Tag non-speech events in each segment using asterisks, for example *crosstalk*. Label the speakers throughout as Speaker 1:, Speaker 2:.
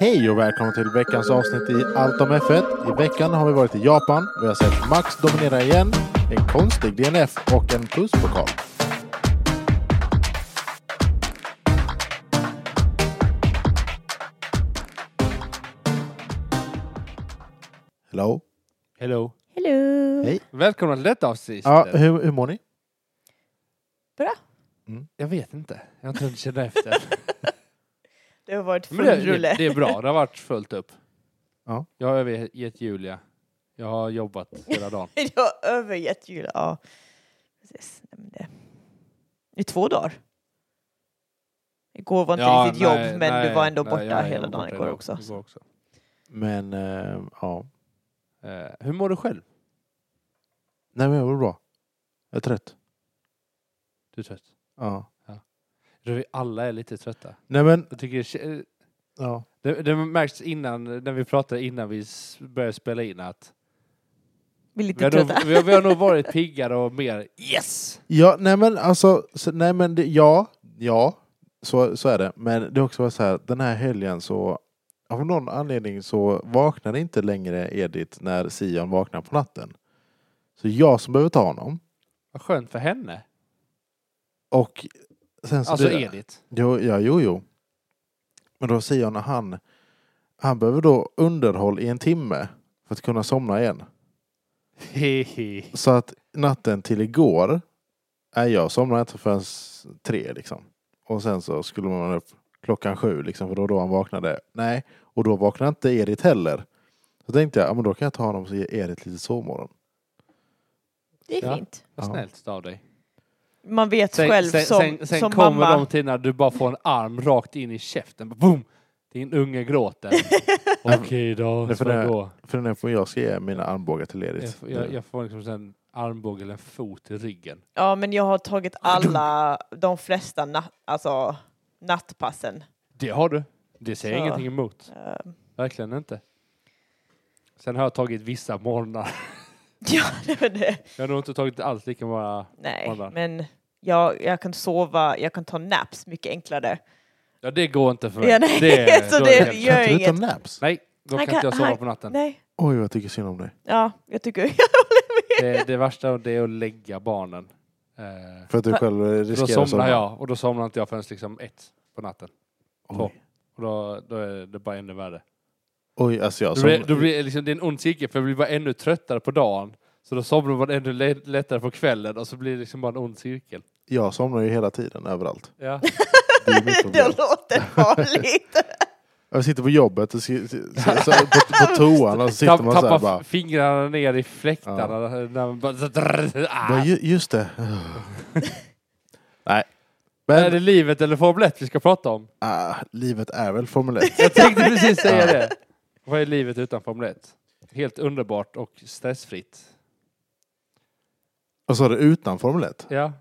Speaker 1: Hej och välkommen till veckans avsnitt i Allt om F1. I veckan har vi varit i Japan. Vi har sett Max dominera igen, en konstig DNF och en pluspokal. Hello.
Speaker 2: Hello.
Speaker 3: Hello!
Speaker 1: Hej.
Speaker 2: Välkomna till detta avsnitt.
Speaker 1: Ja, hur, hur mår ni?
Speaker 3: Bra!
Speaker 2: Jag vet inte. Jag har inte hunnit känna
Speaker 3: *laughs*
Speaker 2: efter.
Speaker 3: Det har varit full
Speaker 2: Men det,
Speaker 3: rulle.
Speaker 2: det, det är bra. Det har varit fullt upp.
Speaker 1: Ja.
Speaker 2: Jag har övergett Julia. Jag har jobbat hela dagen.
Speaker 3: Jag har övergett jul. Ja, precis. Nej, men det- I två dagar. Igår *laughs* var inte
Speaker 2: Ja,
Speaker 3: riktigt
Speaker 2: nej,
Speaker 3: jobb, men
Speaker 2: nej,
Speaker 3: du var ändå
Speaker 2: nej,
Speaker 3: borta
Speaker 2: jag
Speaker 3: hela
Speaker 2: var
Speaker 3: dagen
Speaker 2: borta
Speaker 3: igår
Speaker 2: idag.
Speaker 3: också.
Speaker 2: Igår också.
Speaker 1: Men eh, ja,
Speaker 2: Eh, hur mår du själv?
Speaker 1: nej men jag mår bra. Jag är trött.
Speaker 2: Du är trött?
Speaker 1: Ja.
Speaker 2: Du, vi alla är lite trötta.
Speaker 1: Nej men,
Speaker 2: Jag tycker, eh,
Speaker 1: ja.
Speaker 2: det, det märks innan, när vi pratade innan vi s- började spela in att
Speaker 3: Vi är
Speaker 2: vi
Speaker 3: lite
Speaker 2: har, nog,
Speaker 3: trötta.
Speaker 2: vi, har, vi har nog varit piggare och mer yes!
Speaker 1: Ja, nej men alltså, så, nej men det, ja, ja, så, så är det. Men det har också varit så här, den här helgen så, av någon anledning så vaknade inte längre Edith när Sion vaknar på natten. Så jag som behöver ta honom.
Speaker 2: Vad skönt för henne.
Speaker 1: Och sen så...
Speaker 2: Alltså
Speaker 1: det-
Speaker 3: *laughs*
Speaker 2: Edith.
Speaker 1: Jo, ja, jo, jo. Men då Sion, han, han behöver då underhåll i en timme för att kunna somna igen.
Speaker 2: Hehe.
Speaker 1: Så att natten till igår, nej jag somnade inte förrän s- tre liksom. Och sen så skulle man upp klockan sju liksom, för då då han vaknade. Nej, och då vaknade inte Edith heller. Så tänkte jag, ja men då kan jag ta honom och ge Edith lite sovmorgon.
Speaker 3: *laughs* Det
Speaker 2: Ja.
Speaker 3: är fint.
Speaker 2: Vad
Speaker 1: Ja.
Speaker 2: snällt av dig.
Speaker 3: Man vet själv som,
Speaker 2: sen, sen
Speaker 3: som
Speaker 2: kommer
Speaker 3: mamma.
Speaker 2: de
Speaker 3: *laughs*
Speaker 2: till när du bara får en arm rakt in i käften. Boom! Din unge gråter. *laughs* Okej då,
Speaker 1: Nej,
Speaker 2: ska
Speaker 1: för
Speaker 2: det
Speaker 1: det-
Speaker 2: gå.
Speaker 1: För nu får jag ska ge mina armbågar till
Speaker 2: Jag,
Speaker 1: Edith.
Speaker 2: får- jag, jag får liksom en armbåge eller en fot i ryggen.
Speaker 3: Ja, men jag har tagit alla, de flesta na- alltså, nattpassen.
Speaker 2: Det har du. Det säger jag
Speaker 3: Så.
Speaker 2: ingenting emot.
Speaker 3: Eh,
Speaker 2: Verkligen inte. Sen har jag tagit vissa morgnar.
Speaker 3: *laughs* Ja, det var det.
Speaker 2: Jag har nog inte tagit alls lika många.
Speaker 3: Nej,
Speaker 2: Kolla.
Speaker 3: men jag, jag kan sova, jag kan ta naps mycket enklare.
Speaker 2: Ja, det går inte för mig.
Speaker 3: Ja, nej,
Speaker 2: *laughs* Det,
Speaker 3: så
Speaker 2: då
Speaker 3: det
Speaker 2: är det helt-
Speaker 3: gör
Speaker 1: kan inte du
Speaker 3: inget.
Speaker 1: ta naps?
Speaker 2: nej, då kan
Speaker 3: Han
Speaker 2: inte jag
Speaker 3: kan-
Speaker 2: sova
Speaker 3: han-
Speaker 2: på natten.
Speaker 3: Nej,
Speaker 1: Oj, jag tycker synd om dig.
Speaker 3: ja, jag tycker *laughs* jag håller med.
Speaker 2: Det, det värsta det är att lägga barnen. Eh,
Speaker 1: För att du
Speaker 3: Va-
Speaker 1: själv riskerar
Speaker 2: Då
Speaker 1: att somna.
Speaker 2: somnar jag och då somnar inte jag förrän liksom ett på natten.
Speaker 1: Oj,
Speaker 2: Och då, då är det bara ännu värre.
Speaker 1: Oj alltså jag
Speaker 2: Då blir, då
Speaker 1: somnar.
Speaker 2: blir det liksom, det är en ond cirkel för jag blir bara ännu tröttare på dagen. Så då somnar man ännu le- lättare på kvällen och så blir det liksom bara en ond cirkel.
Speaker 1: Jag somnar ju hela tiden överallt.
Speaker 2: Ja.
Speaker 1: Det är mitt problem.
Speaker 2: *laughs*
Speaker 3: Det låter farligt.
Speaker 1: Jag sitter på jobbet och så, så, så, på, på toan och så sitter
Speaker 2: Tapp,
Speaker 1: man så
Speaker 2: tappar
Speaker 1: här bara.
Speaker 2: fingrarna ner i fläktarna. När man bara, ah.
Speaker 1: Men ju, just det. Nej.
Speaker 2: Är
Speaker 1: Men
Speaker 2: det livet eller Formel 1 vi ska prata om?
Speaker 1: ah, livet är väl Formel 1.
Speaker 2: *laughs* Jag tänkte precis säga
Speaker 1: Ja.
Speaker 2: det. Vad är livet utan Formel 1? Helt underbart och stressfritt.
Speaker 1: Och så är det utan Formel 1.
Speaker 2: Ja.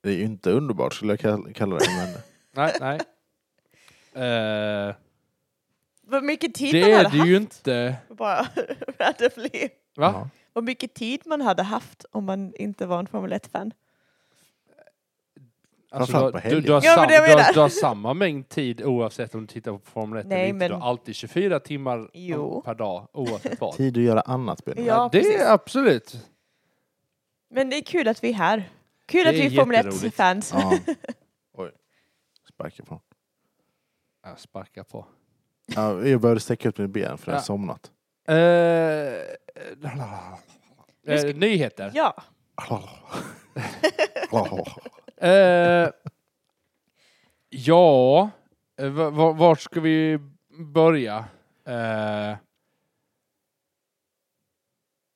Speaker 1: Det är ju inte underbart skulle jag kall- kalla det. Men
Speaker 2: Nej, nej. Eh,
Speaker 3: Vad mycket tid
Speaker 2: det
Speaker 3: man hade
Speaker 2: är det
Speaker 3: haft.
Speaker 2: ju inte.
Speaker 3: Bara, *laughs* hade fler.
Speaker 2: Va?
Speaker 1: Ja.
Speaker 3: Vad mycket tid man hade haft om man inte var en Formel 1-fan.
Speaker 2: Alltså, du,
Speaker 1: Framförallt på
Speaker 2: har- du, du, har
Speaker 3: helgen. Ja,
Speaker 2: sam,
Speaker 3: men det jag
Speaker 2: du, har,
Speaker 3: menar.
Speaker 2: du har samma mängd tid oavsett om du tittar på Formel 1 eller
Speaker 3: Nej,
Speaker 2: inte. Du
Speaker 3: men-
Speaker 2: har alltid 24 timmar
Speaker 3: Jo.
Speaker 2: per dag
Speaker 1: *laughs*
Speaker 2: oavsett vad.
Speaker 1: Tid att göra annat. Benjamin.
Speaker 3: Ja,
Speaker 2: det
Speaker 3: precis.
Speaker 2: är absolut.
Speaker 3: Men det är kul att vi är här. Kul
Speaker 2: Det
Speaker 3: att vi
Speaker 2: är
Speaker 3: är Formel
Speaker 2: jätteroligt.
Speaker 3: 1-fans.
Speaker 1: Ja. Oj. Sparka på.
Speaker 2: Jag sparkar på.
Speaker 1: Ja, jag började sträcka ut mitt ben för jag har
Speaker 2: Ja.
Speaker 1: somnat.
Speaker 2: Eh, lalalala.
Speaker 3: Nu ska-
Speaker 2: Eh, nyheter.
Speaker 3: Ja,
Speaker 2: Eh, ja, eh, va- va- vart ska vi börja? Eh,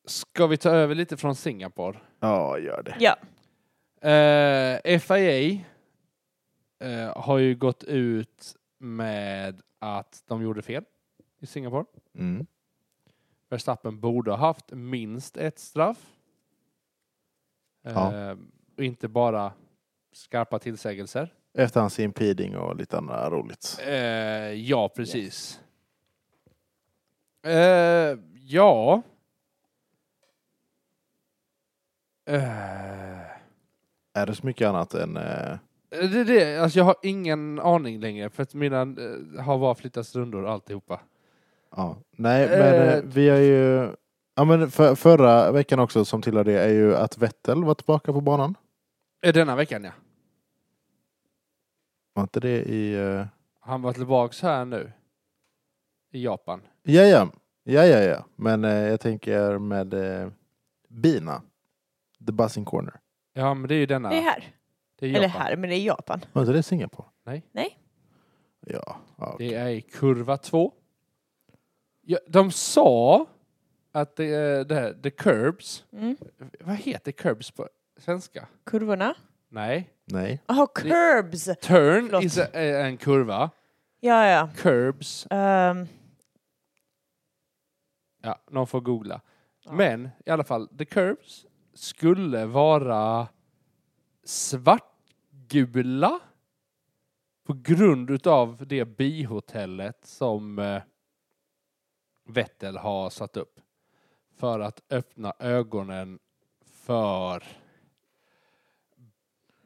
Speaker 2: ska vi ta över lite från Singapore?
Speaker 1: *laughs* Ja, gör det.
Speaker 3: ja.
Speaker 2: Eh, FIA eh, har ju gått ut med att de gjorde fel i Singapore.
Speaker 1: Mm.
Speaker 2: Verstappen borde ha haft minst ett straff. Eh,
Speaker 1: Ja.
Speaker 2: Och inte bara skarpa tillsägelser.
Speaker 1: Efter hans impeding och lite annat roligt.
Speaker 2: Eh, ja, precis. Eh, ja. Eh,
Speaker 1: Är det så mycket annat än... Eh,
Speaker 2: Eh, Det är det, alltså jag har ingen aning längre för att mina eh, har bara flyttats rundor alltihopa.
Speaker 1: ja. Nej, men eh,
Speaker 2: Eh.
Speaker 1: vi är ju... Ja, men för, förra veckan också, som tillhör det, är ju att Vettel var tillbaka på banan.
Speaker 2: Eh, Denna veckan ja.
Speaker 1: Var inte det i... Eh,
Speaker 2: Han var tillbaks här nu. I Japan.
Speaker 1: Ja, ja. Ja, ja, ja. Men eh, jag tänker med eh, Bina. The Buzzing Corner.
Speaker 2: Ja men det är ju denna.
Speaker 3: Det är här.
Speaker 2: Det är Japan.
Speaker 3: Eller här, men det är Japan.
Speaker 1: Var inte det Singapore?
Speaker 2: Nej.
Speaker 3: Nej.
Speaker 1: Ja. ja
Speaker 2: Det
Speaker 1: okej.
Speaker 2: är i kurva två. Ja, de sa att det är det här, the curbs.
Speaker 3: Mm.
Speaker 2: Vad heter curbs på svenska?
Speaker 3: Kurvorna.
Speaker 2: Nej.
Speaker 1: Nej.
Speaker 3: Jaha, curbs!
Speaker 2: Turn
Speaker 3: Förlåt.
Speaker 2: is a, är en kurva.
Speaker 3: Ja, ja.
Speaker 2: Curbs.
Speaker 3: Ehm,
Speaker 2: Ja, någon får googla.
Speaker 3: Ja.
Speaker 2: Men i alla fall, the curbs skulle vara svartgula på grund utav det bihotellet som eh, Vettel har satt upp för att öppna ögonen för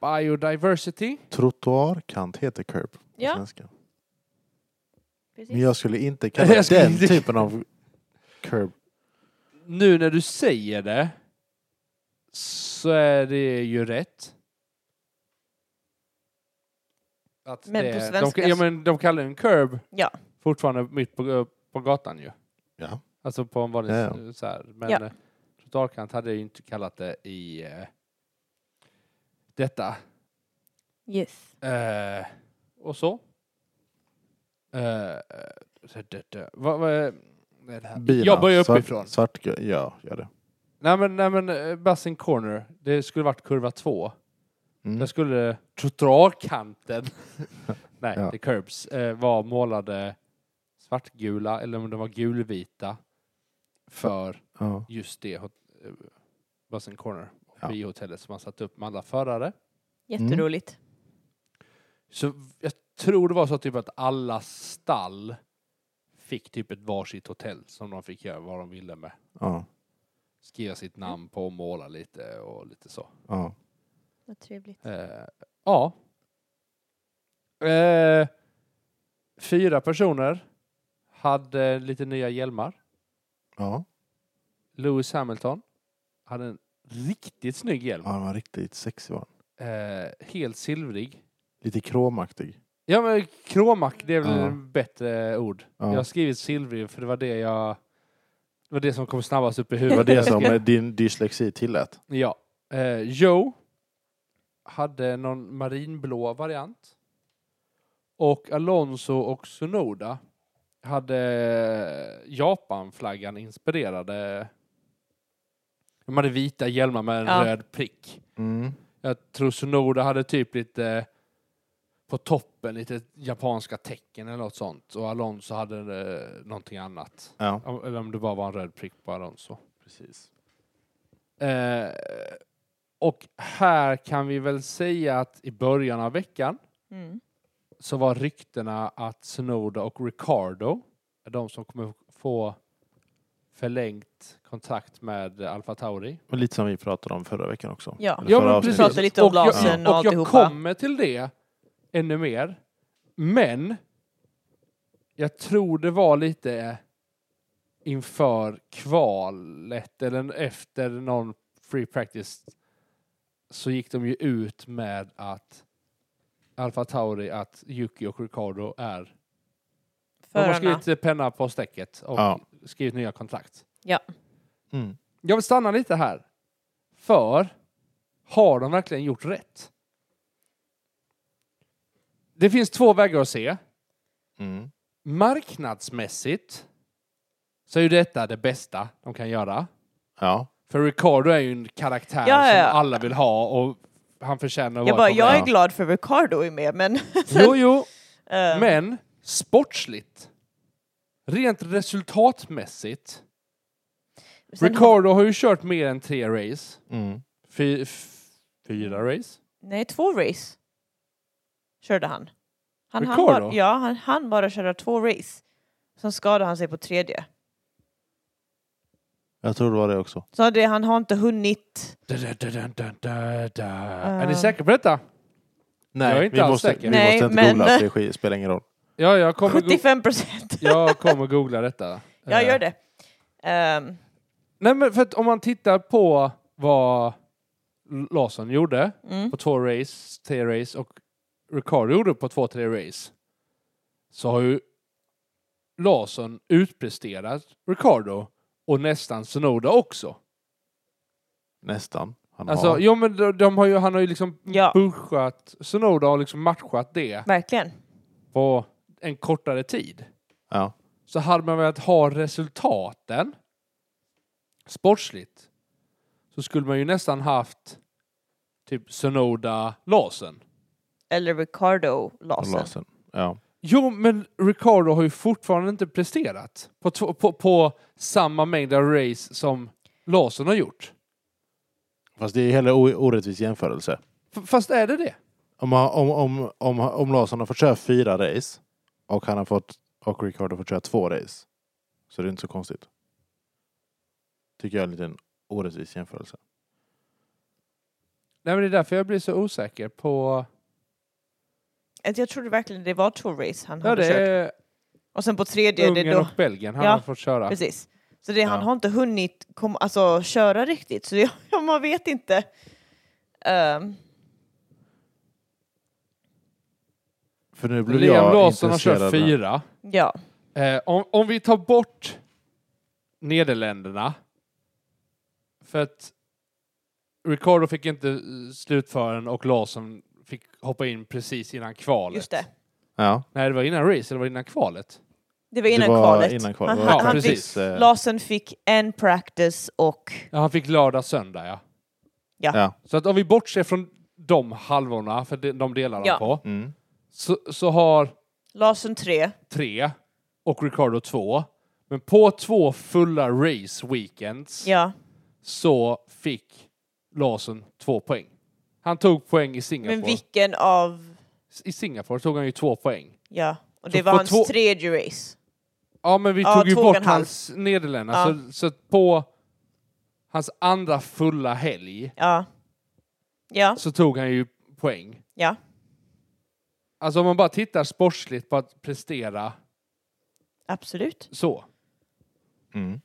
Speaker 2: biodiversity.
Speaker 1: Trottoarkant heter curb på
Speaker 3: Ja.
Speaker 1: svenska.
Speaker 3: precis.
Speaker 1: Men jag skulle
Speaker 2: *laughs*
Speaker 1: inte kalla
Speaker 2: Jag skulle
Speaker 1: den
Speaker 2: inte-
Speaker 1: typen av curb.
Speaker 2: Nu när du säger det så är det ju rätt. Att
Speaker 3: Men
Speaker 2: det,
Speaker 3: på svenska
Speaker 2: De, ja,
Speaker 3: så-
Speaker 2: men de kallar den curb
Speaker 3: Ja.
Speaker 2: fortfarande mitt på, eh, på gatan ju.
Speaker 1: Ja.
Speaker 2: Alltså på en vanlig
Speaker 1: Ja,
Speaker 2: s- så här. Men
Speaker 3: Ja.
Speaker 2: ja. trottoarkant hade jag ju inte kallat det i eh, detta.
Speaker 3: Yes.
Speaker 2: Eh, och så. Eh, det, det, det. Vad, vad är eh, vad är det här?
Speaker 1: Bina.
Speaker 2: Jag börjar uppifrån.
Speaker 1: Svart, svart, ja, gör det.
Speaker 2: Nej men, nej, men eh, Bassin Corner, det skulle varit kurva två.
Speaker 1: Mm.
Speaker 2: Där skulle
Speaker 1: *laughs*
Speaker 2: trottoarkanten, nej,
Speaker 1: Ja.
Speaker 2: the curbs, eh, var målade svartgula eller om de var gulvita för
Speaker 1: Ja.
Speaker 2: just det hot- eh, Bassin Corner,
Speaker 1: Ja.
Speaker 2: bihotellet som man satt upp med alla förare.
Speaker 3: Jätteroligt.
Speaker 2: Så jag tror det var så typ att alla stall fick typ ett varsitt hotell som de fick göra vad de ville med.
Speaker 1: Ja.
Speaker 2: Skriva sitt
Speaker 1: Mm.
Speaker 2: namn på och måla lite och lite så.
Speaker 1: Ja.
Speaker 3: Vad trevligt.
Speaker 2: Eh, ja. Eh, fyra personer hade lite nya hjälmar.
Speaker 1: Ja.
Speaker 2: Lewis Hamilton hade en riktigt snygg hjälm.
Speaker 1: ja, den var riktigt sexig var den.
Speaker 2: Eh, helt silvrig.
Speaker 1: Lite kromaktig.
Speaker 2: Ja men kromak, det är väl
Speaker 1: Ja.
Speaker 2: bättre ord.
Speaker 1: Ja.
Speaker 2: Jag har skrivit silvrig för det var det jag... Det var det som kom snabbast upp i
Speaker 1: Det var
Speaker 2: huvudet.
Speaker 1: det som eh, din dyslexi tillät.
Speaker 2: Ja. Eh, Joe hade någon marinblå variant. Och Alonso och Sunoda hade Japanflaggan inspirerade. De hade vita hjälmar med en
Speaker 3: Ja.
Speaker 2: röd prick.
Speaker 1: Mm.
Speaker 2: Jag tror Sunoda hade typ lite på toppen lite japanska tecken eller något sånt. Och Alonso hade eh, någonting annat.
Speaker 1: Ja,
Speaker 2: Om- Eller om det bara var en röd prick på Alonso.
Speaker 1: precis.
Speaker 2: Eh, och här kan vi väl säga att i början av veckan
Speaker 3: Mm.
Speaker 2: så var ryktena att Sonoda och Ricardo är de som kommer få förlängt kontrakt med Alfa Tauri.
Speaker 1: Och lite som vi pratade om förra veckan också.
Speaker 3: Ja.
Speaker 1: Eller
Speaker 2: Ja,
Speaker 1: förra
Speaker 2: men
Speaker 1: avsnittet.
Speaker 2: precis.
Speaker 3: Prata lite om
Speaker 2: Och jag-
Speaker 3: blasen och,
Speaker 2: Och jag
Speaker 3: alltihopa.
Speaker 2: kommer till det ännu mer. Men jag tror det var lite inför kvalet eller efter någon free practice så gick de ju ut med att Alfa Tauri, att Yuki och Ricardo är... De har
Speaker 3: Förarna.
Speaker 2: skrivit eh, penna på strecket och
Speaker 1: Ja.
Speaker 2: skrivit nya kontrakt.
Speaker 1: Mm.
Speaker 2: Jag vill stanna lite här. För har de verkligen gjort rätt? Det finns två vägar att se.
Speaker 1: Mm.
Speaker 2: Marknadsmässigt så är ju detta det bästa de kan göra.
Speaker 1: Ja.
Speaker 2: För Ricardo är ju en karaktär
Speaker 3: Ja, ja, ja.
Speaker 2: som alla vill ha och han förtjänar att
Speaker 3: Jag,
Speaker 2: vara
Speaker 3: bara,
Speaker 2: på
Speaker 3: jag är
Speaker 2: väg.
Speaker 3: glad för Ricardo är med, men... *laughs*
Speaker 2: Jo, jo,
Speaker 3: ehm,
Speaker 2: men sportsligt. Rent resultatmässigt.
Speaker 3: sen har-
Speaker 2: Ricardo har ju kört mer än tre race.
Speaker 1: Mm.
Speaker 2: Fy, f- fyra race?
Speaker 3: Nej, två race körde han. Han, hann
Speaker 2: Ricardo?
Speaker 3: bara, ja, han hann bara köra två race. Sen skadade han sig på tredje.
Speaker 1: Jag tror det var det också.
Speaker 3: Så det, han har inte hunnit.
Speaker 2: Da, da, da, da, da, da, da. Är ni
Speaker 3: Eh.
Speaker 2: säkra på detta?
Speaker 1: Nej,
Speaker 2: Jag är inte
Speaker 1: vi,
Speaker 2: alls
Speaker 1: måste,
Speaker 2: säker.
Speaker 1: vi
Speaker 3: Nej,
Speaker 1: måste inte
Speaker 3: men-
Speaker 1: googla. för Det sk- spelar ingen roll.
Speaker 2: Ja, jag kommer, go-
Speaker 3: 75 procent.
Speaker 2: jag kommer googla detta.
Speaker 3: *laughs* Jag
Speaker 2: Eh,
Speaker 3: gör det.
Speaker 2: Mm.
Speaker 3: Ehm,
Speaker 2: Nej, men för att om man tittar på vad Lawson gjorde
Speaker 3: mm.
Speaker 2: på två race, tre race och Ricardo gjorde på två, tre race så har ju Larsson utpresterat Ricardo och nästan Sonoda också.
Speaker 1: Nästan. Han
Speaker 2: Alltså,
Speaker 1: har.
Speaker 2: jo, men de, de har ju, han har ju liksom
Speaker 3: Ja.
Speaker 2: pushat, Sonoda har liksom matchat det
Speaker 3: Verkligen.
Speaker 2: på en kortare tid.
Speaker 1: Ja.
Speaker 2: Så hade man velat ha resultaten sportsligt så skulle man ju nästan haft typ Sonoda Larsson.
Speaker 3: Eller Ricardo Larsson.
Speaker 1: Larsen. Ja.
Speaker 2: Jo, men Ricardo har ju fortfarande inte presterat på, tv- på, på samma mängd av race som Larsson har gjort.
Speaker 1: Fast det är ju heller o- orättvis jämförelse.
Speaker 2: F- fast är det det?
Speaker 1: Om, han- om, om, om, om Larsson har fått köra fyra race och han har fått och Ricardo har fått köra två race så är det inte så konstigt. Tycker jag är en liten orättvis jämförelse.
Speaker 2: Nej, men det är därför jag blir så osäker på...
Speaker 3: Att Jag trodde verkligen det var två race han
Speaker 2: Ja,
Speaker 3: hade
Speaker 2: det
Speaker 3: kört.
Speaker 2: är
Speaker 3: Och sen på tredje, det är
Speaker 2: Ungern
Speaker 3: då...
Speaker 2: och Belgien han
Speaker 3: Ja,
Speaker 2: har fått köra.
Speaker 3: Precis. Så det, han
Speaker 1: Ja.
Speaker 3: har inte hunnit kom, alltså, köra riktigt, så det, *laughs* man vet inte. Ehm,
Speaker 1: För nu blev
Speaker 2: Liam
Speaker 1: jag
Speaker 2: Larsson har
Speaker 1: intresserad
Speaker 2: kört
Speaker 1: när-
Speaker 2: fyra.
Speaker 3: ja.
Speaker 2: Eh, om, om vi tar bort Nederländerna. För att Ricardo fick inte eh, slutföra den och Larsson fick hoppa in precis innan kvalet.
Speaker 3: Just det.
Speaker 1: Ja,
Speaker 2: Nej, det var innan racet, det var innan kvalet.
Speaker 3: Det var innan
Speaker 1: det var
Speaker 3: kvalet.
Speaker 1: innan kvalet.
Speaker 3: Han,
Speaker 1: Det var
Speaker 2: Ja,
Speaker 3: han
Speaker 2: precis.
Speaker 3: fick,
Speaker 1: eh,
Speaker 3: Larsen fick en practice och...
Speaker 2: Ja, han fick lördag, söndag ja.
Speaker 1: Ja.
Speaker 2: Så att om vi bortser från de halvorna, för de- de delar
Speaker 3: Ja.
Speaker 2: han på,
Speaker 1: Mm.
Speaker 2: så, så har
Speaker 3: Larsen tre.
Speaker 2: tre och Ricardo två. Men på två fulla race weekends
Speaker 3: Ja.
Speaker 2: så fick Larsson två poäng. Han tog poäng i Singapore.
Speaker 3: Men vilken av...
Speaker 2: I Singapore tog han ju två poäng.
Speaker 3: Ja. Och
Speaker 2: Så
Speaker 3: det var
Speaker 2: på
Speaker 3: hans
Speaker 2: två-
Speaker 3: tredje race.
Speaker 2: Ja, men vi
Speaker 3: Ja,
Speaker 2: tog ju
Speaker 3: två och en
Speaker 2: bort
Speaker 3: halv.
Speaker 2: hans Nederländerna,
Speaker 3: Ja.
Speaker 2: så, så att på hans andra fulla helg
Speaker 3: Ja. Ja.
Speaker 2: så tog han ju poäng.
Speaker 3: Ja.
Speaker 2: Alltså om man bara tittar sportsligt på att prestera
Speaker 3: Absolut.
Speaker 2: så.
Speaker 1: Mm.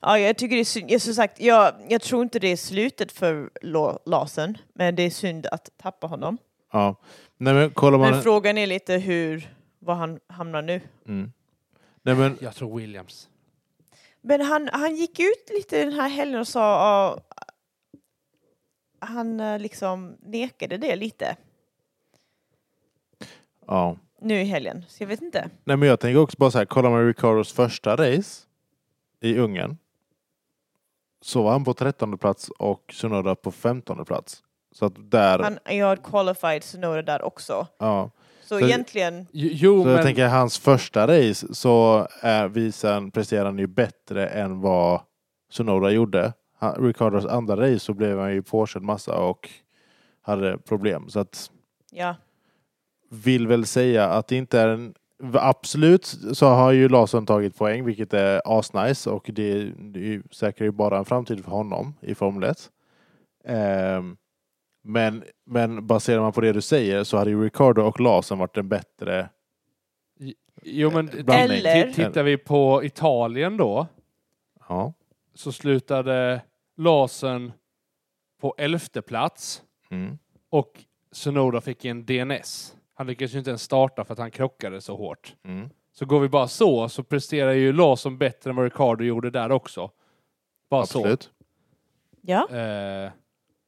Speaker 3: Ja, jag tycker det är synd. Jag, som sagt, jag, jag tror inte det är slutet för Lo- Larsen, men det är synd att tappa honom.
Speaker 1: ja. Nej men kollar man...
Speaker 3: Men frågan är lite hur, var han hamnar nu.
Speaker 1: mm. Nej men
Speaker 2: Jag tror Williams.
Speaker 3: Men han, han gick ut lite den här helgen och sa... ah, han eh, liksom nekade det lite
Speaker 1: ja.
Speaker 3: nu i helgen, så jag vet inte.
Speaker 1: Nej men jag tänker också bara så här, kollar man Ricardos första race i Ungern så var han på trettonde plats och Sunoda på femtonde plats. Så att där,
Speaker 3: Han jag har qualified Sonora där också.
Speaker 1: ja.
Speaker 3: Så,
Speaker 1: Så-
Speaker 3: egentligen,
Speaker 2: Jo, jo
Speaker 1: Så
Speaker 2: men...
Speaker 1: jag tänker hans första race så är visan presterar han ju bättre än vad Sunoda gjorde. Han, Ricardos andra race så blev han ju påkörd massa och hade problem. Så att
Speaker 3: ja.
Speaker 1: vill väl säga att det inte är en... Absolut så har ju Larsson tagit poäng, vilket är asnice och det, det är ju- säkrar ju bara en framtid för honom i Formel 1. Ehm, men, men baserar man på det du säger så hade ju Ricardo och Larsson varit en bättre...
Speaker 2: Jo, men
Speaker 1: Blandning.
Speaker 3: Eller-
Speaker 2: t- tittar vi på Italien då
Speaker 1: Ja.
Speaker 2: så slutade Larsen på elfte plats
Speaker 1: Mm.
Speaker 2: och Sonoda fick en DNS. Han lyckades ju inte ens starta för att han krockade så hårt.
Speaker 1: Mm.
Speaker 2: Så går vi bara så, så presterar ju Larsson bättre än vad Ricardo gjorde där också. Bara så.
Speaker 1: Absolut.
Speaker 3: ja.
Speaker 2: Eh,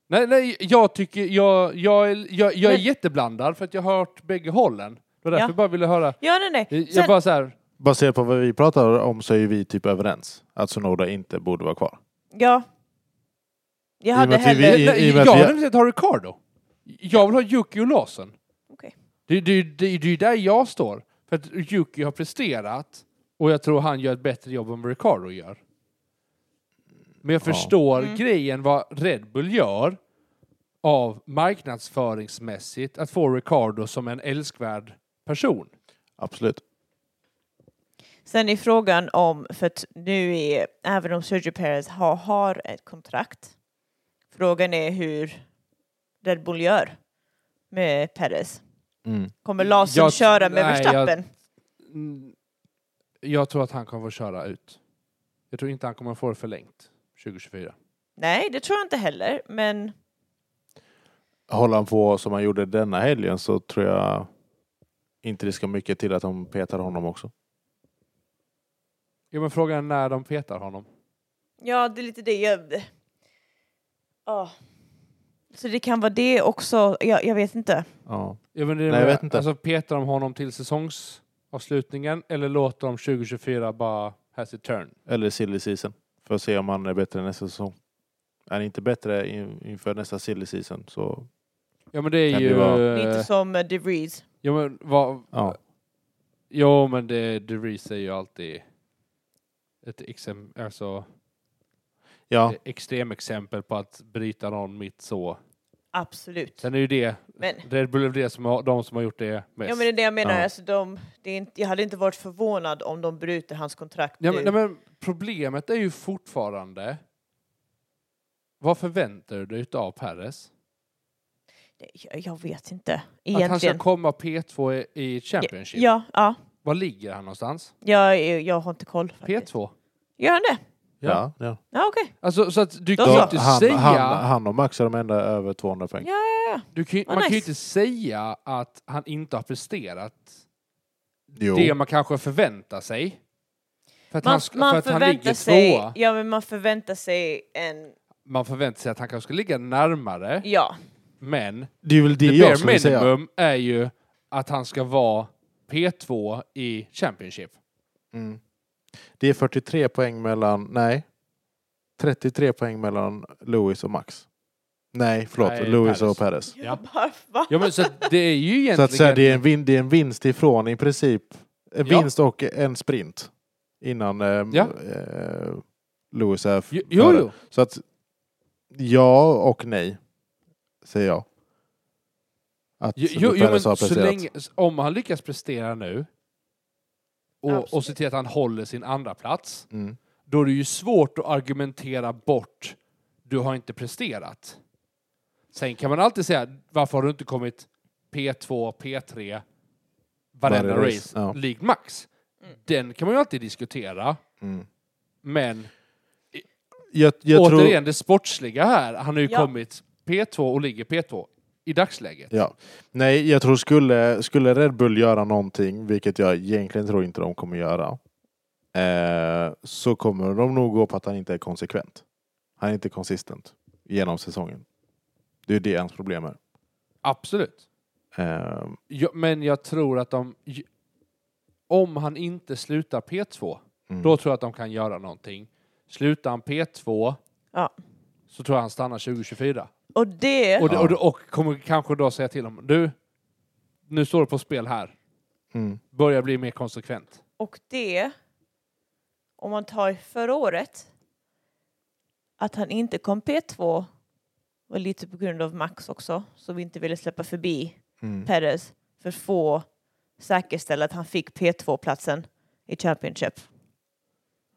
Speaker 2: nej, nej, jag tycker... Jag, jag, är- jag, jag är
Speaker 3: Men-
Speaker 2: jätteblandad för att jag har hört bägge hållen. Det var därför
Speaker 3: Ja.
Speaker 2: jag bara ville höra.
Speaker 3: Ja, nej, nej.
Speaker 2: Jag
Speaker 3: Sen,
Speaker 2: bara så här,
Speaker 1: Baserat på vad vi pratar om så är ju vi typ överens att Sonoda inte borde vara kvar.
Speaker 3: ja. Jag
Speaker 1: och
Speaker 3: hade
Speaker 1: med att vi-
Speaker 3: hellre...
Speaker 1: i-
Speaker 2: nej,
Speaker 1: i och med
Speaker 2: Eh, jag
Speaker 1: att vi-
Speaker 2: vill inte ha Ricardo. Jag vill ha Yuki och Larsson.
Speaker 3: Okej.
Speaker 2: Det, det, det, det är där jag står. För att Yuki har presterat och jag tror han gör ett bättre jobb än vad Ricardo gör. Men jag
Speaker 1: Ja.
Speaker 2: förstår
Speaker 3: Mm.
Speaker 2: grejen vad Red Bull gör av marknadsföringsmässigt att få Ricardo som en älskvärd person.
Speaker 1: Absolut.
Speaker 3: Sen är frågan om, för att nu är, även om Sergio Perez har, har ett kontrakt, frågan är hur Red Bull gör med Perez.
Speaker 1: Mm.
Speaker 3: Kommer Larsson
Speaker 2: Jag-
Speaker 3: köra med
Speaker 2: nej,
Speaker 3: Verstappen?
Speaker 2: Mm. Jag tror att han kommer få köra ut. Jag tror inte han kommer få det förlängt 2024.
Speaker 3: Nej, det tror jag inte heller, men
Speaker 1: Håller han på som han gjorde denna helgen så tror jag inte det ska mycket till att de petar honom också.
Speaker 2: Jo, men frågan är när de petar honom.
Speaker 3: ja, det är lite det jag... Ja. Så det kan vara det också, jag, jag vet inte.
Speaker 1: Ja.
Speaker 2: Ja, men det är
Speaker 1: Nej, jag vet inte.
Speaker 2: Alltså, petar de honom till säsongsavslutningen eller låter de 2024 bara has it turn?
Speaker 1: Eller silly season. För att se om han är bättre nästa säsong. Är han inte bättre in, inför nästa silly season så...
Speaker 2: Ja, men det är
Speaker 1: Kan det
Speaker 2: ju...
Speaker 1: vara-
Speaker 3: Det är inte som eh, De Vries.
Speaker 2: ja, men vad,
Speaker 1: Ja.
Speaker 2: Jo, men det, DeVries är ju alltid ett exem, alltså,
Speaker 1: Ja,
Speaker 2: ett extremexempel på att bryta någon mitt så.
Speaker 3: Absolut.
Speaker 2: Sen är ju det,
Speaker 3: Men,
Speaker 2: Red Bull är det som har, de som har gjort det
Speaker 3: ja,
Speaker 2: mest.
Speaker 3: men det är det jag menar,
Speaker 1: Ja.
Speaker 3: alltså, de, det är inte, jag hade inte varit förvånad om de bryter hans kontrakt
Speaker 2: Ja,
Speaker 3: nu.
Speaker 2: men, nej, men problemet är ju fortfarande, vad förväntar du dig av Perez?
Speaker 3: Det- Jag, jag vet inte,
Speaker 2: Att han ska
Speaker 3: egentligen.
Speaker 2: komma P2 i- i Championship?
Speaker 3: Ja, ja.
Speaker 2: Var ligger han någonstans?
Speaker 3: Jag, är- jag har inte koll. faktiskt.
Speaker 2: P2?
Speaker 3: Gör han det?
Speaker 1: ja, ja.
Speaker 3: Ja, okej.
Speaker 2: Alltså, så att du
Speaker 3: Då
Speaker 2: kan ju
Speaker 3: så.
Speaker 2: inte
Speaker 1: han,
Speaker 2: säga...
Speaker 1: han, han och Max är de enda över 200 poäng.
Speaker 3: Ja, ja, ja.
Speaker 2: Du kan, ju-
Speaker 3: Vad
Speaker 2: man kan ju
Speaker 3: nice.
Speaker 2: inte säga att han inte har presterat
Speaker 1: Jo.
Speaker 2: det man kanske förväntar sig. För att,
Speaker 3: Man,
Speaker 2: han, sk- för
Speaker 3: man
Speaker 2: att han ligger
Speaker 3: förväntar sig...
Speaker 2: tvåa.
Speaker 3: Ja, men man förväntar sig en...
Speaker 2: Man förväntar sig att han kanske ska ligga närmare,
Speaker 3: Ja.
Speaker 2: men
Speaker 1: Det är väl det
Speaker 2: the
Speaker 1: jag
Speaker 2: bare
Speaker 1: skulle säga.
Speaker 2: minimum är ju att han ska vara P2 i Championship.
Speaker 1: Mm. Det är 43 poäng mellan... Nej. 33 poäng mellan Lewis och Max. Nej, förlåt.
Speaker 2: Nej,
Speaker 1: Lewis
Speaker 2: Perez.
Speaker 1: och Perez.
Speaker 2: *laughs* Ja.
Speaker 3: Jag *laughs* bara, va?
Speaker 2: Ja, men så att det är ju egentligen...
Speaker 1: Så att säga, det, är en vin, det är en vinst ifrån i princip. En
Speaker 2: Ja.
Speaker 1: vinst och en sprint. Innan ehm,
Speaker 2: Ja.
Speaker 1: eh, Lewis är f-
Speaker 2: Jo, jo,
Speaker 1: före.
Speaker 2: jo.
Speaker 1: Så att ja och nej, säger jag. Att
Speaker 2: Jo, jo, jo, men
Speaker 1: Perez har
Speaker 2: så
Speaker 1: presterat.
Speaker 2: länge, om han lyckas prestera nu och, och
Speaker 3: Absolut.
Speaker 2: se till att han håller sin andra plats
Speaker 1: Mm.
Speaker 2: då är det ju svårt att argumentera bort du har inte presterat. Sen kan man alltid säga varför har du inte kommit P2, P3 varenda
Speaker 1: Varje
Speaker 2: race,
Speaker 1: race, ja.
Speaker 2: likt max. Den kan man ju alltid diskutera,
Speaker 1: Mm.
Speaker 2: men
Speaker 1: Jag, jag
Speaker 2: återigen
Speaker 1: tror...
Speaker 2: det sportsliga här, han har ju
Speaker 3: Ja.
Speaker 2: kommit P2 och ligger P2 i dagsläget.
Speaker 1: Ja. Nej, jag tror skulle, skulle Red Bull göra någonting, vilket jag egentligen tror inte de kommer göra, eh, så kommer de nog gå på att han inte är konsekvent. Han är inte konsistent genom säsongen. Det är det hans problem är.
Speaker 2: Absolut.
Speaker 1: Eh,
Speaker 2: Ja, men jag tror att de... j- Om han inte slutar P2,
Speaker 1: Mm.
Speaker 2: då tror jag att de kan göra någonting. Slutar han P2
Speaker 3: Ja.
Speaker 2: så tror jag han stannar 2024.
Speaker 3: Och det...
Speaker 2: Och, det- och, det- och kommer kanske då säga till honom, du, nu står det på spel här.
Speaker 1: mm.
Speaker 2: Börja bli mer konsekvent.
Speaker 3: Och det, om man tar förra året, att han inte kom P2 var lite på grund av Max också, som vi inte ville släppa förbi
Speaker 1: Mm.
Speaker 3: Perez för att få säkerställa att han fick P2-platsen i Championship.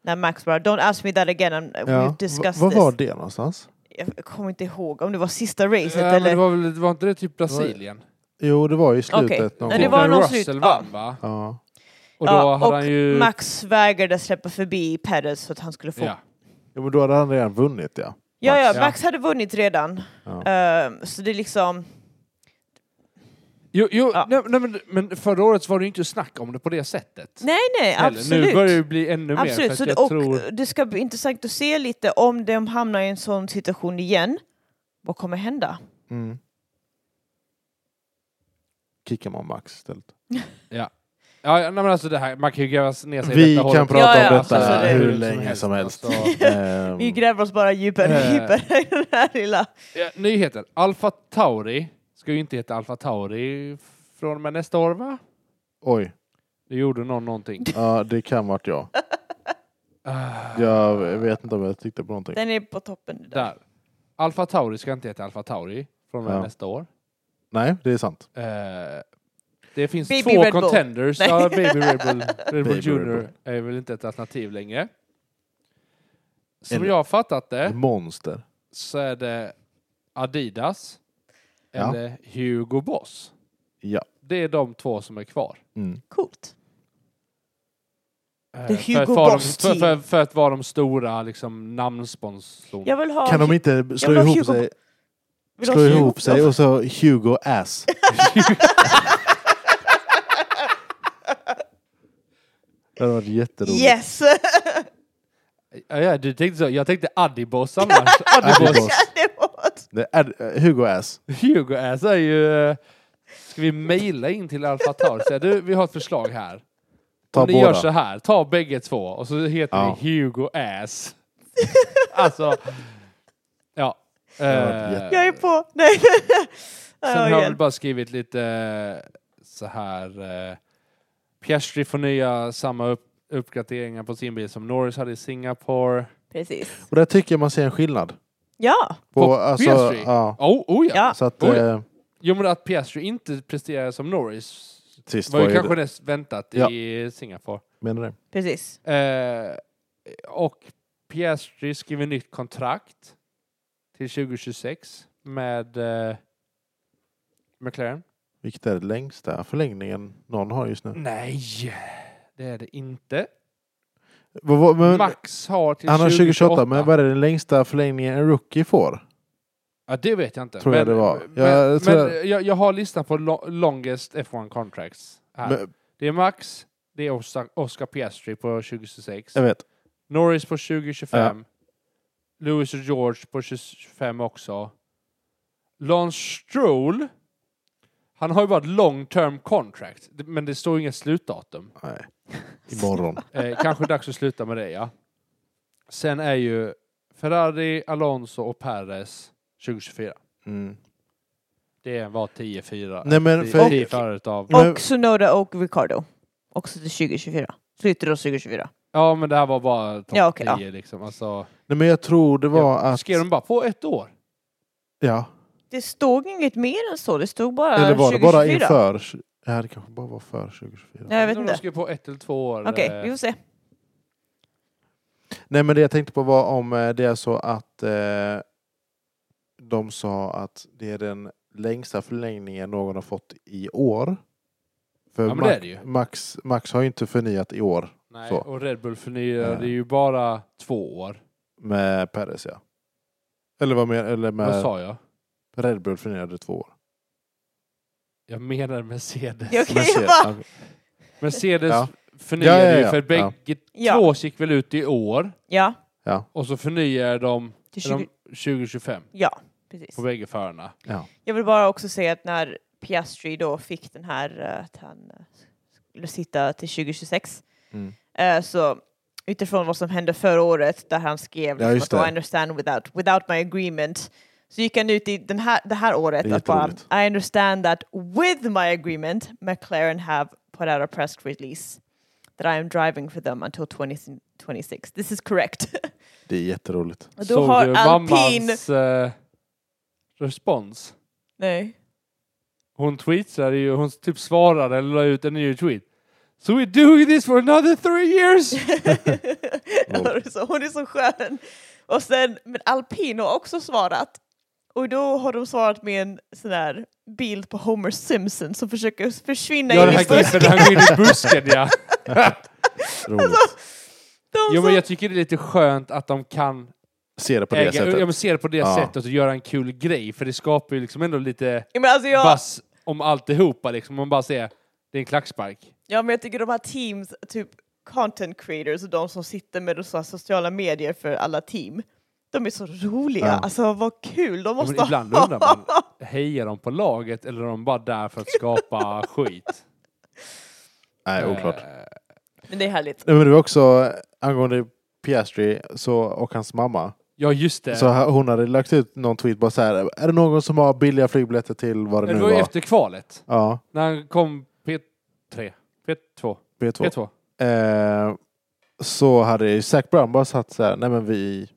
Speaker 3: När Max bara, don't ask me that again, I'm,
Speaker 1: Ja.
Speaker 3: we've discussed
Speaker 1: Vad var
Speaker 3: this.
Speaker 1: det någonstans?
Speaker 3: Jag kommer inte ihåg om det var sista racet
Speaker 2: Äh, men
Speaker 3: eller...
Speaker 2: det var, väl, det var inte det typ Brasilien?
Speaker 1: Jo, det var i slutet.
Speaker 3: Okej.
Speaker 1: Någon
Speaker 3: Nej, det
Speaker 1: gång.
Speaker 3: var
Speaker 2: När
Speaker 3: någon
Speaker 2: Russell
Speaker 3: slut-
Speaker 2: vann va?
Speaker 1: Ja.
Speaker 2: Och då
Speaker 3: Ja,
Speaker 2: hade
Speaker 3: och
Speaker 2: han ju...
Speaker 3: Max vägrade släppa förbi Perez så att han skulle få...
Speaker 2: ja.
Speaker 3: Ja,
Speaker 1: ja, men då hade han redan vunnit ja.
Speaker 3: ja,
Speaker 1: Max.
Speaker 3: Max,
Speaker 2: Ja.
Speaker 3: hade vunnit redan.
Speaker 1: Ja.
Speaker 3: Ehm, så det är liksom...
Speaker 2: Jo, jo
Speaker 3: Ja.
Speaker 2: nej, nej, men, men förra året var det ju inte snack om det på det sättet.
Speaker 3: Nej, nej,
Speaker 2: Eller,
Speaker 3: absolut.
Speaker 2: Nu börjar det bli ännu mer. För
Speaker 3: Absolut,
Speaker 2: att
Speaker 3: så det,
Speaker 2: jag
Speaker 3: och
Speaker 2: tror...
Speaker 3: det ska bli intressant att se lite om de hamnar i en sån situation igen. Vad kommer hända?
Speaker 1: Mm. Kickar man Max istället.
Speaker 2: Ja, ja, nej, men alltså det här, man kan ju gräva ner sig i
Speaker 1: Vi
Speaker 2: detta
Speaker 1: kan
Speaker 2: hålet.
Speaker 1: prata
Speaker 3: Ja, alltså,
Speaker 1: om
Speaker 3: ja,
Speaker 1: detta
Speaker 3: absolut.
Speaker 1: hur
Speaker 2: Hur
Speaker 1: länge som helst.
Speaker 2: Alltså,
Speaker 3: *laughs*
Speaker 1: Ehm,
Speaker 3: Mm. Vi gräver oss bara djupare och
Speaker 2: Eh.
Speaker 3: djupare i den här lilla...
Speaker 2: ja, nyheter. Alfa Tauri ska ju inte heta Alfa Tauri från och med nästa år, va?
Speaker 1: Oj,
Speaker 2: Det gjorde någon någonting.
Speaker 1: ja, det kan varit jag.
Speaker 2: Ah,
Speaker 1: Jag vet inte om jag tyckte på någonting.
Speaker 3: Den är på toppen. Där.
Speaker 2: Där. Alfa Tauri ska inte heta Alfa Tauri från och med
Speaker 1: Ja.
Speaker 2: nästa år.
Speaker 1: Nej, det är sant.
Speaker 2: Eh, Det finns
Speaker 3: Baby
Speaker 2: två
Speaker 3: Red Bull.
Speaker 2: contenders.
Speaker 3: Nej.
Speaker 2: Ja, Baby Red
Speaker 1: *laughs*
Speaker 2: Bull, Red Bull
Speaker 1: Baby Red
Speaker 2: Junior är väl inte ett alternativ längre. Som jag har fattat
Speaker 1: Mm.
Speaker 2: det
Speaker 1: Monster.
Speaker 2: så är det Adidas
Speaker 1: Ja.
Speaker 2: eller Hugo Boss.
Speaker 1: Ja.
Speaker 2: Det är de två som är kvar.
Speaker 1: Mm.
Speaker 3: Coolt.
Speaker 2: Eh,
Speaker 3: The
Speaker 2: för
Speaker 3: Hugo
Speaker 2: att vara de-
Speaker 3: Boss
Speaker 2: för, för,
Speaker 3: team.
Speaker 2: för att vara de stora liksom, namnsponsorn.
Speaker 3: Jag vill ha...
Speaker 1: Kan de inte slå
Speaker 3: vill ha
Speaker 1: ihop
Speaker 3: Hugo-
Speaker 1: sig,
Speaker 3: vill ha
Speaker 1: slå
Speaker 3: Hugo
Speaker 1: ihop sig
Speaker 3: Boss.
Speaker 1: och så Hugo
Speaker 3: *laughs*
Speaker 1: Ass? det hade varit jätteroligt.
Speaker 3: Yes! *laughs*
Speaker 2: Ja, ja, du tänkte så. Jag tänkte Adiboss annars.
Speaker 1: *laughs* Adiboss.
Speaker 2: Adiboss.
Speaker 3: det var...
Speaker 1: Det är, Hugo Ass.
Speaker 2: Hugo Ass är ju... eh, Ska vi mejla in till Alfatar och säga du, vi har ett förslag här.
Speaker 1: Ta
Speaker 2: Om ni gör
Speaker 1: båda.
Speaker 2: så här, ta bägge två och så heter
Speaker 1: Ja.
Speaker 2: ni Hugo
Speaker 1: *laughs*
Speaker 2: Ass. alltså, ja.
Speaker 1: hade varit
Speaker 2: Eh,
Speaker 1: jätte-
Speaker 3: Jag är på!
Speaker 2: *laughs*
Speaker 3: Nej.
Speaker 2: Sen har
Speaker 3: Ja,
Speaker 2: jag väl
Speaker 3: igen.
Speaker 2: bara skrivit lite eh, så här. Eh, Piastri får nya samma upp, uppgraderingar på sin bil som Norris hade i Singapore.
Speaker 3: Precis.
Speaker 1: Och där tycker jag man ser en skillnad.
Speaker 3: Ja!
Speaker 1: På,
Speaker 2: På
Speaker 1: alltså,
Speaker 2: PS3?
Speaker 1: ja.
Speaker 2: Oh, oh ja.
Speaker 3: Ja.
Speaker 1: Så att,
Speaker 2: Oj.
Speaker 1: eh,
Speaker 2: Jo men att Piastri inte presterade som Norris
Speaker 1: sist
Speaker 2: var
Speaker 1: var
Speaker 2: ju
Speaker 1: ju
Speaker 2: kanske
Speaker 1: det.
Speaker 2: det väntat
Speaker 1: Ja.
Speaker 2: i Singapore.
Speaker 1: Menar det.
Speaker 3: Precis.
Speaker 2: Eh, och Piastri skriver nytt kontrakt till 2026 med eh, McLaren.
Speaker 1: Vilket är det längsta förlängningen någon har just nu?
Speaker 2: Nej, det är det inte.
Speaker 1: Vad- vad- men-
Speaker 2: Max har till
Speaker 1: Han har
Speaker 2: 2028.
Speaker 1: 2028, men vad är det den längsta förlängningen en rookie får?
Speaker 2: Ja, det vet jag inte.
Speaker 1: Tror jag det var.
Speaker 2: Men,
Speaker 1: Jag
Speaker 2: men,
Speaker 1: tror jag-
Speaker 2: jag... Jag, har listan på lo- longest F1 contracts. Här.
Speaker 1: Men,
Speaker 2: Det är Max, det är Oscar, Oscar Piastri på 2026.
Speaker 1: jag vet.
Speaker 2: Norris på 2025. Lewis och George på 25 också. Lance Stroll, han har ju varit long term contract, men det står ju inget slutdatum. *laughs*
Speaker 1: Nej. Imorgon. *laughs*
Speaker 2: Eh, kanske dags att sluta med det, ja. Sen är ju Ferrari, Alonso och Perez 2024.
Speaker 1: Mm.
Speaker 2: Det var 10-4.
Speaker 1: Nej, men för-
Speaker 2: 10 före utav...
Speaker 1: Men-
Speaker 3: Och Sonoda och Ricardo. Också till 2024. Slutet av 2024.
Speaker 2: Ja, men det här var bara topp
Speaker 3: Ja, okej,
Speaker 2: 10 liksom. Alltså,
Speaker 1: Nej, men jag tror det var
Speaker 2: ja.
Speaker 1: att...
Speaker 2: Skrev de bara på ett år?
Speaker 1: Ja.
Speaker 3: Det stod inget mer än så. Det stod bara
Speaker 1: Eller var det
Speaker 3: 2024.
Speaker 1: bara inför? Ja, det kanske bara var för 2024.
Speaker 3: Nej, jag vet
Speaker 2: om
Speaker 3: inte.
Speaker 2: De skrev på ett eller två år.
Speaker 3: Okej,
Speaker 2: eh,
Speaker 3: vi får se.
Speaker 1: Nej, men det jag tänkte på var om eh, det är så att eh, de sa att det är den längsta förlängningen någon har fått i år. För
Speaker 2: Ja, men det är det ju.
Speaker 1: Max, Max har ju inte förnyat i år
Speaker 2: Nej,
Speaker 1: Så.
Speaker 2: och Red Bull förnyade
Speaker 1: Eh.
Speaker 2: ju bara två år.
Speaker 1: med Perez, ja. Eller vad mer? Eller med
Speaker 2: Vad sa jag?
Speaker 1: Red Bull förnyade två år.
Speaker 2: Jag menar Mercedes.
Speaker 3: Ja, okej.
Speaker 1: Men se-
Speaker 3: va?
Speaker 2: Mercedes
Speaker 1: Ja.
Speaker 2: förnyade
Speaker 1: Ja, ja, ja.
Speaker 2: ju, för
Speaker 1: Ja.
Speaker 2: bägge
Speaker 3: Ja.
Speaker 2: två gick väl ut i år
Speaker 3: Ja,
Speaker 2: och så förnyade de,
Speaker 3: till 20...
Speaker 2: är de 2025
Speaker 3: ja precis.
Speaker 2: på bägge förarna.
Speaker 1: ja.
Speaker 3: Jag vill bara också säga att när Piastri då fick den här eh, att han eh, skulle sitta till 2026
Speaker 1: Mm.
Speaker 3: eh, så utifrån vad som hände förra året där han skrev
Speaker 1: Ja,
Speaker 3: liksom
Speaker 1: just
Speaker 3: att "Oh,
Speaker 1: det.
Speaker 3: I understand without, without my agreement så gick han ut i den här, det här
Speaker 1: Det
Speaker 3: året
Speaker 1: är
Speaker 3: att bara
Speaker 1: jätteroligt.
Speaker 3: I understand that with my agreement McLaren have put out a press release that I am driving for them until 2026. This is correct.
Speaker 1: Det är jätteroligt.
Speaker 3: Och då har alpin...
Speaker 2: mammans eh, respons?
Speaker 3: Nej.
Speaker 2: Hon tweetade ju, hon typ svarade eller la ut en ny tweet. So we're doing this for another three
Speaker 3: *laughs*
Speaker 2: years!
Speaker 1: Lol.
Speaker 3: Hon är så- Hon är så skön. Och sen, men alpin har också svarat. Och då har de svarat med en sån här bild på Homer Simpson som försöker försvinna
Speaker 2: ja,
Speaker 3: in
Speaker 2: det
Speaker 3: i
Speaker 2: här
Speaker 3: busken.
Speaker 2: klippet där han går in i busken, ja.
Speaker 3: Alltså-
Speaker 1: Roligt.
Speaker 3: *laughs* De
Speaker 2: Jo,
Speaker 3: som-
Speaker 2: men jag tycker det är lite skönt att de kan
Speaker 1: Se det på det
Speaker 2: äga, ja,
Speaker 1: sättet.
Speaker 2: men se det på det
Speaker 1: Ja.
Speaker 2: sättet och göra en kul grej, för det skapar ju liksom ändå lite
Speaker 3: Ja, men alltså jag,
Speaker 2: buzz om alltihopa liksom. Man bara ser, det är en klackspark.
Speaker 3: ja, men jag tycker de här teams, typ content creators och de som sitter med de så här sociala medier för alla team. De är så roliga.
Speaker 1: Ja.
Speaker 3: Alltså vad kul. De
Speaker 2: Ja,
Speaker 3: måste
Speaker 2: men ibland
Speaker 3: ha.
Speaker 2: undrar man, hejar de på laget eller är de bara där för att
Speaker 3: *laughs*
Speaker 2: skapa skit?
Speaker 1: Nej, oklart.
Speaker 2: Eh,
Speaker 3: *laughs* Men det är härligt.
Speaker 1: Nej, men det var också eh, angående Piastri så, och hans mamma.
Speaker 2: Ja, just det.
Speaker 1: Så ha- hon hade lagt ut någon tweet bara så här. Är det någon som har billiga flygbiljetter till vad det
Speaker 2: det
Speaker 1: nu
Speaker 2: var
Speaker 1: var?
Speaker 2: ju efter kvalet,
Speaker 1: Ja,
Speaker 2: när han kom P3, P2,
Speaker 1: P2.
Speaker 2: P2.
Speaker 1: Eh, så hade ju Zac Brown bara satt så här. Nej, men vi,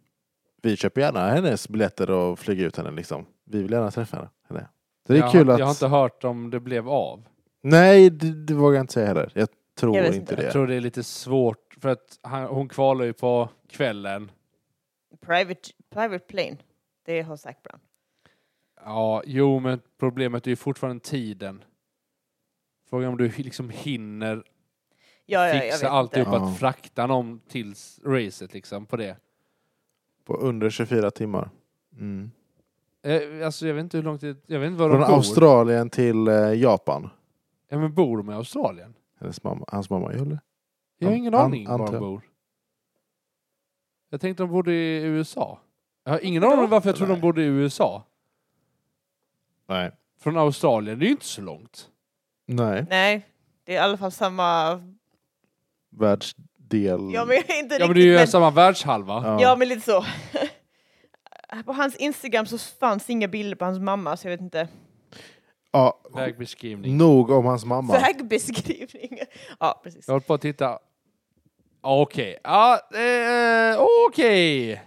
Speaker 1: vi köper gärna hennes biljetter och flyger ut henne liksom. Vi vill gärna träffa henne. henne. Så det är
Speaker 2: jag,
Speaker 1: kul
Speaker 2: har,
Speaker 1: att...
Speaker 2: jag har inte hört om det blev av.
Speaker 1: Nej, det, det vågar jag inte säga heller. Jag tror
Speaker 3: Jag vet
Speaker 1: inte,
Speaker 2: Jag
Speaker 1: det.
Speaker 2: tror det är lite svårt för att han, hon kvalar ju på kvällen.
Speaker 3: Private, private plane. Det har Zac Brown.
Speaker 2: Ja, jo, men problemet är ju fortfarande tiden. Frågan är om du liksom hinner
Speaker 3: Ja, ja, jag
Speaker 2: fixa
Speaker 3: vet
Speaker 2: alltihop
Speaker 3: inte.
Speaker 1: Ja.
Speaker 2: att frakta någon tills racet liksom på det.
Speaker 1: På under 24 timmar. Mm.
Speaker 2: Eh, alltså jag vet inte hur långt det, jag vet inte var de
Speaker 1: Från
Speaker 2: bor.
Speaker 1: Australien till eh, Japan.
Speaker 2: ja, men bor de i Australien?
Speaker 1: Hennes mamma, hans mamma gör det.
Speaker 2: Jag har
Speaker 1: An-
Speaker 2: ingen
Speaker 1: an-
Speaker 2: aning var de
Speaker 1: antar-
Speaker 2: bor. Jag tänkte de bodde i USA. Jag har ingen
Speaker 3: Varför
Speaker 2: aning varför jag
Speaker 1: då?
Speaker 2: tror de
Speaker 1: Nej.
Speaker 2: bodde i USA.
Speaker 1: Nej.
Speaker 2: Från Australien, det är ju inte så långt.
Speaker 1: Nej.
Speaker 3: Nej, det är i alla fall samma...
Speaker 1: Världsdel.
Speaker 3: Ja, men *laughs* jag är inte
Speaker 2: Ja men det är
Speaker 3: riktigt...
Speaker 2: ju samma världshalva.
Speaker 1: Ja.
Speaker 3: Ja, men lite så. *laughs* på hans Instagram så fanns inga bilder på hans mamma, så jag vet inte.
Speaker 1: Ja,
Speaker 2: Vägbeskrivning.
Speaker 1: nog om hans mamma.
Speaker 3: Vägbeskrivning. *laughs* Ja, precis.
Speaker 2: Jag håller på att titta. Ja, Okej. Ja, eh, okej.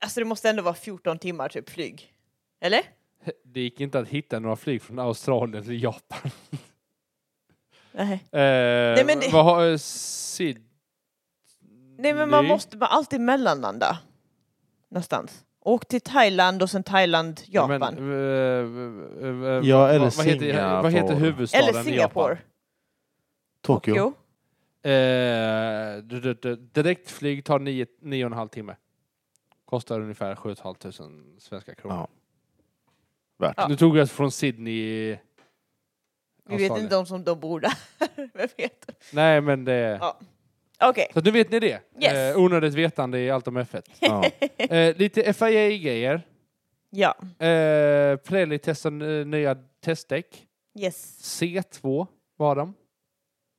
Speaker 3: Alltså det måste ändå vara 14 timmar typ flyg. Eller?
Speaker 2: Det gick inte att hitta några flyg från Australien till Japan.
Speaker 3: Nej.
Speaker 2: Eh, Nej,
Speaker 3: men det-
Speaker 2: Vad har eh, Sid...
Speaker 3: Nej, men man
Speaker 2: Ny?
Speaker 3: måste man alltid mellanlanda. Någonstans. Åk till Thailand och sen Thailand, Japan.
Speaker 2: Ja, men, eh, eh, eh,
Speaker 1: Ja, eller
Speaker 2: vad, vad heter, vad heter
Speaker 1: Singapore.
Speaker 2: huvudstaden
Speaker 3: Eller
Speaker 2: i Japan?
Speaker 3: Singapore.
Speaker 1: Tokyo.
Speaker 3: Jo.
Speaker 2: Eh, du- du- du- direktflyg tar nio, nio och en halv timme. Kostar ungefär 7 500 svenska kronor.
Speaker 1: Ja. Värt.
Speaker 3: Ja.
Speaker 2: Nu tog jag från Sydney... eh,
Speaker 3: Vi vet
Speaker 2: Australien.
Speaker 3: inte om som de bor där. *laughs* Vem vet?
Speaker 2: Nej, men det...
Speaker 3: Ja. Okej.
Speaker 2: Så nu vet ni det.
Speaker 3: Yes.
Speaker 2: Eh, onödigt vetande i allt om F1.
Speaker 3: *laughs*
Speaker 1: Ja.
Speaker 2: Eh, lite FIA-grejer.
Speaker 3: Ja.
Speaker 2: Eh, Pirelli testar n- nya testdäck.
Speaker 3: Yes.
Speaker 2: C2 var de.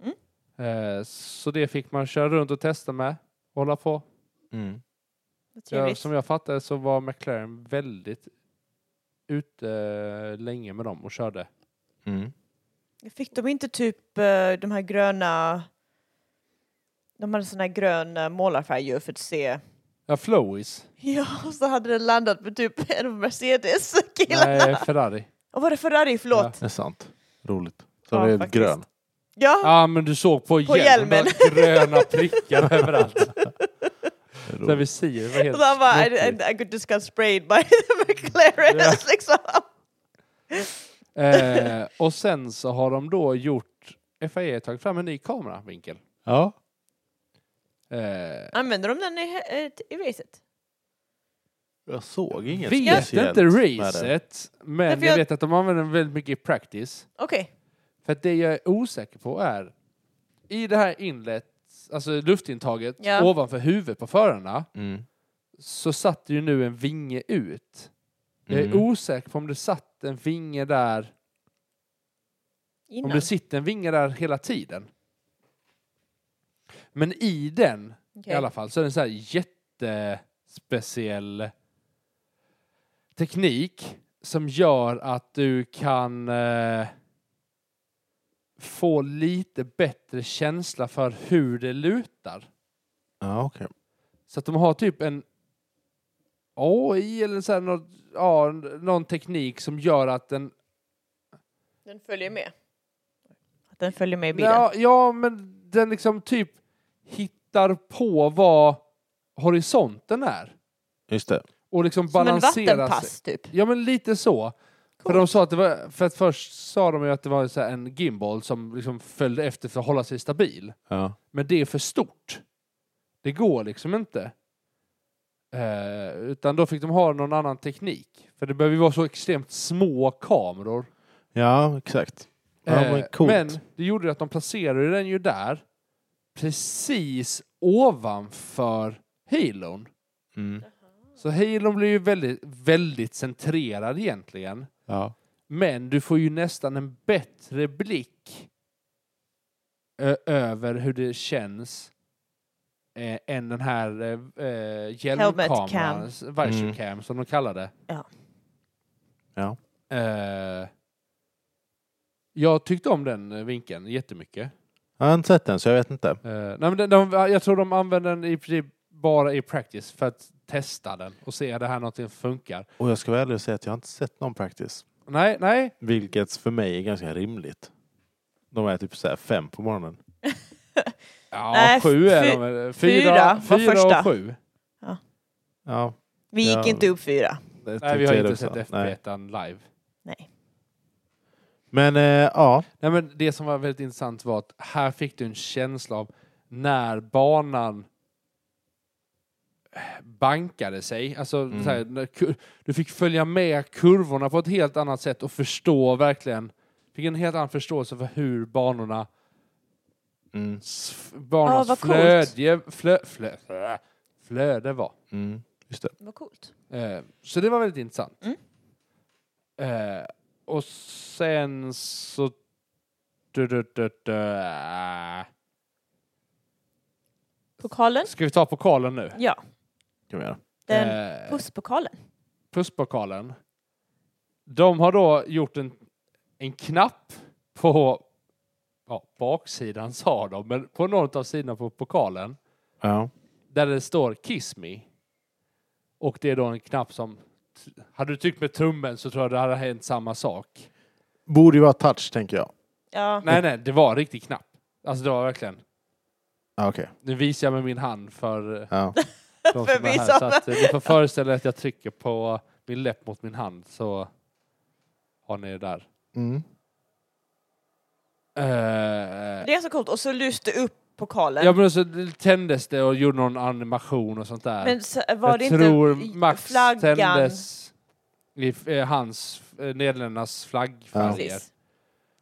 Speaker 3: Mm.
Speaker 2: Eh, så det fick man köra runt och testa med. Hålla på.
Speaker 1: Mm.
Speaker 3: Vad
Speaker 2: Jag,
Speaker 3: trevligt.
Speaker 2: som jag fattade så var McLaren väldigt ute eh, länge med dem och körde.
Speaker 1: Mm.
Speaker 3: Fick de inte typ eh, de här gröna... De hade sån här grön eh, målarfärg ju för att se.
Speaker 2: Ja, Flowis.
Speaker 3: *laughs* Ja, och så hade den landat på typ en av Mercedes-killarna.
Speaker 2: Nej, Ferrari.
Speaker 3: Och var det Ferrari? Förlåt.
Speaker 1: Det är sant. Roligt. Så
Speaker 3: Ja,
Speaker 1: det är
Speaker 3: faktiskt.
Speaker 1: grön.
Speaker 3: Ja.
Speaker 2: Ja, ah, men du såg på,
Speaker 3: På
Speaker 2: hjälmen.
Speaker 3: hjälmen.
Speaker 2: några *laughs* Gröna prickar
Speaker 3: *laughs*
Speaker 2: överallt.
Speaker 1: Det är
Speaker 2: Där
Speaker 1: roligt.
Speaker 2: vi ser vad helt
Speaker 3: Och han bara, I,
Speaker 2: skrottigt.
Speaker 3: I, I could just got sprayed by *laughs* the McLaren.
Speaker 2: Ja.
Speaker 3: liksom.
Speaker 2: eh, Och sen så har de då gjort FIA tagit fram en ny kameravinkel.
Speaker 1: Ja.
Speaker 2: Eh,
Speaker 3: Använder de den i, eh, i racet?
Speaker 1: Jag såg inget
Speaker 2: vet
Speaker 1: speciellt
Speaker 2: inte
Speaker 1: med det.
Speaker 2: racet, men
Speaker 3: Nej, för
Speaker 2: jag...
Speaker 3: jag-
Speaker 2: vet att de använder den väldigt mycket i practice.
Speaker 3: Okej.
Speaker 2: För att det jag är osäker på är, i det här inlet, alltså luftintaget
Speaker 3: Ja.
Speaker 2: ovanför huvudet på förarna,
Speaker 1: Mm.
Speaker 2: så satt ju nu en vinge ut. Jag är
Speaker 1: Mm.
Speaker 2: osäker på om det satt en vinge där, om
Speaker 3: Innan.
Speaker 2: det sitter en vinge där hela tiden. Men i den
Speaker 3: Okej.
Speaker 2: i alla fall. Så är det en så här jättespeciell teknik som gör att du kan eh, få lite bättre känsla för hur det lutar.
Speaker 1: Ja, okej.
Speaker 2: Så att de har typ en AI eller så här, någon, ja, någon teknik som gör att den...
Speaker 3: Den följer med. Att den följer med i bilen?
Speaker 2: Ja, ja, men den liksom typ hittar på vad horisonten är.
Speaker 1: Just det.
Speaker 2: Och liksom
Speaker 3: Som en
Speaker 2: balanserar sig.
Speaker 3: vattenpass typ?
Speaker 2: Ja, men lite så. För,
Speaker 3: Coolt.
Speaker 2: de sa att det var, för att först sa de ju att det var så här en gimbal som liksom följde efter för att hålla sig stabil.
Speaker 1: Ja.
Speaker 2: Men det är för stort. Det går liksom inte. Eh, utan då fick de ha någon annan teknik. För det behöver ju vara så extremt små kameror.
Speaker 1: ja, exakt. Ja,
Speaker 2: Eh,
Speaker 1: men coolt.
Speaker 2: men det gjorde ju att de placerade den ju där precis ovanför hilon.
Speaker 1: Mm.
Speaker 2: Så hilon blir ju väldigt, väldigt centrerad egentligen.
Speaker 1: Ja.
Speaker 2: Men du får ju nästan en bättre blick ö- över hur det känns eh, än den här eh, eh,
Speaker 3: Helmet cam.
Speaker 2: hjälmkameran, s- visor
Speaker 1: Mm.
Speaker 2: cam som de kallar det.
Speaker 3: Ja.
Speaker 1: Ja.
Speaker 2: Eh, jag tyckte om den eh, vinkeln jättemycket.
Speaker 1: Jag har inte sett den så jag vet inte.
Speaker 2: Eh, nej, men de, de, jag tror de använder den i princip bara i practice för att testa den och se är det här någonting som funkar.
Speaker 1: Och jag ska väl ärlig och säga att jag har inte sett någon practice.
Speaker 2: Nej, nej.
Speaker 1: Vilket för mig är ganska rimligt. De är typ så här fem på morgonen.
Speaker 2: Ja,
Speaker 3: Nej,
Speaker 2: sju är
Speaker 3: fy-
Speaker 2: de väl?
Speaker 3: fyra
Speaker 2: Fyra,
Speaker 3: var
Speaker 2: fyra
Speaker 3: första.
Speaker 2: och sju.
Speaker 1: Ja,
Speaker 3: Vi gick
Speaker 1: Ja.
Speaker 3: inte upp fyra.
Speaker 1: det typ
Speaker 2: Nej, vi har
Speaker 1: tyckte jag
Speaker 2: inte
Speaker 1: också.
Speaker 2: sett
Speaker 1: Nej.
Speaker 2: FB1 live.
Speaker 1: Men eh, ja,
Speaker 2: Nej, men det som var väldigt intressant var att här fick du en känsla av när banan bankade sig. Alltså,
Speaker 1: Mm.
Speaker 2: så här, när kur- du fick följa med kurvorna på ett helt annat sätt och förstå verkligen. Fick en helt annan förståelse för hur banorna
Speaker 1: mm,
Speaker 2: s- banornas
Speaker 3: vad coolt.
Speaker 2: flödje, flö, flö, flö, flöde var.
Speaker 1: mm, just det.
Speaker 3: Vad coolt.
Speaker 2: Eh, så det var väldigt intressant.
Speaker 3: Mm.
Speaker 2: Eh, och sen så... Du, du, du, du.
Speaker 3: Pokalen?
Speaker 2: Ska vi ta pokalen nu?
Speaker 3: Ja,
Speaker 1: Kan vi göra.
Speaker 3: den
Speaker 2: Eh,
Speaker 3: pusspokalen.
Speaker 2: pusspokalen. De har då gjort en, en knapp på ja, baksidan sa de, men på någon av sidorna på pokalen
Speaker 1: Ja.
Speaker 2: där det står Kiss Me. Och det är då en knapp som... t- Hade du tryckt med tummen så tror jag det hade hänt samma sak.
Speaker 1: Borde ju vara touch tänker jag.
Speaker 3: Ja.
Speaker 2: Nej, nej, det var en riktig knapp. Alltså det var verkligen...
Speaker 1: Ja, Okej.
Speaker 2: Nu visar jag med min hand för eh, *laughs*
Speaker 1: Ja.
Speaker 2: de som
Speaker 3: För
Speaker 2: är
Speaker 3: vi
Speaker 2: här,
Speaker 3: som-
Speaker 2: så att eh, ni får föreställa er att jag trycker på min läpp mot min hand så har ni det där.
Speaker 1: Mm.
Speaker 2: Eh,
Speaker 3: Det är så coolt. Och så lyste upp pokalen.
Speaker 2: ja men så tändes det och gjorde någon animation och sånt där.
Speaker 3: Men så, eh, var
Speaker 2: jag
Speaker 3: det
Speaker 2: tror
Speaker 3: inte
Speaker 2: Max
Speaker 3: flaggan?
Speaker 2: tändes i f- eh, hans, eh, Nederländernas flaggfärger.
Speaker 3: Precis.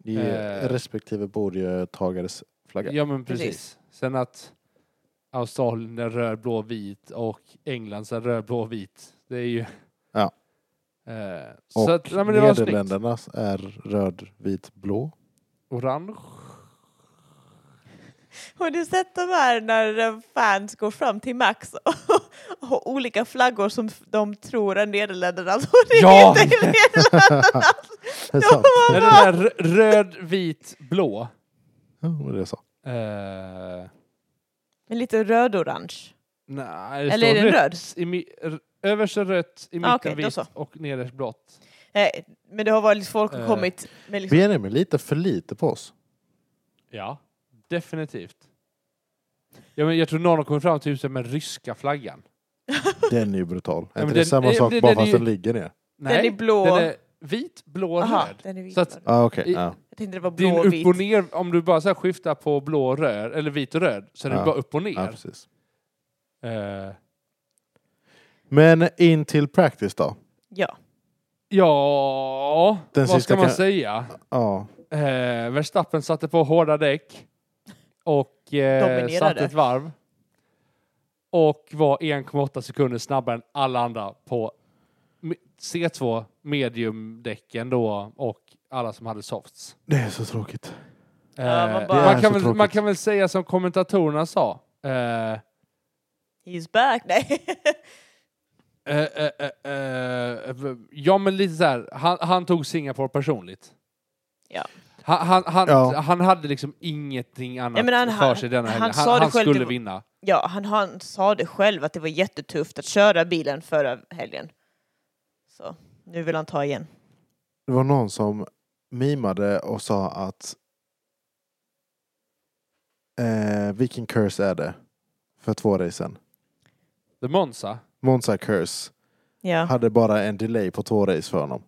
Speaker 1: I
Speaker 2: Eh.
Speaker 1: respektive bordtagares flagga.
Speaker 2: Ja men precis.
Speaker 3: Precis.
Speaker 2: Sen att Australien är röd, blå, vit och England är röd, blå, vit. Det är ju...
Speaker 1: Ja.
Speaker 2: Eh, så
Speaker 1: Och
Speaker 2: att, nej, men det var snyggt.
Speaker 1: Nederländernas är röd, vit, blå.
Speaker 2: Orange.
Speaker 3: Har du sett de här när eh, fans går fram till Max *laughs* och har olika flaggor som f- de tror är *laughs* Nederländernas och det
Speaker 2: Ja!
Speaker 3: är
Speaker 2: *laughs*
Speaker 3: inte Nederländernas?
Speaker 1: Det är
Speaker 3: Ja,
Speaker 1: sant.
Speaker 2: Nej, den där rö- röd, vit, blå.
Speaker 1: Ja, det var det jag sa.
Speaker 2: Eh,
Speaker 3: Men lite röd-orange.
Speaker 2: nej, det
Speaker 3: Eller
Speaker 2: står
Speaker 3: är den
Speaker 2: rött
Speaker 3: röd?
Speaker 2: I mi- r- överst är rött, i mitten
Speaker 3: Ah, okej, då
Speaker 2: vitt
Speaker 3: så.
Speaker 2: och nederst blått.
Speaker 3: Nej, Eh, men det har varit folk har
Speaker 2: Eh.
Speaker 3: kommit med liksom,
Speaker 1: Benjamin litar för lite på oss.
Speaker 2: Ja, definitivt. Ja, men jag tror någon har kommit fram till huset med ryska flaggan.
Speaker 1: Den är ju brutal.
Speaker 2: men
Speaker 1: är inte det
Speaker 2: den-
Speaker 1: samma
Speaker 2: det-
Speaker 1: sak
Speaker 2: det-
Speaker 1: bara
Speaker 2: den är
Speaker 1: fast
Speaker 2: ju-
Speaker 1: den ligger ner?
Speaker 2: Nej,
Speaker 3: den är blå.
Speaker 2: den är vit, blå,
Speaker 3: Aha,
Speaker 2: röd.
Speaker 3: den är vit.
Speaker 2: Så att-
Speaker 1: Ah, okej.
Speaker 2: I-
Speaker 1: ja.
Speaker 3: jag tänkte det var
Speaker 2: Din
Speaker 3: blå och
Speaker 2: upp
Speaker 3: vit.
Speaker 2: och ner, om du bara så här skiftar på blå och röd, eller vit och röd, så är det
Speaker 1: Ja.
Speaker 2: bara upp och ner.
Speaker 1: ja, precis.
Speaker 2: Eh,
Speaker 1: Men in till practice då.
Speaker 3: Ja.
Speaker 2: ja,
Speaker 1: Den
Speaker 2: vad
Speaker 1: sista
Speaker 2: ska man
Speaker 1: kan-
Speaker 2: säga?
Speaker 1: Ja.
Speaker 2: Eh, Verstappen satte på hårda däck och eh,
Speaker 3: Dominerade.
Speaker 2: satte ett varv. Och var 1,8 sekunder snabbare än alla andra på me- C2 mediumdäcken då och alla som hade softs.
Speaker 1: Det är så tråkigt.
Speaker 2: Eh,
Speaker 3: Ja, man bara-
Speaker 1: Det är
Speaker 2: man,
Speaker 1: så
Speaker 2: kan väl,
Speaker 1: tråkigt.
Speaker 2: man kan väl säga som kommentatorerna sa. Eh, eh,
Speaker 3: He's back. Nej. *laughs*
Speaker 2: eh, eh, eh, ja, men lite så här. Han, han tog Singapore personligt.
Speaker 3: Ja.
Speaker 2: Han, han, han,
Speaker 1: Ja.
Speaker 2: han hade liksom ingenting annat
Speaker 3: Nej, men han-
Speaker 2: för sig denna
Speaker 3: han-
Speaker 2: helgen.
Speaker 3: han
Speaker 2: Han,
Speaker 3: sa
Speaker 2: han,
Speaker 3: det själv,
Speaker 2: skulle
Speaker 3: det var-
Speaker 2: vinna.
Speaker 3: ja, han, han sa det själv att det var jättetufft att köra bilen förra helgen. Så nu vill han ta igen.
Speaker 1: Det var någon som mimade och sa att eh, vilken curse är det för två racen?
Speaker 2: The Monza.
Speaker 1: Monza curse
Speaker 3: Ja.
Speaker 1: hade bara en delay på två race för honom.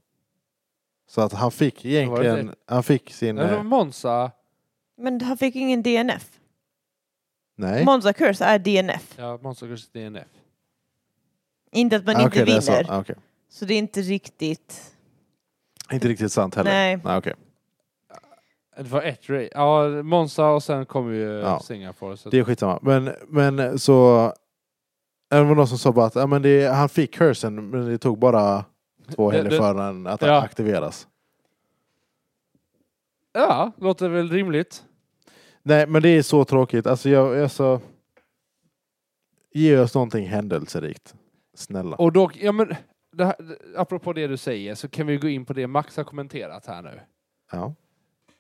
Speaker 1: Så att han fick
Speaker 2: var det
Speaker 1: egentligen, han fick sin...
Speaker 2: Nej. Det
Speaker 1: eh,
Speaker 2: var Monza.
Speaker 3: Men han fick ingen DNF.
Speaker 1: Nej.
Speaker 3: Monza Curse är DNF.
Speaker 2: Ja, Monza kanske DNF.
Speaker 3: Inte att man
Speaker 1: Ah,
Speaker 3: inte
Speaker 1: okej, det är så.
Speaker 3: vinner.
Speaker 1: Ah, okej.
Speaker 3: Så det är inte riktigt...
Speaker 1: Inte riktigt sant heller.
Speaker 3: Nej.
Speaker 1: Nej, okej.
Speaker 2: Det var ett race. Ja, Monza och sen kom ju eh,
Speaker 1: Ja.
Speaker 2: Singapore. Så
Speaker 1: Det är skitsamma. Men, men så... eh, Det var någon som sa bara att ja, men det, han fick cursen men det tog bara två
Speaker 2: Det-
Speaker 1: helger
Speaker 2: det-
Speaker 1: för den att
Speaker 2: Ja.
Speaker 1: aktiveras.
Speaker 2: Ja, låter väl rimligt.
Speaker 1: Nej men det är så tråkigt. Alltså jag... Alltså, ge oss någonting händelserikt. Snälla.
Speaker 2: Och dock, ja men, det här, apropå det du säger så kan vi gå in på det Max har kommenterat här nu.
Speaker 1: Ja.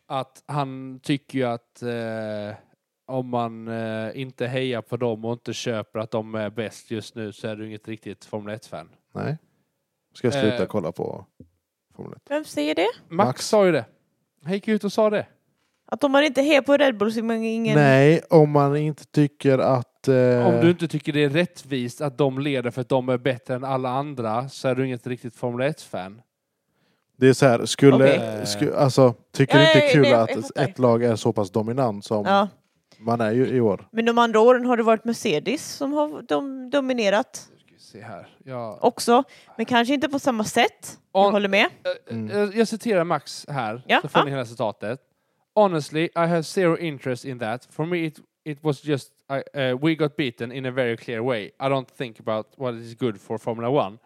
Speaker 2: Att han tycker ju att eh, om man eh, inte hejar på dem och inte köper att de är bäst just nu så är du inget riktigt Formel 1-fan.
Speaker 1: Nej. Ska jag sluta
Speaker 2: Eh.
Speaker 1: kolla på... Formel 1.
Speaker 3: Vem säger det?
Speaker 2: Max,
Speaker 1: Max.
Speaker 2: sa ju det. Han gick ut och sa det.
Speaker 3: Att om man inte är på Red Bull så är man ingen...
Speaker 1: Nej, om man inte tycker att... Eh,
Speaker 2: Om du inte tycker det är rättvist att de leder för att de är bättre än alla andra så är du inget riktigt Formel 1-fan.
Speaker 1: Det är så här, skulle...
Speaker 2: Okej.
Speaker 1: sku, alltså, tycker
Speaker 3: Ja,
Speaker 1: det inte
Speaker 3: ja,
Speaker 1: är
Speaker 3: ja,
Speaker 1: kul
Speaker 3: nej, jag
Speaker 1: att
Speaker 3: fattar.
Speaker 1: ett lag är så pass dominant som
Speaker 3: Ja.
Speaker 1: man är ju i år?
Speaker 3: Men de andra åren har det varit Mercedes som har dom- dominerat
Speaker 2: Ska vi se här. Ja.
Speaker 3: också. Men kanske inte på samma sätt.
Speaker 2: On-
Speaker 3: Jag håller med.
Speaker 1: Mm.
Speaker 2: Eh, Jag- Jag citerar Max här,
Speaker 3: Ja,
Speaker 2: så får
Speaker 3: ja.
Speaker 2: ni hela citatet. Honestly, I have zero interest in that. For me it, it was just I, uh, we got beaten in a very clear way. I don't think about what is good for Formula One.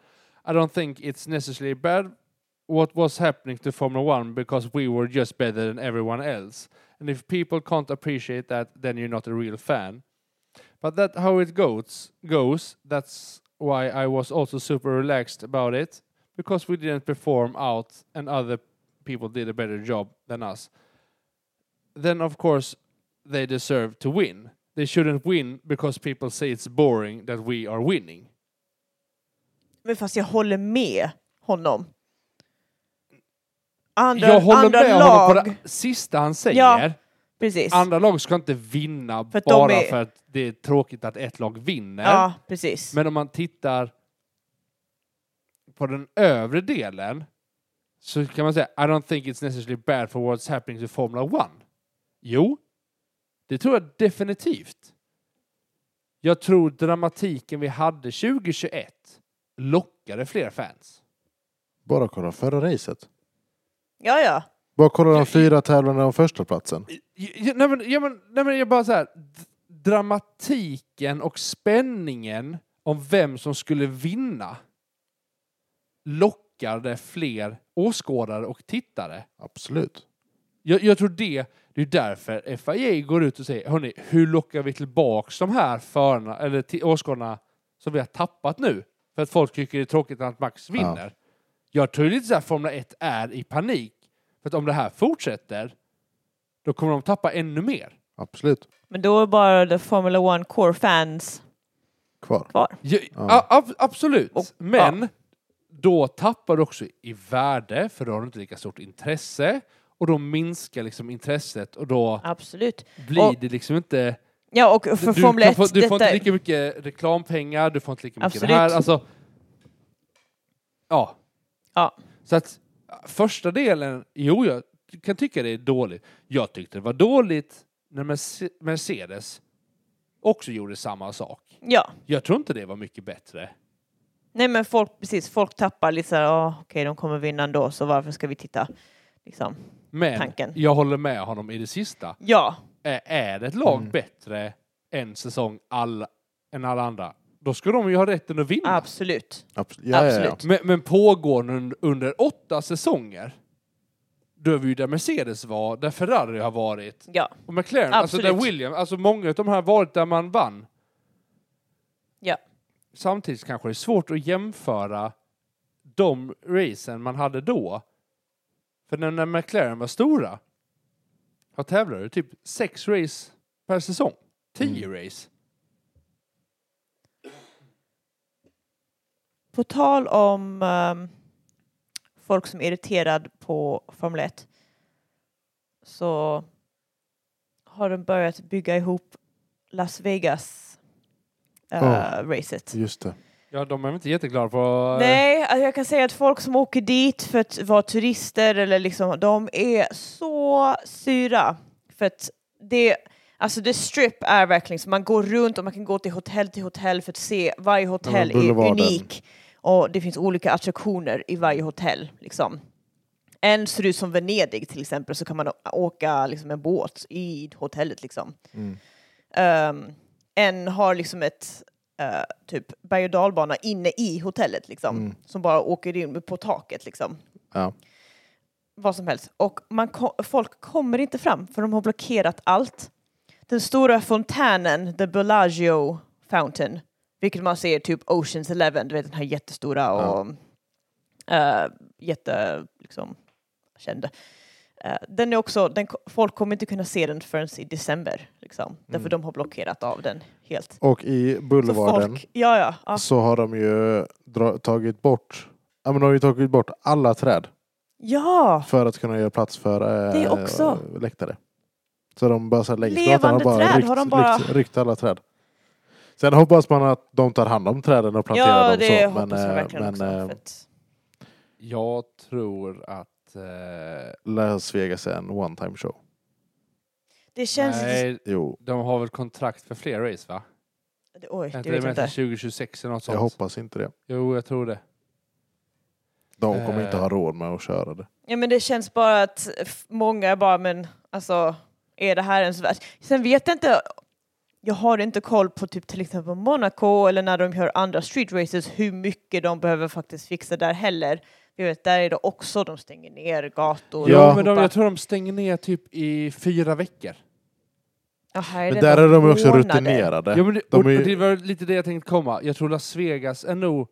Speaker 2: I don't think it's necessarily bad what was happening to Formula One because we were just better than everyone else. And if people can't appreciate that, then you're not a real fan. But that how it goes goes. That's why I was also super relaxed about it because we didn't perform out and other people did a better job than us. Then of course they deserve to win. They shouldn't win because people say it's boring that we are winning.
Speaker 3: Men fast jag håller med honom. Andra,
Speaker 2: Jag håller
Speaker 3: andra
Speaker 2: med
Speaker 3: lag.
Speaker 2: honom på det sista han säger.
Speaker 3: Ja. Precis.
Speaker 2: Andra lag ska inte vinna
Speaker 3: För att de
Speaker 2: bara
Speaker 3: är-
Speaker 2: för att det är tråkigt att ett lag vinner.
Speaker 3: ja, precis.
Speaker 2: Men om man tittar på den övre delen så kan man säga I don't think it's necessarily bad for what's happening to Formula One. Jo, det tror jag definitivt. Jag tror dramatiken vi hade 2021 lockade fler fans.
Speaker 1: Bara kolla förra racet.
Speaker 3: Ja, ja.
Speaker 1: Bara kolla de
Speaker 2: Jag-
Speaker 1: fyra tävlande om första platsen.
Speaker 2: Ja, ja, Nej men, ja, men, nej, men jag bara så här. d- Dramatiken och spänningen om vem som skulle vinna lockade fler åskådare och tittare.
Speaker 1: Absolut.
Speaker 2: Jag, jag tror det, det är därför FIA går ut och säger hörni, hur lockar vi tillbaks de här förarna, eller ti- åskådarna som vi har tappat nu? För att folk tycker det är tråkigt att Max vinner. Jag tror lite så här Formel 1 är i panik. För att om det här fortsätter, då kommer de tappa ännu mer.
Speaker 1: Absolut.
Speaker 3: Men då är bara the Formula One Core fans
Speaker 1: Kvar.
Speaker 3: kvar.
Speaker 2: Ja,
Speaker 1: Ja.
Speaker 2: a- ab- absolut,
Speaker 3: Och-
Speaker 2: men då tappar du också i värde för då har du inte lika stort intresse och då minskar liksom intresset och då
Speaker 3: Absolut.
Speaker 2: blir
Speaker 3: Och-
Speaker 2: det liksom inte...
Speaker 3: Ja, och för
Speaker 2: du,
Speaker 3: Formel
Speaker 2: kan
Speaker 3: 1,
Speaker 2: få, du får
Speaker 3: detta,
Speaker 2: inte lika mycket reklampengar, du får inte lika mycket
Speaker 3: Absolut.
Speaker 2: det här. Alltså, ja.
Speaker 3: Ja.
Speaker 2: Så att första delen, jo jag kan tycka det är dåligt. Jag tyckte det var dåligt när Merce- Mercedes också gjorde samma sak.
Speaker 3: ja.
Speaker 2: Jag tror inte det var mycket bättre.
Speaker 3: Nej men folk, precis, folk tappar lite såhär, oh, okej de kommer vinna ändå så varför ska vi titta? Liksom.
Speaker 2: Men
Speaker 3: Tanken.
Speaker 2: jag håller med honom i det sista.
Speaker 3: Ja,
Speaker 2: Ä- Är ett lag
Speaker 1: Mm.
Speaker 2: bättre en säsong alla, än alla andra, då ska de ju ha rätten att vinna.
Speaker 3: absolut.
Speaker 1: Abs- ja, ja, ja.
Speaker 3: Absolut.
Speaker 2: Men, men pågår den under åtta säsonger, då är vi ju där Mercedes var, där Ferrari har varit,
Speaker 3: Ja,
Speaker 2: och McLaren, alltså
Speaker 3: Absolut.
Speaker 2: där William, alltså många av de här har varit där man vann.
Speaker 3: Ja.
Speaker 2: Samtidigt kanske det är svårt att jämföra de racen man hade då. För när, när McLaren var stora, jag tävlade du typ sex race per säsong. Tio
Speaker 3: Mm.
Speaker 2: race.
Speaker 3: på tal om ehm, folk som är irriterad på Formel 1 så har de börjat bygga ihop Las Vegas eh,
Speaker 1: Oh.
Speaker 3: racet.
Speaker 1: Just det.
Speaker 2: Ja, de är väl inte jätteglada på...
Speaker 3: Nej, alltså jag kan säga att folk som åker dit för att vara turister eller liksom, de är så syra. För att det, alltså det strip är verkligen så man går runt och man kan gå till hotell till hotell för att se, varje hotell är
Speaker 1: boulevarden.
Speaker 3: unik. Och det finns olika attraktioner i varje hotell liksom. En ser ut som Venedig till exempel så kan man å- åka liksom en båt i hotellet liksom.
Speaker 1: Mm.
Speaker 3: Ehm, en har liksom ett eh, typ berg och dalbana inne i hotellet liksom.
Speaker 1: Mm.
Speaker 3: Som bara åker in på taket liksom.
Speaker 1: Ja.
Speaker 3: Vad som helst. Och man ko- folk kommer inte fram för de har blockerat allt. Den stora fontänen, the Bellagio fountain, vilket man ser typ Oceans Eleven, du vet den här jättestora och eh, jätte, liksom, kända. Eh, den är också, den, ko- folk kommer inte kunna se den förrän i december, liksom. Därför de har blockerat av den helt.
Speaker 1: Och i
Speaker 3: Så
Speaker 1: Boulevarden
Speaker 3: folk, ja, ja, ja.
Speaker 1: så har de ju dra- tagit bort ja, men de har ju tagit bort alla träd.
Speaker 3: Ja!
Speaker 1: För att kunna göra plats för eh,
Speaker 3: Det också.
Speaker 1: läktare. Så de bara så här lägger
Speaker 3: Levande
Speaker 1: gatan och bara,
Speaker 3: träd
Speaker 1: ryckt,
Speaker 3: har de bara-
Speaker 1: Ryckt, ryckt alla träd. Sen hoppas man att de tar hand om träden och planterar
Speaker 3: ja,
Speaker 1: dem
Speaker 3: det
Speaker 1: så.
Speaker 3: hoppas jag
Speaker 1: eh,
Speaker 3: verkligen också.
Speaker 1: eh,
Speaker 3: för att...
Speaker 2: Jag tror att... Eh,
Speaker 1: Las Vegas är en one time show.
Speaker 3: Det känns...
Speaker 2: nej,
Speaker 1: Jo,
Speaker 2: de har väl kontrakt för fler race va?
Speaker 3: Oj,
Speaker 2: Är
Speaker 3: det
Speaker 2: inte
Speaker 3: vet
Speaker 2: det
Speaker 3: jag
Speaker 2: inte
Speaker 3: inte.
Speaker 2: 2026 eller något sånt?
Speaker 1: jag hoppas inte det.
Speaker 2: Jo, jag tror det.
Speaker 1: De kommer
Speaker 2: Eh.
Speaker 1: inte ha råd med att köra det.
Speaker 3: Ja, men det känns bara att f- många bara, men alltså, är det här ens värt? Sen vet jag inte, jag har inte koll på typ till exempel Monaco eller när de gör andra street races hur mycket de behöver faktiskt fixa där heller. Jag vet, där är det också, de stänger ner gator.
Speaker 1: Ja.
Speaker 2: Jo, men de,
Speaker 3: alltihopa.
Speaker 2: jag tror de stänger ner typ i fyra veckor.
Speaker 3: Ja, här
Speaker 1: Men
Speaker 3: det
Speaker 1: där är de också
Speaker 3: ordnade.
Speaker 1: rutinerade.
Speaker 2: Ja, men det,
Speaker 1: de
Speaker 2: och,
Speaker 1: är ju-
Speaker 2: och det var lite det jag tänkte komma. Jag tror Las Vegas är nog...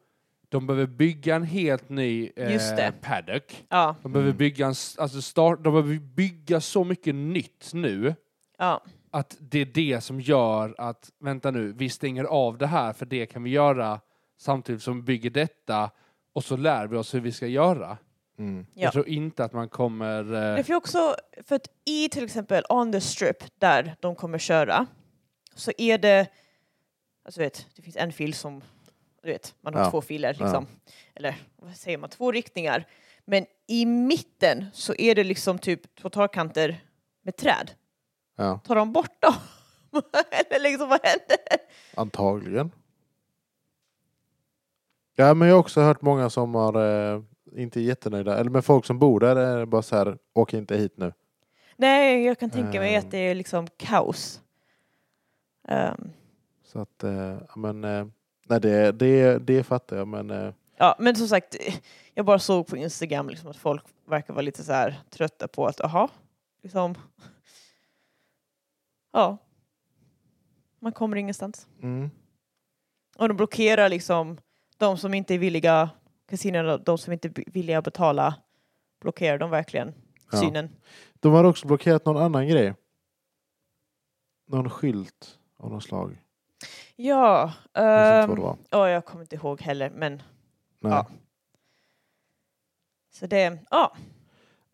Speaker 2: De behöver bygga en helt ny eh,
Speaker 3: Just det.
Speaker 2: paddock.
Speaker 3: Ja,
Speaker 2: De behöver
Speaker 1: Mm.
Speaker 2: bygga en, s- alltså start, de behöver bygga så mycket nytt nu
Speaker 3: ja,
Speaker 2: att det är det som gör att, vänta nu, vi stänger av det här för det kan vi göra samtidigt som vi bygger detta och så lär vi oss hur vi ska göra.
Speaker 1: Mm.
Speaker 3: Ja.
Speaker 2: Jag tror inte att man kommer...
Speaker 3: Det
Speaker 2: Eh,
Speaker 3: är också för att i till exempel on the strip där de kommer köra så är det, alltså vet, det finns en fil som, du vet, man har
Speaker 1: Ja.
Speaker 3: två filer liksom. Eller vad säger man, två riktningar. Men i mitten så är det liksom typ två torrkanter med träd.
Speaker 1: Ja,
Speaker 3: Tar de bort dem? *laughs* Eller liksom vad händer?
Speaker 1: antagligen. Ja, men jag har också hört många som har eh, inte är jättenöjda. Eller med folk som bor där är det bara så här, åk inte hit nu.
Speaker 3: Nej, jag kan tänka mig
Speaker 1: Ehm.
Speaker 3: att det är liksom kaos. Ehm,
Speaker 1: Så att, eh, ja, men, eh, nej det, det, det fattar jag men eh,
Speaker 3: Ja, men som sagt, jag bara såg på Instagram liksom att folk verkar vara lite så här trötta på att, aha, liksom. Ja. Man kommer ingenstans.
Speaker 1: mm,
Speaker 3: Och de blockerar liksom de som inte är villiga, kasinerna, de som inte är villiga att betala, blockerar de verkligen
Speaker 1: Ja.
Speaker 3: synen.
Speaker 1: De har också blockerat någon annan grej. Någon skylt av något slag.
Speaker 3: Ja,
Speaker 1: Jag minns inte
Speaker 3: ehm,
Speaker 1: vad det var.
Speaker 3: ja, jag kommer inte ihåg heller, men
Speaker 1: Nej.
Speaker 3: ja.
Speaker 1: Ja.
Speaker 3: så det,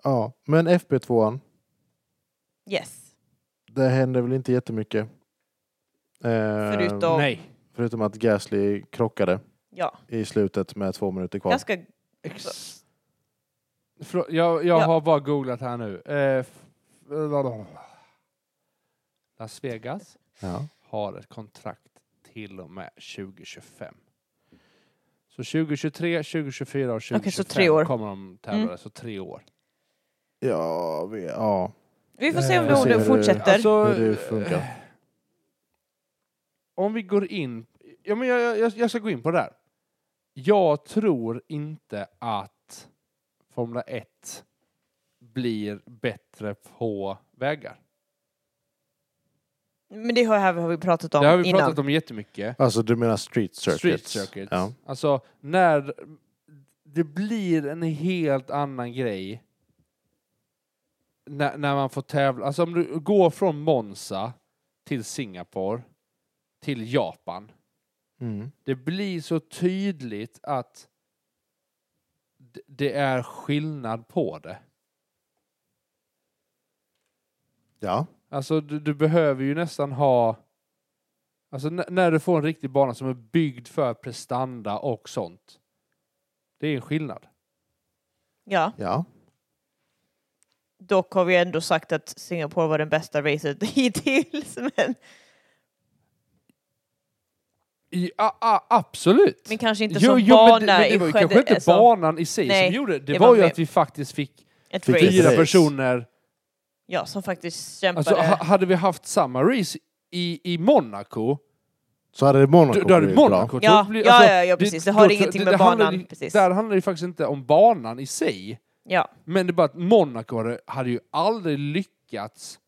Speaker 3: ja,
Speaker 1: Men FB2an,
Speaker 3: yes,
Speaker 1: det hände väl inte jättemycket. Eh,
Speaker 3: Förutom-
Speaker 2: nej,
Speaker 1: förutom att Gasly krockade
Speaker 3: ja,
Speaker 1: i slutet med två minuter kvar.
Speaker 3: ganska,
Speaker 2: Ex- Förlåt, jag jag
Speaker 3: Ja.
Speaker 2: har bara googlat här nu. Eh, f- blablabla. Las Vegas
Speaker 1: Ja.
Speaker 2: har ett kontrakt till och med 2025. Så 2023, 2024 och 2025
Speaker 3: Okej, så tre år.
Speaker 2: kommer de tävla.
Speaker 3: Mm.
Speaker 2: Så tre år.
Speaker 1: Ja, vi, ja.
Speaker 3: vi får se om
Speaker 2: Eh,
Speaker 1: ser
Speaker 3: de
Speaker 1: hur-
Speaker 3: fortsätter.
Speaker 2: Alltså,
Speaker 1: Hur det funkar.
Speaker 2: om vi går in... Ja, men jag, jag- jag, jag ska gå in på det här. Jag tror inte att Formula 1 blir bättre på vägar.
Speaker 3: Men det har, här har vi pratat om
Speaker 2: det har vi
Speaker 3: innan.
Speaker 2: pratat om jättemycket.
Speaker 1: Alltså du menar street circuits?
Speaker 2: Street circuits.
Speaker 1: Ja.
Speaker 2: Alltså, när det blir en helt annan grej när, när man får tävla. Alltså om du går från Monza till Singapore till Japan.
Speaker 1: Mm.
Speaker 2: det blir så tydligt att d- det är skillnad på det.
Speaker 1: Ja.
Speaker 2: Alltså du, du behöver ju nästan ha... Alltså n- när du får en riktig bana som är byggd för prestanda och sånt. Det är en skillnad.
Speaker 3: Ja,
Speaker 1: Ja.
Speaker 3: dock har vi ändå sagt att Singapore var den bästa racet *laughs* hittills. Men,
Speaker 2: I, a, a, absolut!
Speaker 3: men kanske inte
Speaker 2: Jo,
Speaker 3: som
Speaker 2: jo, men det-
Speaker 3: bana
Speaker 2: men det
Speaker 3: i
Speaker 2: var ju
Speaker 3: Skövde-
Speaker 2: kanske inte
Speaker 3: alltså,
Speaker 2: banan i sig
Speaker 3: Nej,
Speaker 2: som gjorde det. Det
Speaker 3: det
Speaker 2: var
Speaker 3: var
Speaker 2: ju
Speaker 3: med.
Speaker 2: att vi faktiskt fick
Speaker 3: ett
Speaker 1: Vilket
Speaker 3: race.
Speaker 2: fyra
Speaker 1: race.
Speaker 2: personer.
Speaker 3: Ja, som faktiskt kämpade.
Speaker 2: Alltså, ha, hade vi haft samma race i, i Monaco,
Speaker 1: Så hade Monaco
Speaker 2: Du, du hade
Speaker 1: blivit
Speaker 2: Monaco.
Speaker 1: bra.
Speaker 2: då
Speaker 3: Ja,
Speaker 2: blir- alltså,
Speaker 3: ja, ja, ja, precis. Det har ingenting med
Speaker 2: handlar
Speaker 3: banan,
Speaker 2: ju-
Speaker 3: precis.
Speaker 2: Där handlar det ju faktiskt inte om banan i sig.
Speaker 3: ja.
Speaker 2: Men det är bara att Monaco hade- hade ju aldrig lyckats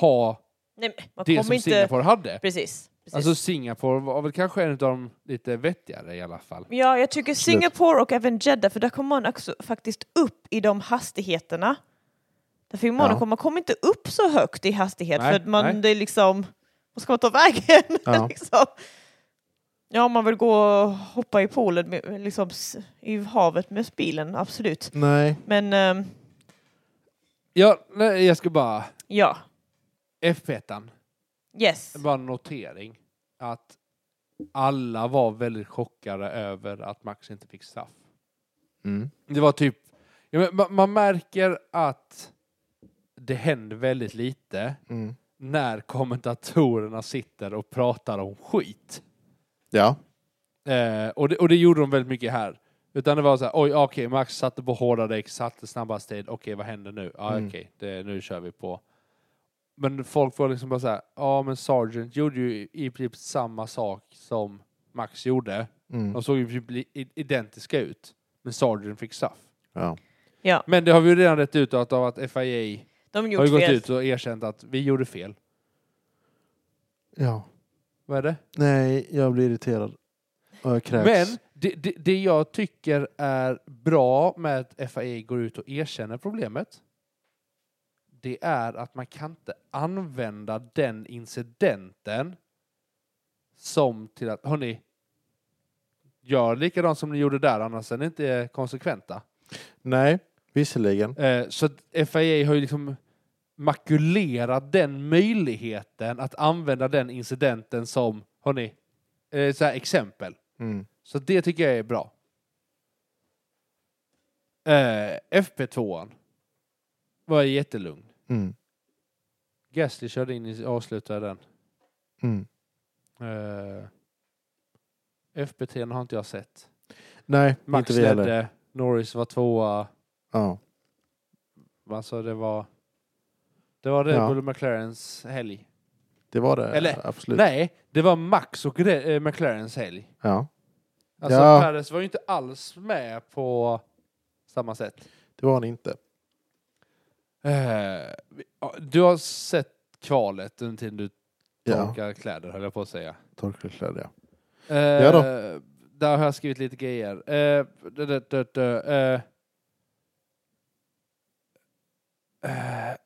Speaker 2: ha
Speaker 3: Nej, men man
Speaker 2: det
Speaker 3: kommer
Speaker 2: som
Speaker 3: inte...
Speaker 2: Singapore hade.
Speaker 3: Precis. precis.
Speaker 2: Alltså Singapore var väl kanske en av de lite vettigare i alla fall.
Speaker 3: ja, jag tycker Singapore och även Jeddah, för där kom man också faktiskt upp i de hastigheterna. Där fick Monaco,
Speaker 1: Ja.
Speaker 3: man kom inte upp så högt i hastighet
Speaker 2: Nej,
Speaker 3: för att man,
Speaker 2: nej.
Speaker 3: *laughs* det är liksom, vad ska man ta vägen?
Speaker 1: Ja.
Speaker 3: liksom. Ja, om man vill gå och hoppa i poolen, med, liksom s- i havet med bilen, absolut.
Speaker 1: Nej.
Speaker 3: Men ehm,
Speaker 2: Ja, nej, jag ska bara...
Speaker 3: ja,
Speaker 2: F1.
Speaker 3: yes.
Speaker 2: Bara en notering. Att alla var väldigt chockade över att Max inte fick straff.
Speaker 1: Mm.
Speaker 2: Det var typ... Ja, men ma- man märker att det händer väldigt lite
Speaker 1: Mm.
Speaker 2: när kommentatorerna sitter och pratar om skit.
Speaker 1: Ja.
Speaker 2: Eh, och, det, och det gjorde de väldigt mycket här. Utan det var så här, oj, ah, okej, Max satte på hårda däck, satte snabbast tid, okej, vad händer nu? Ja,
Speaker 1: Mm.
Speaker 2: okej, det- nu kör vi på. Men folk var liksom bara så här, ja, men Sargent gjorde ju i- i princip samma sak som Max gjorde.
Speaker 1: Mm.
Speaker 2: De såg ju typ li- i- identiska ut, men Sargent fick straff.
Speaker 1: ja.
Speaker 3: Ja,
Speaker 2: Men det har vi ju redan rätt ut av att FIA
Speaker 3: de
Speaker 2: har ju
Speaker 3: gjort
Speaker 2: gått
Speaker 3: fel.
Speaker 2: ut och erkänt att vi gjorde fel.
Speaker 1: Ja.
Speaker 2: Vad är det?
Speaker 1: Nej, jag blir irriterad. Och jag kräks.
Speaker 2: Men det, det, det jag tycker är bra med att FAE går ut och erkänner problemet det är att man kan inte använda den incidenten som till att, hörni, gör likadant som ni gjorde där annars är ni inte konsekventa.
Speaker 1: Nej, visserligen.
Speaker 2: Eh, så att FIA har ju liksom makulerat den möjligheten att använda den incidenten som, hörni, eh, så här exempel.
Speaker 1: Mm.
Speaker 2: Så det tycker jag är bra. Eh, FP2 var jättelugn.
Speaker 1: Mm.
Speaker 2: Gasly körde in och avslutade den.
Speaker 1: Mm.
Speaker 2: Eh, FP3 har inte jag sett.
Speaker 1: Nej,
Speaker 2: Max
Speaker 1: inte vi heller.
Speaker 2: ledde, Norris var tvåa.
Speaker 1: Ja.
Speaker 2: Alltså det var... Det var Red
Speaker 1: Ja.
Speaker 2: Bull och McLarens helg.
Speaker 1: Det var det.
Speaker 2: Eller,
Speaker 1: absolut.
Speaker 2: Nej, det var Max och Re- eh, McLarens helg.
Speaker 1: Ja.
Speaker 2: Alltså
Speaker 1: Ja.
Speaker 2: Perez var ju inte alls med på samma sätt.
Speaker 1: Det var han inte.
Speaker 2: Eh, vi- ja, du har sett kvalet under tiden du
Speaker 1: Ja.
Speaker 2: torkar kläder, höll jag på att säga.
Speaker 1: Torkekläder, ja.
Speaker 2: Eh,
Speaker 1: Ja då.
Speaker 2: Där har jag skrivit lite grejer. Eh, dö, dö, dö, dö, eh. Eh,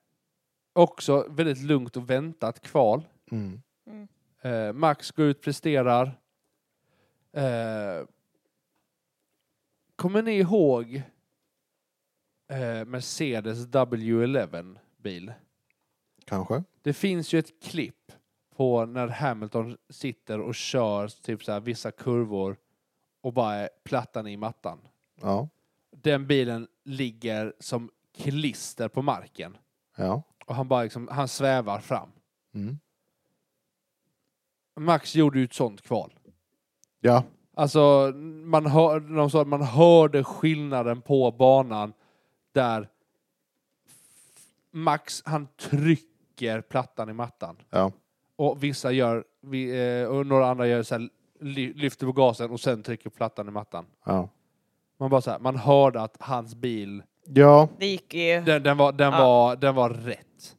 Speaker 2: också väldigt lugnt och väntat kval.
Speaker 1: Mm.
Speaker 3: Mm.
Speaker 2: Eh, Max går ut, presterar. Eh, kommer ni ihåg eh, Mercedes W11-bil?
Speaker 1: Kanske.
Speaker 2: Det finns ju ett klipp på när Hamilton sitter och kör typ så här, vissa kurvor och bara är plattan i mattan.
Speaker 1: Ja.
Speaker 2: Den bilen ligger som klister på marken
Speaker 1: Ja.
Speaker 2: och han bara liksom, han svävar fram.
Speaker 1: Mm.
Speaker 2: Max gjorde ju ett sånt kval.
Speaker 1: Ja.
Speaker 2: Alltså, man hör, de sa att man hörde skillnaden på banan där Max, han trycker plattan i mattan.
Speaker 1: Ja.
Speaker 2: Och vissa gör, vi, eh, och några andra gör så här, ly- lyfter på gasen och sen trycker plattan i mattan.
Speaker 1: Ja.
Speaker 2: Man bara så här, man hörde att hans bil,
Speaker 1: Ja,
Speaker 3: Det gick ju...
Speaker 2: den, den, var, den,
Speaker 3: Ja.
Speaker 2: var, den var rätt.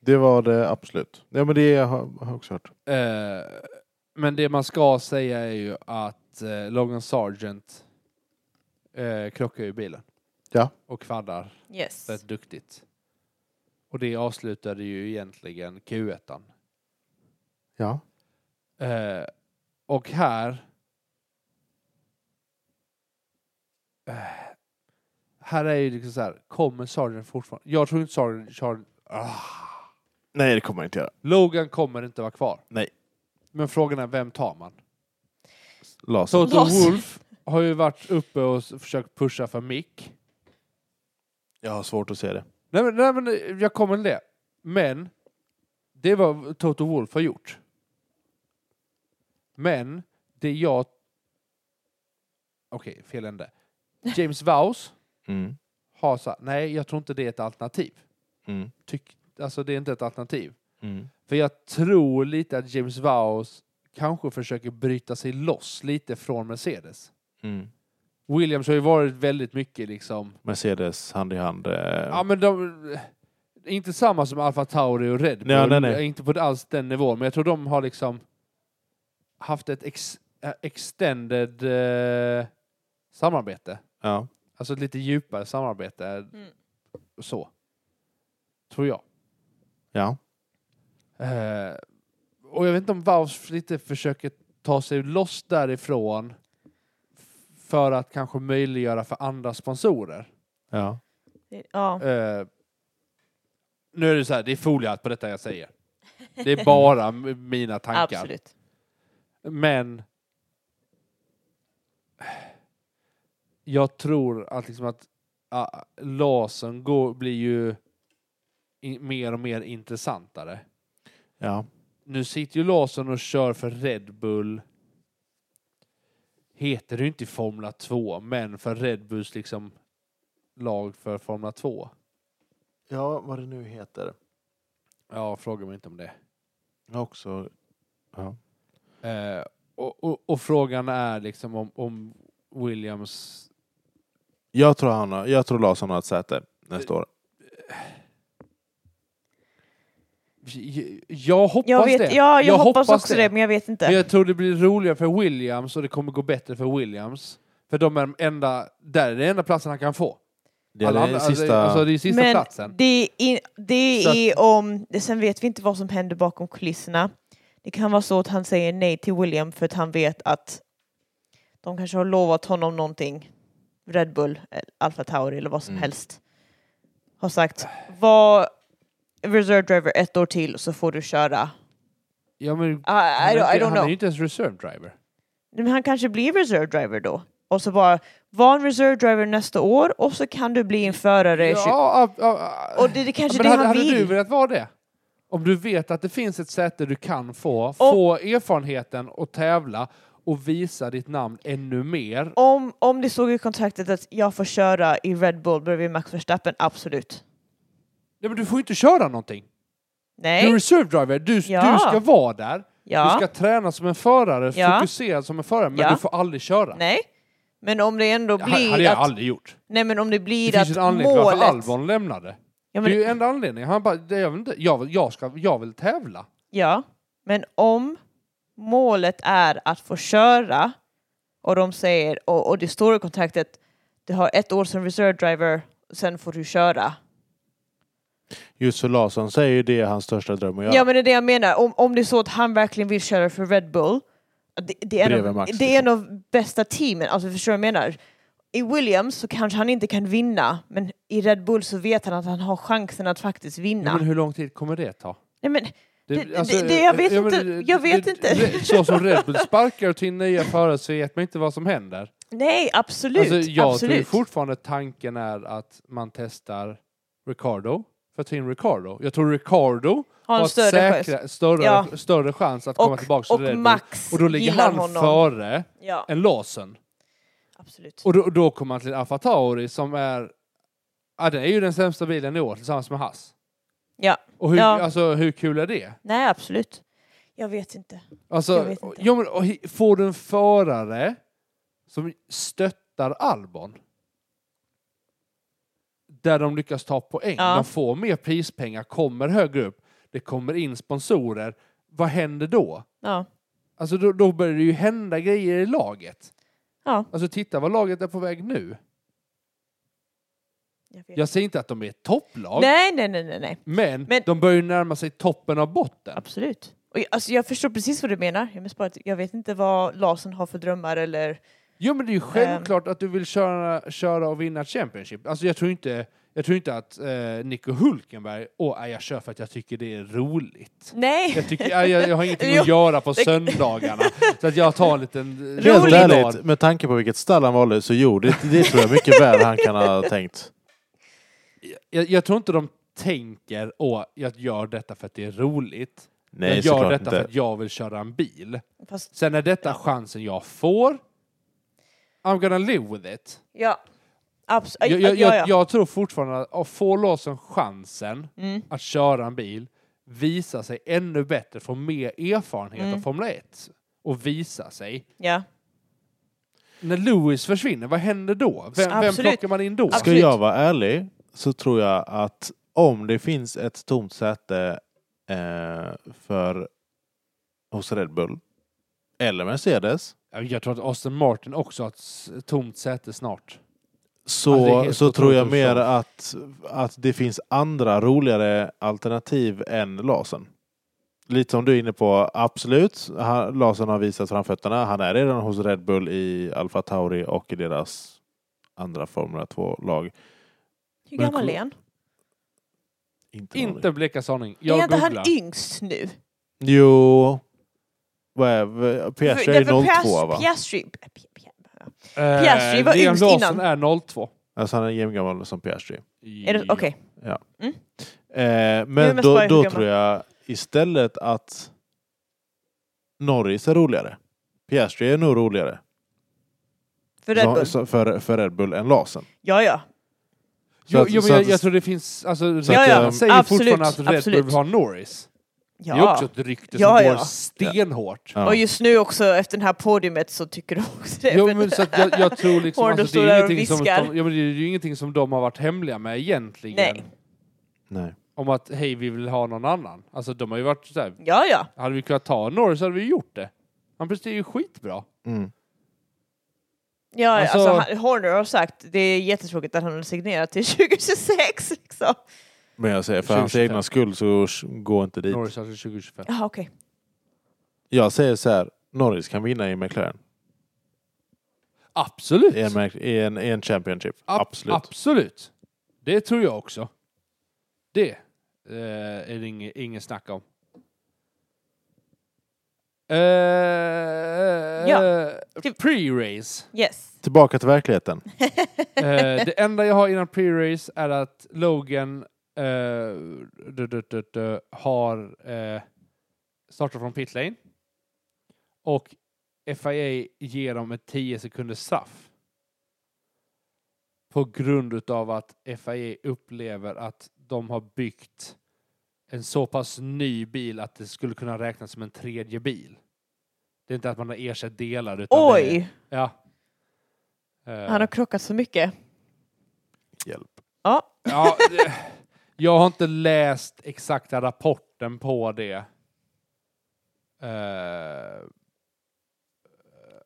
Speaker 1: det var det absolut. Ja, men det har har jag också hört.
Speaker 2: Eh, men det man ska säga är ju att eh, Logan Sargent eh, krockar ju bilen.
Speaker 1: Ja.
Speaker 2: Och kvaddar
Speaker 3: Yes.
Speaker 2: rätt duktigt. Och det avslutade ju egentligen Q1.
Speaker 1: Ja.
Speaker 2: Eh, och här... Eh, här är ju liksom så här, kommer Sargent fortfarande... Jag tror inte Sargent... Sargent ah,
Speaker 1: Nej, det kommer jag inte göra.
Speaker 2: Logan kommer inte vara kvar.
Speaker 1: Nej.
Speaker 2: Men frågan är, vem tar man?
Speaker 1: Laser.
Speaker 2: Toto
Speaker 3: Laser.
Speaker 2: Wolf har ju varit uppe och s- försökt pusha för Mick.
Speaker 1: Jag har svårt att se det.
Speaker 2: Nej men, nej, men jag kommer till det. Men det är vad Toto Wolf har gjort. Men det jag... Okej, fel ände. James Vowes
Speaker 1: Mm.
Speaker 2: har sagt nej, jag tror inte det är ett alternativ.
Speaker 1: Mm.
Speaker 2: Tyck, alltså det är inte ett alternativ.
Speaker 1: Mm.
Speaker 2: För jag tror lite att James Vowes kanske försöker bryta sig loss lite från Mercedes.
Speaker 1: Mm.
Speaker 2: Williams har ju varit väldigt mycket liksom
Speaker 1: Mercedes hand i hand. Eh,
Speaker 2: Ja, men de... Inte samma som Alfa Tauri och Red Bull.
Speaker 1: Nej, nej, nej.
Speaker 2: Inte på alls den nivån, men jag tror de har liksom haft ett ex, eh, extended eh, samarbete.
Speaker 1: ja.
Speaker 2: Alltså ett lite djupare samarbete.
Speaker 3: Mm.
Speaker 2: Så. Tror jag.
Speaker 1: ja.
Speaker 2: Eh, och jag vet inte om Vaus lite försöker ta sig loss därifrån f- för att kanske möjliggöra för andra sponsorer.
Speaker 1: Ja.
Speaker 3: Ja.
Speaker 2: Eh, nu är det så här, det är foliehatt på detta jag säger. Det är bara m- mina tankar.
Speaker 3: Absolut.
Speaker 2: Men jag tror att liksom att ah, Larsson går, blir ju i, mer och mer intressantare.
Speaker 1: Ja.
Speaker 2: Nu sitter ju Larsson och kör för Red Bull. Heter det ju inte i Formula 2, men för Red Bulls liksom lag för Formula 2.
Speaker 1: ja, vad det nu heter.
Speaker 2: Ja, fråga mig inte om det.
Speaker 1: Också.
Speaker 2: Eh, och, och, och frågan är liksom om, om Williams
Speaker 1: Jag tror, han har, jag tror Larsson har ett säte nästa år.
Speaker 2: J- Jag hoppas
Speaker 3: Jag, vet,
Speaker 2: det.
Speaker 3: ja, jag, hoppas, också det. men jag vet inte.
Speaker 2: Men jag tror det blir roligare för Williams och det kommer gå bättre för Williams. För de är de enda, där är den enda platsen han kan få.
Speaker 1: Det är
Speaker 2: Alla
Speaker 1: den
Speaker 2: andra-
Speaker 1: sista...
Speaker 2: alltså, det är sista
Speaker 3: men
Speaker 2: platsen.
Speaker 3: det är, det
Speaker 2: Så att-
Speaker 3: är om... det- Sen vet vi inte vad som händer bakom kulisserna. Det kan vara så att han säger nej till William för att han vet att de kanske har lovat honom någonting. Red Bull, eh, Alfa Tauri eller vad som
Speaker 1: Mm.
Speaker 3: helst. Har sagt var reserve driver ett år till så får du köra.
Speaker 2: Ja, men,
Speaker 3: I, I,
Speaker 2: han, är
Speaker 3: I
Speaker 2: inte-
Speaker 3: don't
Speaker 2: han är
Speaker 3: know.
Speaker 2: ju inte ens reserve driver.
Speaker 3: Nej, Men han kanske blir reserve driver då. Och så bara, var en reserve driver nästa år och så kan du bli en förare. i tjugo-
Speaker 2: Ja, ja, ja.
Speaker 3: Och det, det är kanske
Speaker 2: men
Speaker 3: det
Speaker 2: hade,
Speaker 3: han
Speaker 2: hade
Speaker 3: vill.
Speaker 2: du velat vara det? Om du vet att det finns ett säte du kan få, få erfarenheten och tävla och visa ditt namn ännu mer.
Speaker 3: Om, om det stod i kontraktet att jag får köra i Red Bull bredvid Max Verstappen, absolut.
Speaker 2: Nej, men du får ju inte köra någonting. Du är
Speaker 3: Nej,
Speaker 2: reserve driver, du,
Speaker 3: Ja.
Speaker 2: du ska vara där. Du
Speaker 3: ja,
Speaker 2: ska träna som en förare,
Speaker 3: Ja.
Speaker 2: fokusera som en förare, men
Speaker 3: Ja.
Speaker 2: du får aldrig köra.
Speaker 3: nej. Men om det ändå
Speaker 2: Det ha- hade
Speaker 3: blir
Speaker 2: jag
Speaker 3: att,
Speaker 2: aldrig gjort.
Speaker 3: nej, men om det blir
Speaker 2: Det finns
Speaker 3: att
Speaker 2: en anledning till varför
Speaker 3: målet...
Speaker 2: Albon lämnade.
Speaker 3: Ja,
Speaker 2: Det är ju
Speaker 3: men,
Speaker 2: enda anledningen. Han bara, det, jag, vill inte, jag, vill, jag, ska, jag vill tävla.
Speaker 3: ja, men om målet är att få köra och de säger, och, och det står i kontraktet, du har ett år som reserve driver, sen får du köra.
Speaker 1: Just för Larsson säger ju det är hans största dröm att göra.
Speaker 3: Ja men det är det jag menar, om, om det är så att han verkligen vill köra för Red Bull, det, det, är, en
Speaker 1: Bredvid
Speaker 3: av,
Speaker 1: Max,
Speaker 3: det är en
Speaker 1: liksom.
Speaker 3: av bästa teamen, alltså förstår du vad jag menar? I Williams så kanske han inte kan vinna, men i Red Bull så vet han att han har chansen att faktiskt vinna.
Speaker 2: Ja, men hur lång tid kommer det ta?
Speaker 3: Nej, men,
Speaker 2: Det, alltså,
Speaker 3: Det- det- det- jag vet
Speaker 2: ja, men
Speaker 3: inte. Jag vet inte.
Speaker 2: det- Så som Red Bull sparkar till nya förare så vet man inte vad som händer.
Speaker 3: nej, absolut.
Speaker 2: Alltså, jag tror ju
Speaker 3: absolut.
Speaker 2: fortfarande tanken är att man testar Ricardo för att ta in Ricardo. Jag tror Ricardo
Speaker 3: har en
Speaker 2: ett
Speaker 3: större chans.
Speaker 2: säkra, större,
Speaker 3: Ja.
Speaker 2: större chans att komma
Speaker 3: Och,
Speaker 2: tillbaka
Speaker 3: och
Speaker 2: till Red Bull.
Speaker 3: Max
Speaker 2: Och då ligger
Speaker 3: gillar
Speaker 2: han
Speaker 3: honom.
Speaker 2: före
Speaker 3: Ja,
Speaker 2: en Lawson.
Speaker 3: absolut.
Speaker 2: Och då, då kommer han till Alfa Tauri som är... Ja, det är ju den sämsta bilen i år tillsammans med Haas.
Speaker 3: Ja,
Speaker 2: Och hur,
Speaker 3: Ja.
Speaker 2: alltså, hur kul är det?
Speaker 3: nej absolut. Jag vet inte. Jag
Speaker 2: Alltså,
Speaker 3: vet inte.
Speaker 2: ja, men, och, hi- får du en förare som stöttar Albon där de lyckas ta poäng,
Speaker 3: Ja.
Speaker 2: de får mer prispengar, kommer högre upp, det kommer in sponsorer, vad händer då?
Speaker 3: Ja,
Speaker 2: Alltså då, då börjar det ju hända grejer i laget.
Speaker 3: ja
Speaker 2: Alltså titta vad laget är på väg nu.
Speaker 3: jag vet.
Speaker 2: Jag säger inte att de är ett topplag,
Speaker 3: Nej, nej, nej, nej, nej.
Speaker 2: men,
Speaker 3: Men-
Speaker 2: de börjar ju närma sig toppen av botten.
Speaker 3: Absolut. Och jag, alltså jag förstår precis vad du menar. Jag, menar bara att jag vet inte vad Larsson har för drömmar eller...
Speaker 2: Jo men det är ju
Speaker 3: Ehm.
Speaker 2: självklart att du vill köra, köra och vinna Championship. Alltså jag tror inte, jag tror inte att eh, Nico Hulkenberg, åh nej, jag kör för att jag tycker det är roligt.
Speaker 3: Nej!
Speaker 2: Jag, tycker, nej, jag, jag har ingenting
Speaker 3: *laughs* Jo,
Speaker 2: att göra på
Speaker 3: det-
Speaker 2: söndagarna så att jag tar en
Speaker 3: *laughs*
Speaker 2: liten... eh,
Speaker 1: Helt
Speaker 2: liten dag.
Speaker 1: ärligt, med tanke på vilket stall han valde så jo, det, det tror jag mycket väl han kan ha *laughs* tänkt.
Speaker 2: Jag, jag tror inte de tänker, åh jag gör detta för att det är roligt.
Speaker 1: Nej,
Speaker 2: jag gör
Speaker 1: såklart
Speaker 2: detta för
Speaker 1: inte.
Speaker 2: att jag vill köra en bil.
Speaker 3: Fast,
Speaker 2: Sen är detta chansen jag får. I'm gonna live with it.
Speaker 3: ja. Absolut.
Speaker 2: Jag,
Speaker 3: ja,
Speaker 2: jag,
Speaker 3: ja,
Speaker 2: jag, jag tror fortfarande att att få Lawson chansen
Speaker 3: Mm.
Speaker 2: att köra en bil, visa sig ännu bättre, få mer erfarenhet
Speaker 3: Mm.
Speaker 2: av Formel 1 och visa sig.
Speaker 3: ja.
Speaker 2: När Lewis försvinner, vad händer då? Vem, vem
Speaker 3: Absolut.
Speaker 2: plockar man in då?
Speaker 1: Ska
Speaker 3: Absolut.
Speaker 1: jag vara ärlig så tror jag att om det finns ett tomt säte eh, för hos Red Bull eller Mercedes
Speaker 2: Ja, Jag tror att Aston Martin också har ett s- tomt säte snart. Alltså, det är
Speaker 1: så,
Speaker 2: helt
Speaker 1: så tror jag
Speaker 2: otroligt
Speaker 1: mer att,
Speaker 2: så.
Speaker 1: att det finns andra roligare alternativ än Lasen. Lite som du är inne på, absolut. Han, Larsson har visat framfötterna. Han är redan hos Red Bull i Alfa Tauri och i deras andra Formel 2-lag.
Speaker 3: Hur
Speaker 1: Men
Speaker 3: gammal
Speaker 1: kom-
Speaker 3: är han?
Speaker 1: Inte, någon-
Speaker 2: Inte bleka sanning.
Speaker 3: Är
Speaker 2: Jag
Speaker 3: inte han
Speaker 2: googlar.
Speaker 3: yngst nu?
Speaker 1: Jo... Vad är v- Piastri är
Speaker 3: Därför
Speaker 1: 02
Speaker 3: Piast-
Speaker 1: va?
Speaker 3: Piastri, Pi- Pi-
Speaker 2: Eh,
Speaker 3: Piastri var
Speaker 2: Liam
Speaker 3: yngst
Speaker 2: Lawson är 02.
Speaker 1: Alltså han är jämngammal som Piastri.
Speaker 3: är det- Okej.
Speaker 1: Eh,
Speaker 3: är
Speaker 1: men
Speaker 3: mest
Speaker 1: då,
Speaker 3: bara
Speaker 1: då
Speaker 3: hur
Speaker 1: tror jag istället att Norris är roligare. Piastri är nog roligare
Speaker 3: För Red
Speaker 1: som-
Speaker 3: Bull?
Speaker 1: som- för, för Red Bull än Larsen.
Speaker 3: Ja, ja.
Speaker 2: Jo,
Speaker 1: att-
Speaker 2: jo, men
Speaker 1: så
Speaker 2: jag,
Speaker 1: att-
Speaker 2: jag tror det finns... Alltså,
Speaker 1: Så
Speaker 2: Red
Speaker 1: att,
Speaker 2: Bull
Speaker 1: ja,
Speaker 2: säger
Speaker 3: absolut,
Speaker 2: fortfarande att Red
Speaker 3: absolut.
Speaker 2: Bull har Norris. Det är också
Speaker 3: ja.
Speaker 2: ett rykte
Speaker 3: Ja,
Speaker 2: som
Speaker 3: ja.
Speaker 2: går stenhårt.
Speaker 1: Ja.
Speaker 3: Och just nu också efter det här podiumet så tycker de också det. *laughs*
Speaker 2: Jo,
Speaker 3: Men-
Speaker 2: men så att jag, jag tror liksom...
Speaker 3: Hård och
Speaker 2: Alltså, det,
Speaker 3: stora
Speaker 2: är
Speaker 3: och
Speaker 2: ingenting som
Speaker 3: viskar.
Speaker 2: de, ja, men det är ju ingenting som de har varit hemliga med egentligen.
Speaker 3: Nej.
Speaker 1: Nej.
Speaker 2: Om att hej, vi vill ha någon annan. Alltså de har ju varit så här,
Speaker 3: Ja, ja.
Speaker 2: hade vi kunnat ta Norris hade vi gjort det. Han presterar ju skitbra.
Speaker 1: Mm.
Speaker 3: ja
Speaker 2: Alltså-
Speaker 3: alltså, han- Horner har sagt det är jättetråkigt att han har signerat till *laughs* 2026 liksom.
Speaker 1: Men jag säger för hans
Speaker 2: 2025.
Speaker 1: egna skull så s- gå inte dit.
Speaker 2: Norris alltså 2025.
Speaker 3: Ja, okej.
Speaker 1: Jag säger så här, Norris kan vinna i McLaren.
Speaker 2: Absolut.
Speaker 1: I en, Mac- i en, i en Championship.
Speaker 2: Ab-
Speaker 1: Absolut.
Speaker 2: Absolut. Det tror jag också. Det eh, är det inget, ingen snack om. Eh,
Speaker 3: Ja. Typ-
Speaker 2: Pre-race.
Speaker 3: Yes. *laughs*
Speaker 1: Tillbaka till verkligheten.
Speaker 2: Eh, det enda jag har innan pre-race är att Logan eh, du, du, du, du, har eh, startat från pit lane och FIA ger dem ett 10 sekunders straff på grund utav att FIA upplever att de har byggt en så pass ny bil att det skulle kunna räknas som en tredje bil. Det är inte att man har ersatt delar. Utan Det,
Speaker 3: Oj,
Speaker 2: är- ja. Eh,
Speaker 3: han har krockat så mycket.
Speaker 1: Hjälp.
Speaker 3: Ja,
Speaker 2: Ja, det, jag har inte läst exakta rapporten på det. Eh,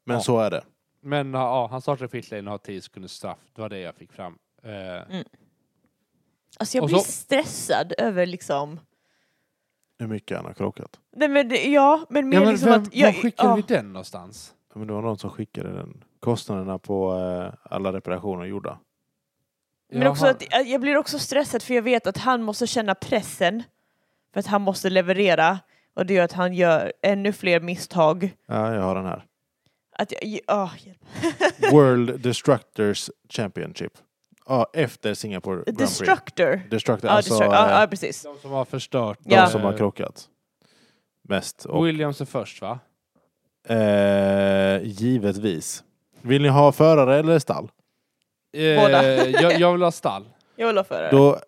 Speaker 1: Men
Speaker 2: Ja.
Speaker 1: så är det.
Speaker 2: men ja, han startade pit lane och har 10 sekunders straff. Det var det jag fick fram. Eh,
Speaker 3: alltså jag
Speaker 2: Och
Speaker 3: blir
Speaker 2: så-
Speaker 3: stressad över liksom.
Speaker 1: Hur mycket han har krockat.
Speaker 3: Nej men det- ja, men mer
Speaker 2: ja, men
Speaker 3: liksom
Speaker 2: vem,
Speaker 3: att.
Speaker 2: var
Speaker 3: Jag,
Speaker 2: skickade vi den någonstans?
Speaker 1: Men det var någon som skickade den kostnaderna på eh, alla reparationer gjorda.
Speaker 3: Men
Speaker 2: Jag
Speaker 3: också
Speaker 2: har-
Speaker 3: att, att jag blir också stressad för jag vet att han måste känna pressen för att han måste leverera och det gör att han gör ännu fler misstag.
Speaker 1: Ja, jag har den här.
Speaker 3: Att jag, oh, hjälp. *laughs*
Speaker 1: World Destructors Championship. Ja, efter Singapore Grand Prix.
Speaker 3: Destructor.
Speaker 1: Destructor,
Speaker 3: Ja,
Speaker 1: alltså
Speaker 3: destruct- ja,
Speaker 1: eh,
Speaker 3: ja, precis.
Speaker 2: De som har förstört. eh,
Speaker 1: de
Speaker 3: Ja.
Speaker 1: som har krockat mest. Och,
Speaker 2: Williams är först va?
Speaker 1: eh, givetvis. Vill ni ha förare eller stall?
Speaker 2: Eh,
Speaker 3: Båda.
Speaker 2: *laughs* jag, jag vill ha stall.
Speaker 3: Jag vill ha förare. *laughs*
Speaker 1: Då...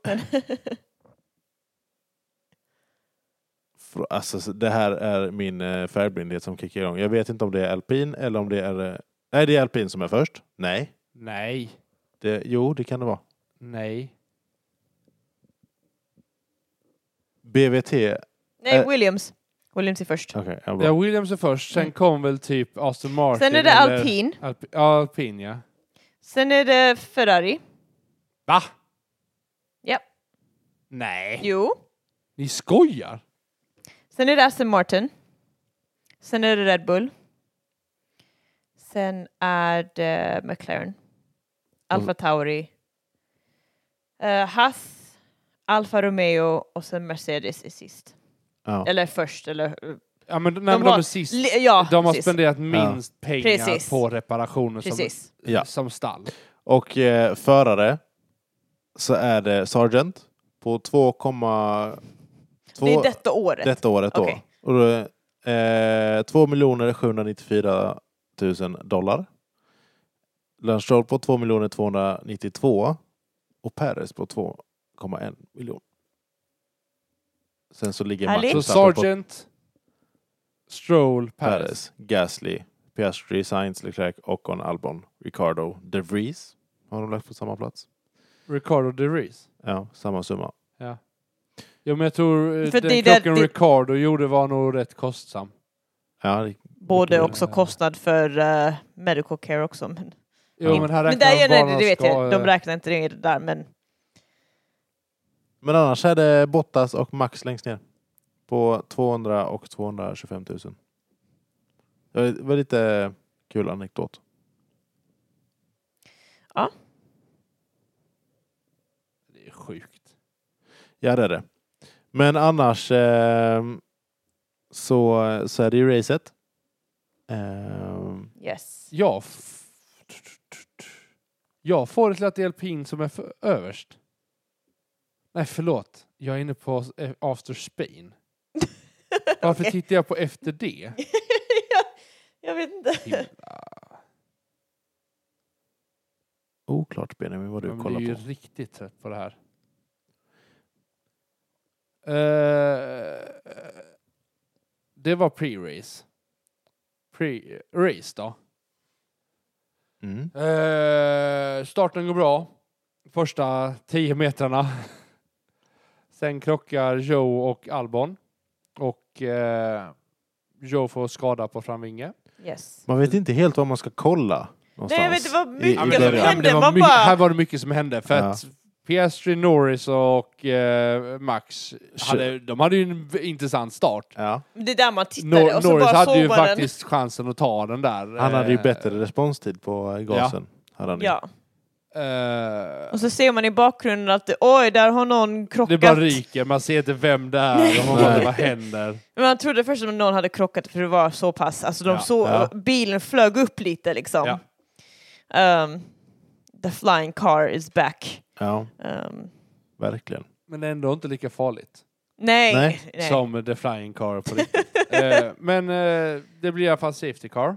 Speaker 1: Fr- Alltså, så det här är min eh, färgblindhet som kickar igång. Jag vet inte om det är alpin eller om det är... eh, Nej, det är alpin som är först. Nej.
Speaker 2: Nej.
Speaker 1: Det... Jo, det kan det vara.
Speaker 2: Nej.
Speaker 1: BVT.
Speaker 3: Nej,
Speaker 1: eh.
Speaker 3: Williams. Williams är först.
Speaker 1: Okej, ja, bra.
Speaker 2: Ja, Williams är först. Sen
Speaker 3: Mm.
Speaker 2: kom väl typ Aston Martin.
Speaker 3: Sen är det
Speaker 2: eller-
Speaker 3: alpin.
Speaker 2: Alp- ja, alpin ja.
Speaker 3: Sen är det Ferrari.
Speaker 2: Va?
Speaker 3: Ja.
Speaker 2: Nej.
Speaker 3: Jo.
Speaker 2: Ni skojar?
Speaker 3: Sen är det Aston Martin. Sen är det Red Bull. Sen är det McLaren.
Speaker 2: Mm.
Speaker 3: Alfa Tauri. Uh, Haas. Alfa Romeo och sen Mercedes är sist.
Speaker 1: Ja.
Speaker 3: Eller först eller... eh,
Speaker 2: Ja, men, nej, men de
Speaker 3: har-
Speaker 2: är sist.
Speaker 3: li- ja,
Speaker 2: De har
Speaker 3: precis.
Speaker 2: spenderat minst pengar
Speaker 3: Precis.
Speaker 2: på reparationer som,
Speaker 3: Precis.
Speaker 1: Ja.
Speaker 2: som stall.
Speaker 1: Och eh, förare så är det Sargent på 2,2
Speaker 3: Det är detta året.
Speaker 1: detta året då.
Speaker 3: Okej.
Speaker 1: Och då eh, 2 794 000 dollar. Lance Stroll på 2 292 och Perez på 2,1 miljon. Sen så ligger Max
Speaker 3: Härligt.
Speaker 2: Så
Speaker 1: och Verstappen på
Speaker 2: Sargent, Stroll, Perez.
Speaker 1: Perez, Gasly, Piastri, Sainz, Leclerc, Ocon, Albon, Ricardo, De Vries har de lagt på samma plats.
Speaker 2: Ricardo De Vries.
Speaker 1: Ja, samma summa.
Speaker 2: Ja. ja, men jag tror eh,
Speaker 3: För
Speaker 2: den
Speaker 3: det är det-
Speaker 2: krocken
Speaker 3: det-
Speaker 2: Ricardo gjorde var nog rätt kostsam.
Speaker 1: Ja, det-
Speaker 3: Både
Speaker 1: Ja.
Speaker 3: också kostnad för eh, medical care också. Men,
Speaker 2: Jo,
Speaker 1: Ja.
Speaker 2: men här
Speaker 3: men
Speaker 2: räknar
Speaker 3: där
Speaker 2: de
Speaker 3: är
Speaker 2: bara
Speaker 3: det, det
Speaker 2: de
Speaker 3: vet
Speaker 2: ska...
Speaker 3: jag, de
Speaker 2: eh,
Speaker 3: räknar inte det där men
Speaker 1: Men annars är det Bottas och Max längst ner. På 200 och 225 000. Ja, Det var lite kul anekdot.
Speaker 2: Det är sjukt.
Speaker 1: Ja, det är det. Men annars eh, så, så är det ju racet. Eh,
Speaker 2: Ehm.
Speaker 3: Yes.
Speaker 2: Jag, f- jag får det till att det är alpin som är för överst. Nej, förlåt. Jag är inne på eh, after Spain. Varför
Speaker 3: Okej.
Speaker 2: tittar jag på
Speaker 3: *laughs*
Speaker 2: efter det?
Speaker 3: jag, jag vet inte.
Speaker 2: Himla.
Speaker 1: oklart Benjamin vad du
Speaker 2: Man blir ju
Speaker 1: kollar på.
Speaker 2: riktigt trött på det här. Eh, det var pre-race. Pre-race då.
Speaker 1: Mm.
Speaker 2: Eh, starten går bra. Första 10 metrarna. *laughs* Sen krockar Joe och Albon. Och eh, Joe får skada på framvinge.
Speaker 3: Yes.
Speaker 1: Man vet inte helt vad man ska kolla.
Speaker 3: Nej, jag vet,
Speaker 1: någonstans
Speaker 3: det var
Speaker 1: i- i
Speaker 3: mycket som
Speaker 1: början.
Speaker 3: hände.
Speaker 2: det var
Speaker 3: man
Speaker 2: my-
Speaker 3: bara-
Speaker 2: Här var det mycket som hände. För
Speaker 1: Ja.
Speaker 2: att Piastri, Norris och eh, Max,
Speaker 1: Kö-
Speaker 2: hade, de hade ju en v- intressant start.
Speaker 1: Ja.
Speaker 3: Det är där man tittade
Speaker 2: Nor-
Speaker 3: och så
Speaker 2: Norris
Speaker 3: bara
Speaker 2: hade
Speaker 3: såg
Speaker 2: ju
Speaker 3: man
Speaker 2: faktiskt chansen att ta den där.
Speaker 1: Han hade ju
Speaker 2: eh,
Speaker 1: bättre responstid på eh, gasen. Hade han
Speaker 3: den.
Speaker 1: ju.
Speaker 3: Ja.
Speaker 2: eh,
Speaker 3: Och så ser man i bakgrunden att det- oj, där har någon krockat.
Speaker 2: det bara ryker, man ser inte vem det är, och man bara,
Speaker 1: Nej.
Speaker 2: vad händer?
Speaker 3: Men man trodde först att någon hade krockat för det var så pass, alltså de
Speaker 2: Ja.
Speaker 3: såg,
Speaker 1: Ja.
Speaker 3: bilen flög upp lite liksom.
Speaker 2: Ja.
Speaker 3: Ehm, the flying car is back.
Speaker 1: ja,
Speaker 3: Ehm,
Speaker 1: verkligen.
Speaker 2: Men ändå inte lika farligt
Speaker 3: nej.
Speaker 1: Nej.
Speaker 3: nej.
Speaker 2: som The Flying Car på
Speaker 3: *laughs*
Speaker 2: riktigt. Eh, men eh, det blir i alla fall Safety Car för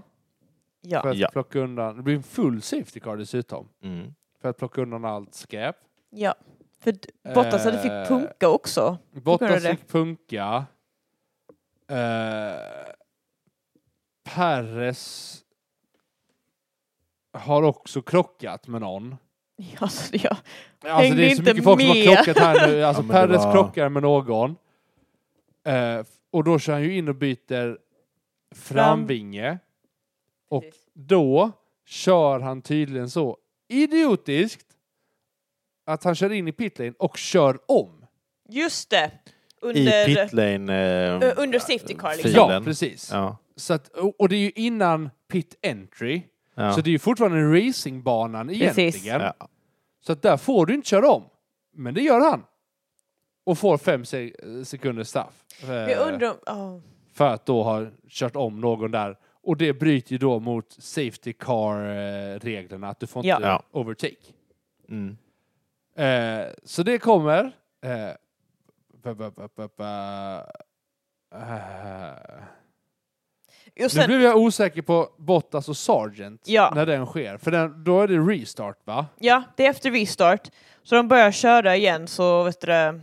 Speaker 3: Ja.
Speaker 2: att
Speaker 1: Ja.
Speaker 2: plocka undan, det blir en full Safety Car dessutom,
Speaker 1: Mm.
Speaker 2: för att plocka undan allt skräp.
Speaker 3: ja. För d- Bottas hade fick
Speaker 2: Eh.
Speaker 3: punka också. *laughs* Hur är
Speaker 2: Bottas
Speaker 3: det?
Speaker 2: fick punka. Eh, Perres har också krockat med någon.
Speaker 3: Ja, så det- ja.
Speaker 2: Alltså det är så
Speaker 3: inte
Speaker 2: mycket folk som har
Speaker 3: med.
Speaker 2: krockat
Speaker 1: *laughs*
Speaker 2: här nu. Alltså
Speaker 1: Ja, men det
Speaker 2: Perres
Speaker 1: var-
Speaker 2: krockar med någon. Eh, och då kör han ju in och byter framvinge. Och
Speaker 3: Precis.
Speaker 2: då kör han tydligen så idiotiskt att han kör in i pitlane och kör om.
Speaker 3: Just det.
Speaker 1: I
Speaker 3: Under,
Speaker 1: pitlane...
Speaker 3: eh,
Speaker 1: Eh,
Speaker 3: under safety car liksom.
Speaker 1: Filen.
Speaker 2: Ja, precis.
Speaker 1: ja,
Speaker 2: Så att, och och det är ju innan pit entry.
Speaker 1: ja.
Speaker 2: Så det är ju fortfarande racingbanan
Speaker 3: Precis.
Speaker 2: egentligen.
Speaker 1: ja.
Speaker 2: Så att där får du inte köra om. Men det gör han. Och får fem se- sekunders straff. Eh,
Speaker 3: Jag undrar om... ja.
Speaker 2: För att då ha kört om någon där. Och det bryter ju då mot Safety Car-reglerna. Att du får
Speaker 3: Ja.
Speaker 2: inte
Speaker 1: Ja.
Speaker 2: overtake.
Speaker 1: Mm.
Speaker 2: Eh, så det kommer. Eh, ba, ba, ba, ba, ba. Eh,
Speaker 3: Och
Speaker 2: nu
Speaker 3: sen,
Speaker 2: blev jag osäker på Bottas och Sargent.
Speaker 3: Ja.
Speaker 2: När den sker. För den, då är det restart va?
Speaker 3: Ja, det är efter restart. Så de börjar köra igen så vet du det,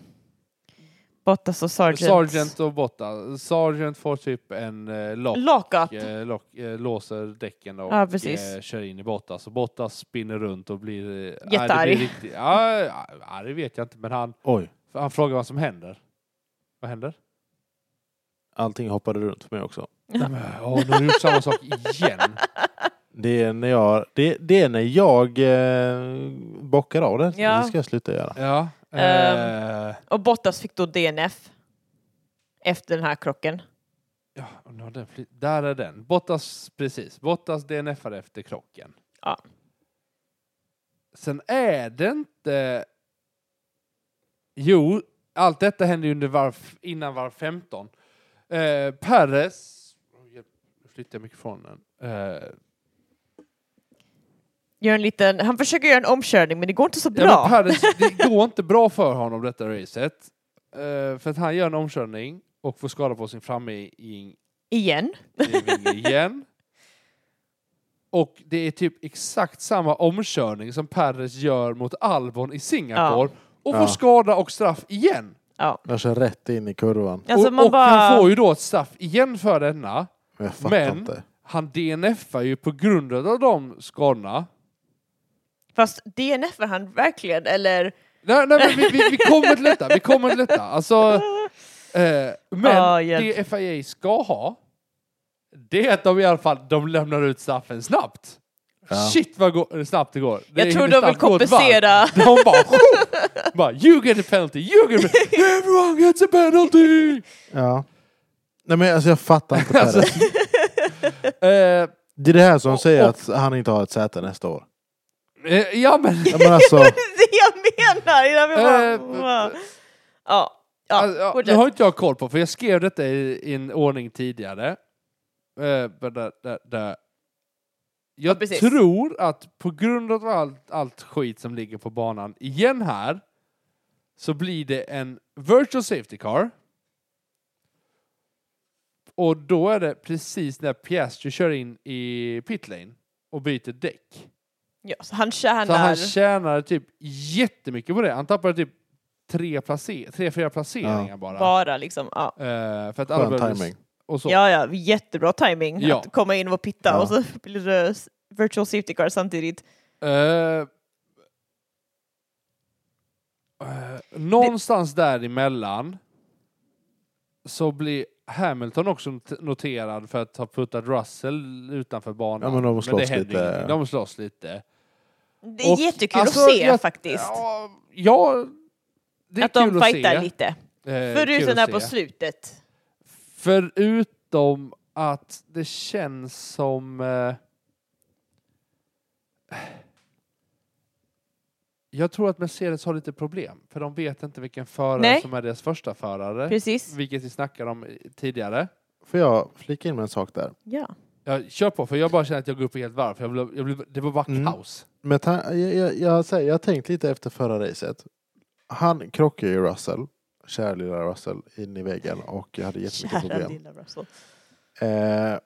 Speaker 3: Bottas och Sargent.
Speaker 2: Sargent och Bottas. Sargent får typ en eh, lock.
Speaker 3: Lockup.
Speaker 2: eh, lock, eh, låser däcken och
Speaker 3: Ja, precis.
Speaker 2: eh, kör in i Bottas. Och Bottas spinner runt och blir... eh, nej, det blir
Speaker 3: Jättearg.
Speaker 2: riktigt- Ja, ja, ja, det vet jag inte, men han,
Speaker 1: Oj,
Speaker 2: han frågar vad som händer. Vad händer?
Speaker 1: allting hoppade runt för mig också.
Speaker 2: Nej, men, Åh, nu har du gjort samma sak igen.
Speaker 1: Det är när jag, det, det är när jag eh, bockar av det.
Speaker 3: Ja.
Speaker 1: Det ska jag sluta göra.
Speaker 2: Ja.
Speaker 3: *laughs* Ehm.
Speaker 2: Eh,
Speaker 3: Och Bottas fick då DNF. Efter den här krocken.
Speaker 2: ja nu har den flytt- där är den. Bottas, precis. Bottas DNFar efter krocken.
Speaker 3: Ja.
Speaker 2: Sen är det inte... Jo, allt detta hände ju under varv, innan varv 15. Eh, Perez... Oj, hjälp, Nu flyttar jag mikrofonen. Eh,
Speaker 3: Gör en liten, han försöker göra en omkörning men det går inte så
Speaker 2: Ja, men
Speaker 3: bra. *laughs*
Speaker 2: Perez, det går inte bra för honom detta racet. Eh, för att han gör en omkörning och får skada på sin framving
Speaker 3: igen.
Speaker 2: vinge igen. Och det är typ exakt samma omkörning som Perez gör mot Albon i Singapore och får
Speaker 1: Ja.
Speaker 2: skada och straff igen.
Speaker 3: Ja.
Speaker 1: Jag kör rätt in i kurvan.
Speaker 3: Alltså
Speaker 2: och
Speaker 3: man
Speaker 2: och
Speaker 3: bara...
Speaker 2: han får ju då ett straff igen för denna.
Speaker 1: Men Jag fattar
Speaker 2: Men-
Speaker 1: inte.
Speaker 2: Han DNFar ju på grund av de skadorna.
Speaker 3: Fast DNF är han verkligen eller?
Speaker 2: Nej, nej men vi, vi, vi kommer till detta, vi kommer till detta. Alltså, eh, men
Speaker 3: Ah, hjälp.
Speaker 2: det FIA ska ha, det är att de i alla fall de lämnar ut straffen snabbt.
Speaker 1: Ja.
Speaker 2: Shit vad gå- snabbt det går. Det
Speaker 3: Jag tror
Speaker 2: hinner
Speaker 3: de vill
Speaker 2: snabbt gå ett varv.
Speaker 3: kompensera.
Speaker 2: De bara, bara you get a penalty, you get a
Speaker 3: *laughs*
Speaker 2: penalty, everyone gets a penalty!
Speaker 1: Ja. Nej men alltså jag fattar inte
Speaker 2: Alltså-
Speaker 1: Perez.
Speaker 2: Eh,
Speaker 1: Det är det här som säger
Speaker 2: och-
Speaker 1: att han inte har ett säte nästa år.
Speaker 2: eh, ja men,
Speaker 1: Ja, men *laughs* alltså,
Speaker 3: *laughs* det jag menar! innan vi bara-
Speaker 2: Eh,
Speaker 3: bara- Ja,
Speaker 2: alltså,
Speaker 3: ja,
Speaker 2: ja, det
Speaker 3: fortsätt.
Speaker 2: har inte jag koll på för jag skrev detta i, i en ordning tidigare. Eh, but that, that, that. Jag
Speaker 3: precis.
Speaker 2: tror att på grund av allt, allt skit som ligger på banan igen här så blir det en virtual safety car. Och då är det precis när Piastri kör in i pitlane och byter däck.
Speaker 3: Ja, så han
Speaker 2: Så han
Speaker 3: tjänar...
Speaker 2: tjänade typ jättemycket på det. Han tappade typ tre, place- tre fyra placeringar
Speaker 1: Ja.
Speaker 2: bara.
Speaker 3: Bara liksom, ja.
Speaker 2: Eh, för att alla
Speaker 1: skön
Speaker 2: började-
Speaker 1: timing.
Speaker 2: Och så.
Speaker 3: Ja, ja, jättebra timing
Speaker 2: Ja.
Speaker 3: att komma in och pitta
Speaker 1: Ja.
Speaker 3: och så *laughs* blir det s- virtual safety car samtidigt.
Speaker 2: Eh, eh, någonstans däremellan så blir Hamilton också not- noterad för att ha puttat Russell utanför banan.
Speaker 1: Ja, men de slåss
Speaker 2: händer
Speaker 1: lite.
Speaker 2: ingenting. De slåss lite.
Speaker 3: Det är
Speaker 2: Och,
Speaker 3: jättekul
Speaker 2: alltså,
Speaker 3: att se
Speaker 2: jag-
Speaker 3: faktiskt.
Speaker 2: Ja, ja, det är
Speaker 3: att
Speaker 2: kul
Speaker 3: de
Speaker 2: att
Speaker 3: fightar
Speaker 2: se.
Speaker 3: lite.
Speaker 2: Eh, kul
Speaker 3: Förutom
Speaker 2: att
Speaker 3: där på
Speaker 2: se.
Speaker 3: slutet.
Speaker 2: Förutom att det känns som... Eh, jag tror att Mercedes har lite problem, för de vet inte vilken förare
Speaker 3: Nej.
Speaker 2: som är deras första förare.
Speaker 3: Precis.
Speaker 2: Vilket vi snackade om i- tidigare.
Speaker 1: Får jag flika in med en sak där?
Speaker 3: Ja.
Speaker 2: Jag kör på, för jag bara känner att jag går upp i helt varv. För jag blev, jag blev, det var bara
Speaker 1: Mm.
Speaker 2: kaos.
Speaker 1: Men ta- jag, jag, jag, säger, jag har tänkt lite efter förra racet. Han krockade ju Russell, kära lilla Russell, in i väggen och jag hade jättemycket
Speaker 3: Kära
Speaker 1: problem.
Speaker 3: lilla Russell.
Speaker 1: Eh,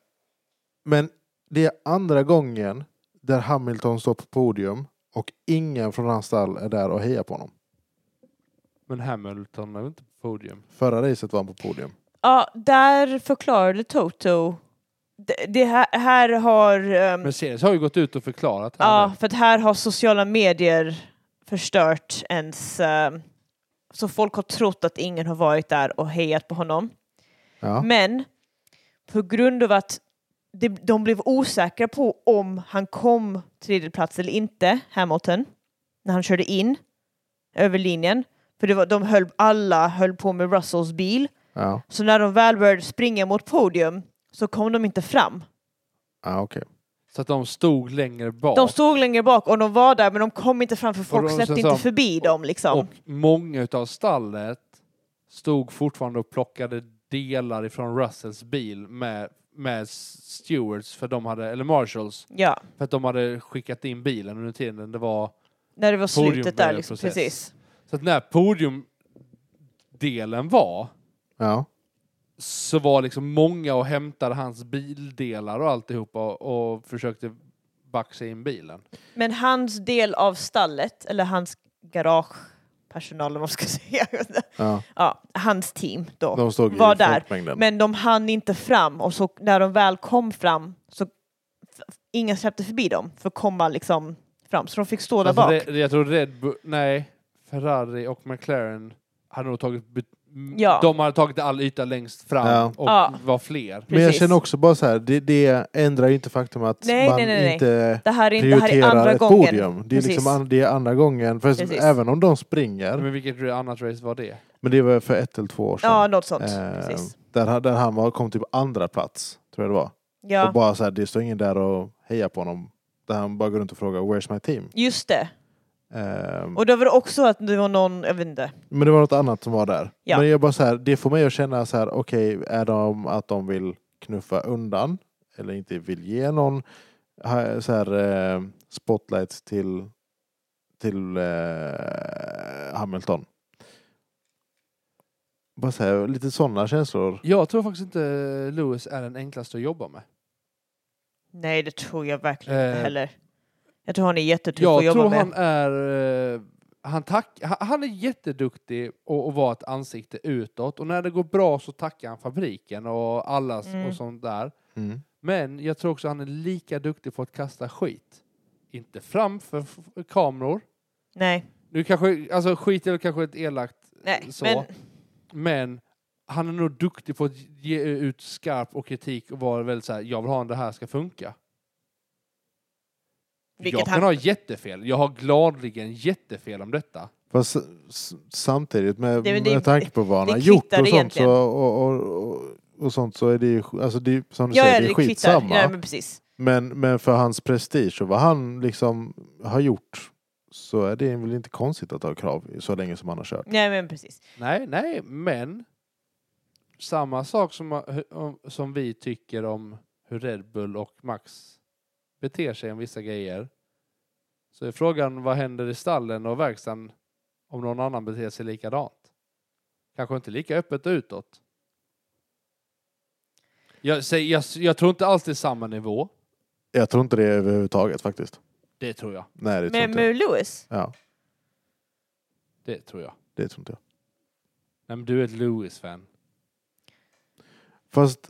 Speaker 1: men det är andra gången där Hamilton står på podium och ingen från hans stall är där och hejar på honom.
Speaker 2: Men Hamilton är inte på podium.
Speaker 3: Mm.
Speaker 1: Förra racet var han på podium.
Speaker 3: Ja, där förklarade Toto. Det, det här, här har... ehm,
Speaker 2: Mercedes har ju gått ut och förklarat. här
Speaker 3: ja,
Speaker 2: nu.
Speaker 3: för att här har sociala medier förstört ens... ehm, så folk har trott att ingen har varit där och hejat på honom.
Speaker 1: Ja.
Speaker 3: Men på grund av att det, de blev osäkra på om han kom tredjeplats eller inte, Hamilton, när han körde in över linjen. För det var, de höll, alla höll på med Russells bil.
Speaker 1: Ja,
Speaker 3: Så när de väl började springa mot podium så kom de inte fram.
Speaker 1: ja okej.
Speaker 2: Så att de stod längre bak.
Speaker 3: De stod längre bak och de var där men de kom inte fram för folk
Speaker 2: de-
Speaker 3: släppte
Speaker 2: sen
Speaker 3: inte
Speaker 2: sa de-
Speaker 3: förbi dem liksom.
Speaker 2: Och många utav stallet stod fortfarande och plockade delar ifrån Russells bil med, med Stewards, för de hade, eller Marshalls,
Speaker 3: ja,
Speaker 2: för att de hade skickat in bilen under tiden det var.
Speaker 3: när det var slutet där
Speaker 2: Podiumvärdeprocess.
Speaker 3: liksom. Precis.
Speaker 2: Så att när podiumdelen var
Speaker 1: Ja.
Speaker 2: så var liksom många och hämtade hans bildelar och alltihopa och, och försökte backa in bilen.
Speaker 3: Men hans del av stallet, eller hans garagepersonal om man ska *laughs* säga,
Speaker 1: ja.
Speaker 3: ja, hans team då,
Speaker 1: De stod
Speaker 3: var
Speaker 1: i
Speaker 3: där.
Speaker 1: folkmängden.
Speaker 3: Men de hann inte fram och så när de väl kom fram så f- ingen släppte förbi dem för att komma liksom fram. Så de fick stå där
Speaker 2: Alltså,
Speaker 3: bak.
Speaker 2: Re- jag tror Red Bull, nej, Ferrari och McLaren hade nog tagit, bet- m-
Speaker 3: Ja.
Speaker 2: de hade tagit all yta längst fram
Speaker 1: Ja.
Speaker 2: och
Speaker 3: Ja.
Speaker 2: var fler.
Speaker 1: Men jag
Speaker 3: Precis.
Speaker 1: känner också bara så här, det, det ändrar ju inte faktum att
Speaker 3: Nej,
Speaker 1: man
Speaker 3: nej, nej, nej.
Speaker 1: inte
Speaker 3: Det här är, inte, det här är
Speaker 1: prioriterar
Speaker 3: andra
Speaker 1: ett
Speaker 3: gången.
Speaker 1: podium. Det är,
Speaker 3: Precis.
Speaker 1: liksom, an- det är andra gången. För
Speaker 3: Precis.
Speaker 1: även om de springer,
Speaker 2: Men vilket annat race var det?
Speaker 1: men det var för ett eller två år sedan.
Speaker 3: Ja, något sånt.
Speaker 1: liksom. Eh,
Speaker 3: Precis.
Speaker 1: där, han- där han var, kom typ andra plats, tror jag det var.
Speaker 3: Ja,
Speaker 1: Och bara så här, det står ingen där och hejar på honom. Där han bara går runt och frågar “Where's my team?”
Speaker 3: just det.
Speaker 1: Ehm,
Speaker 3: Och då var det också att det var någon, jag vet inte.
Speaker 1: Men det var något annat som var där.
Speaker 3: Ja.
Speaker 1: Men jag bara så här, det får mig att känna så här, okej, är de att de vill knuffa undan eller inte vill ge någon ha- så här, eh, spotlight till, till eh, Hamilton? Bara så här, lite sådana känslor.
Speaker 2: Jag tror faktiskt inte Lewis är den enklaste att jobba med.
Speaker 3: Nej, det tror jag verkligen inte
Speaker 2: Eh,
Speaker 3: heller. Jag tror han är jättetuff
Speaker 2: Jag
Speaker 3: att jobba
Speaker 2: tror
Speaker 3: med.
Speaker 2: han är... eh, Han, tack, han- han är jätteduktig och, och var ett ansikte utåt och när det går bra så tackar han fabriken och alla s-
Speaker 3: Mm.
Speaker 2: och sånt där.
Speaker 1: Mm.
Speaker 2: Men jag tror också han är lika duktig på att kasta skit. Inte framför f- kameror.
Speaker 3: Nej,
Speaker 2: Nu kanske, alltså skit är väl kanske ett elakt,
Speaker 3: nej.
Speaker 2: Så.
Speaker 3: Men,
Speaker 2: men han är nog duktig på att ge ut skarp och kritik och vara väldigt så här, jag vill ha en det här ska funka.
Speaker 3: Vilket
Speaker 2: jag kan
Speaker 3: han-
Speaker 2: ha jättefel. Jag har gladligen jättefel om detta.
Speaker 1: Fast s- s- samtidigt med,
Speaker 3: Det- men det-
Speaker 1: med tanke på vad han
Speaker 3: det
Speaker 1: har gjort
Speaker 3: kvittar
Speaker 1: och sånt,
Speaker 3: egentligen.
Speaker 1: så, och, och, och, och sånt så är det ju alltså det, är ju- som du
Speaker 3: Ja, ja,
Speaker 1: säger, det är
Speaker 3: det kvittar.
Speaker 1: skitsamma.
Speaker 3: Ja,
Speaker 1: men...
Speaker 3: men precis.
Speaker 1: Men, för hans prestige och vad han liksom har gjort så är det väl inte konstigt att ha krav så länge som han har kört.
Speaker 3: Nej, men precis.
Speaker 2: Nej, nej, men samma sak som, som vi tycker om hur Red Bull och Max beter sig om vissa grejer. Så är frågan vad händer i stallen och verkstaden om någon annan beter sig likadant? Kanske inte lika öppet utåt. Jag, säger, jag, jag tror inte alls det är samma nivå.
Speaker 1: Jag tror inte det överhuvudtaget faktiskt.
Speaker 2: Det tror jag.
Speaker 1: Nej, det tror
Speaker 3: Men
Speaker 1: inte jag.
Speaker 3: med Lewis?
Speaker 1: Ja,
Speaker 2: Det tror jag.
Speaker 1: det tror inte jag.
Speaker 2: Nej, men du är ett Lewis-fan.
Speaker 1: Fast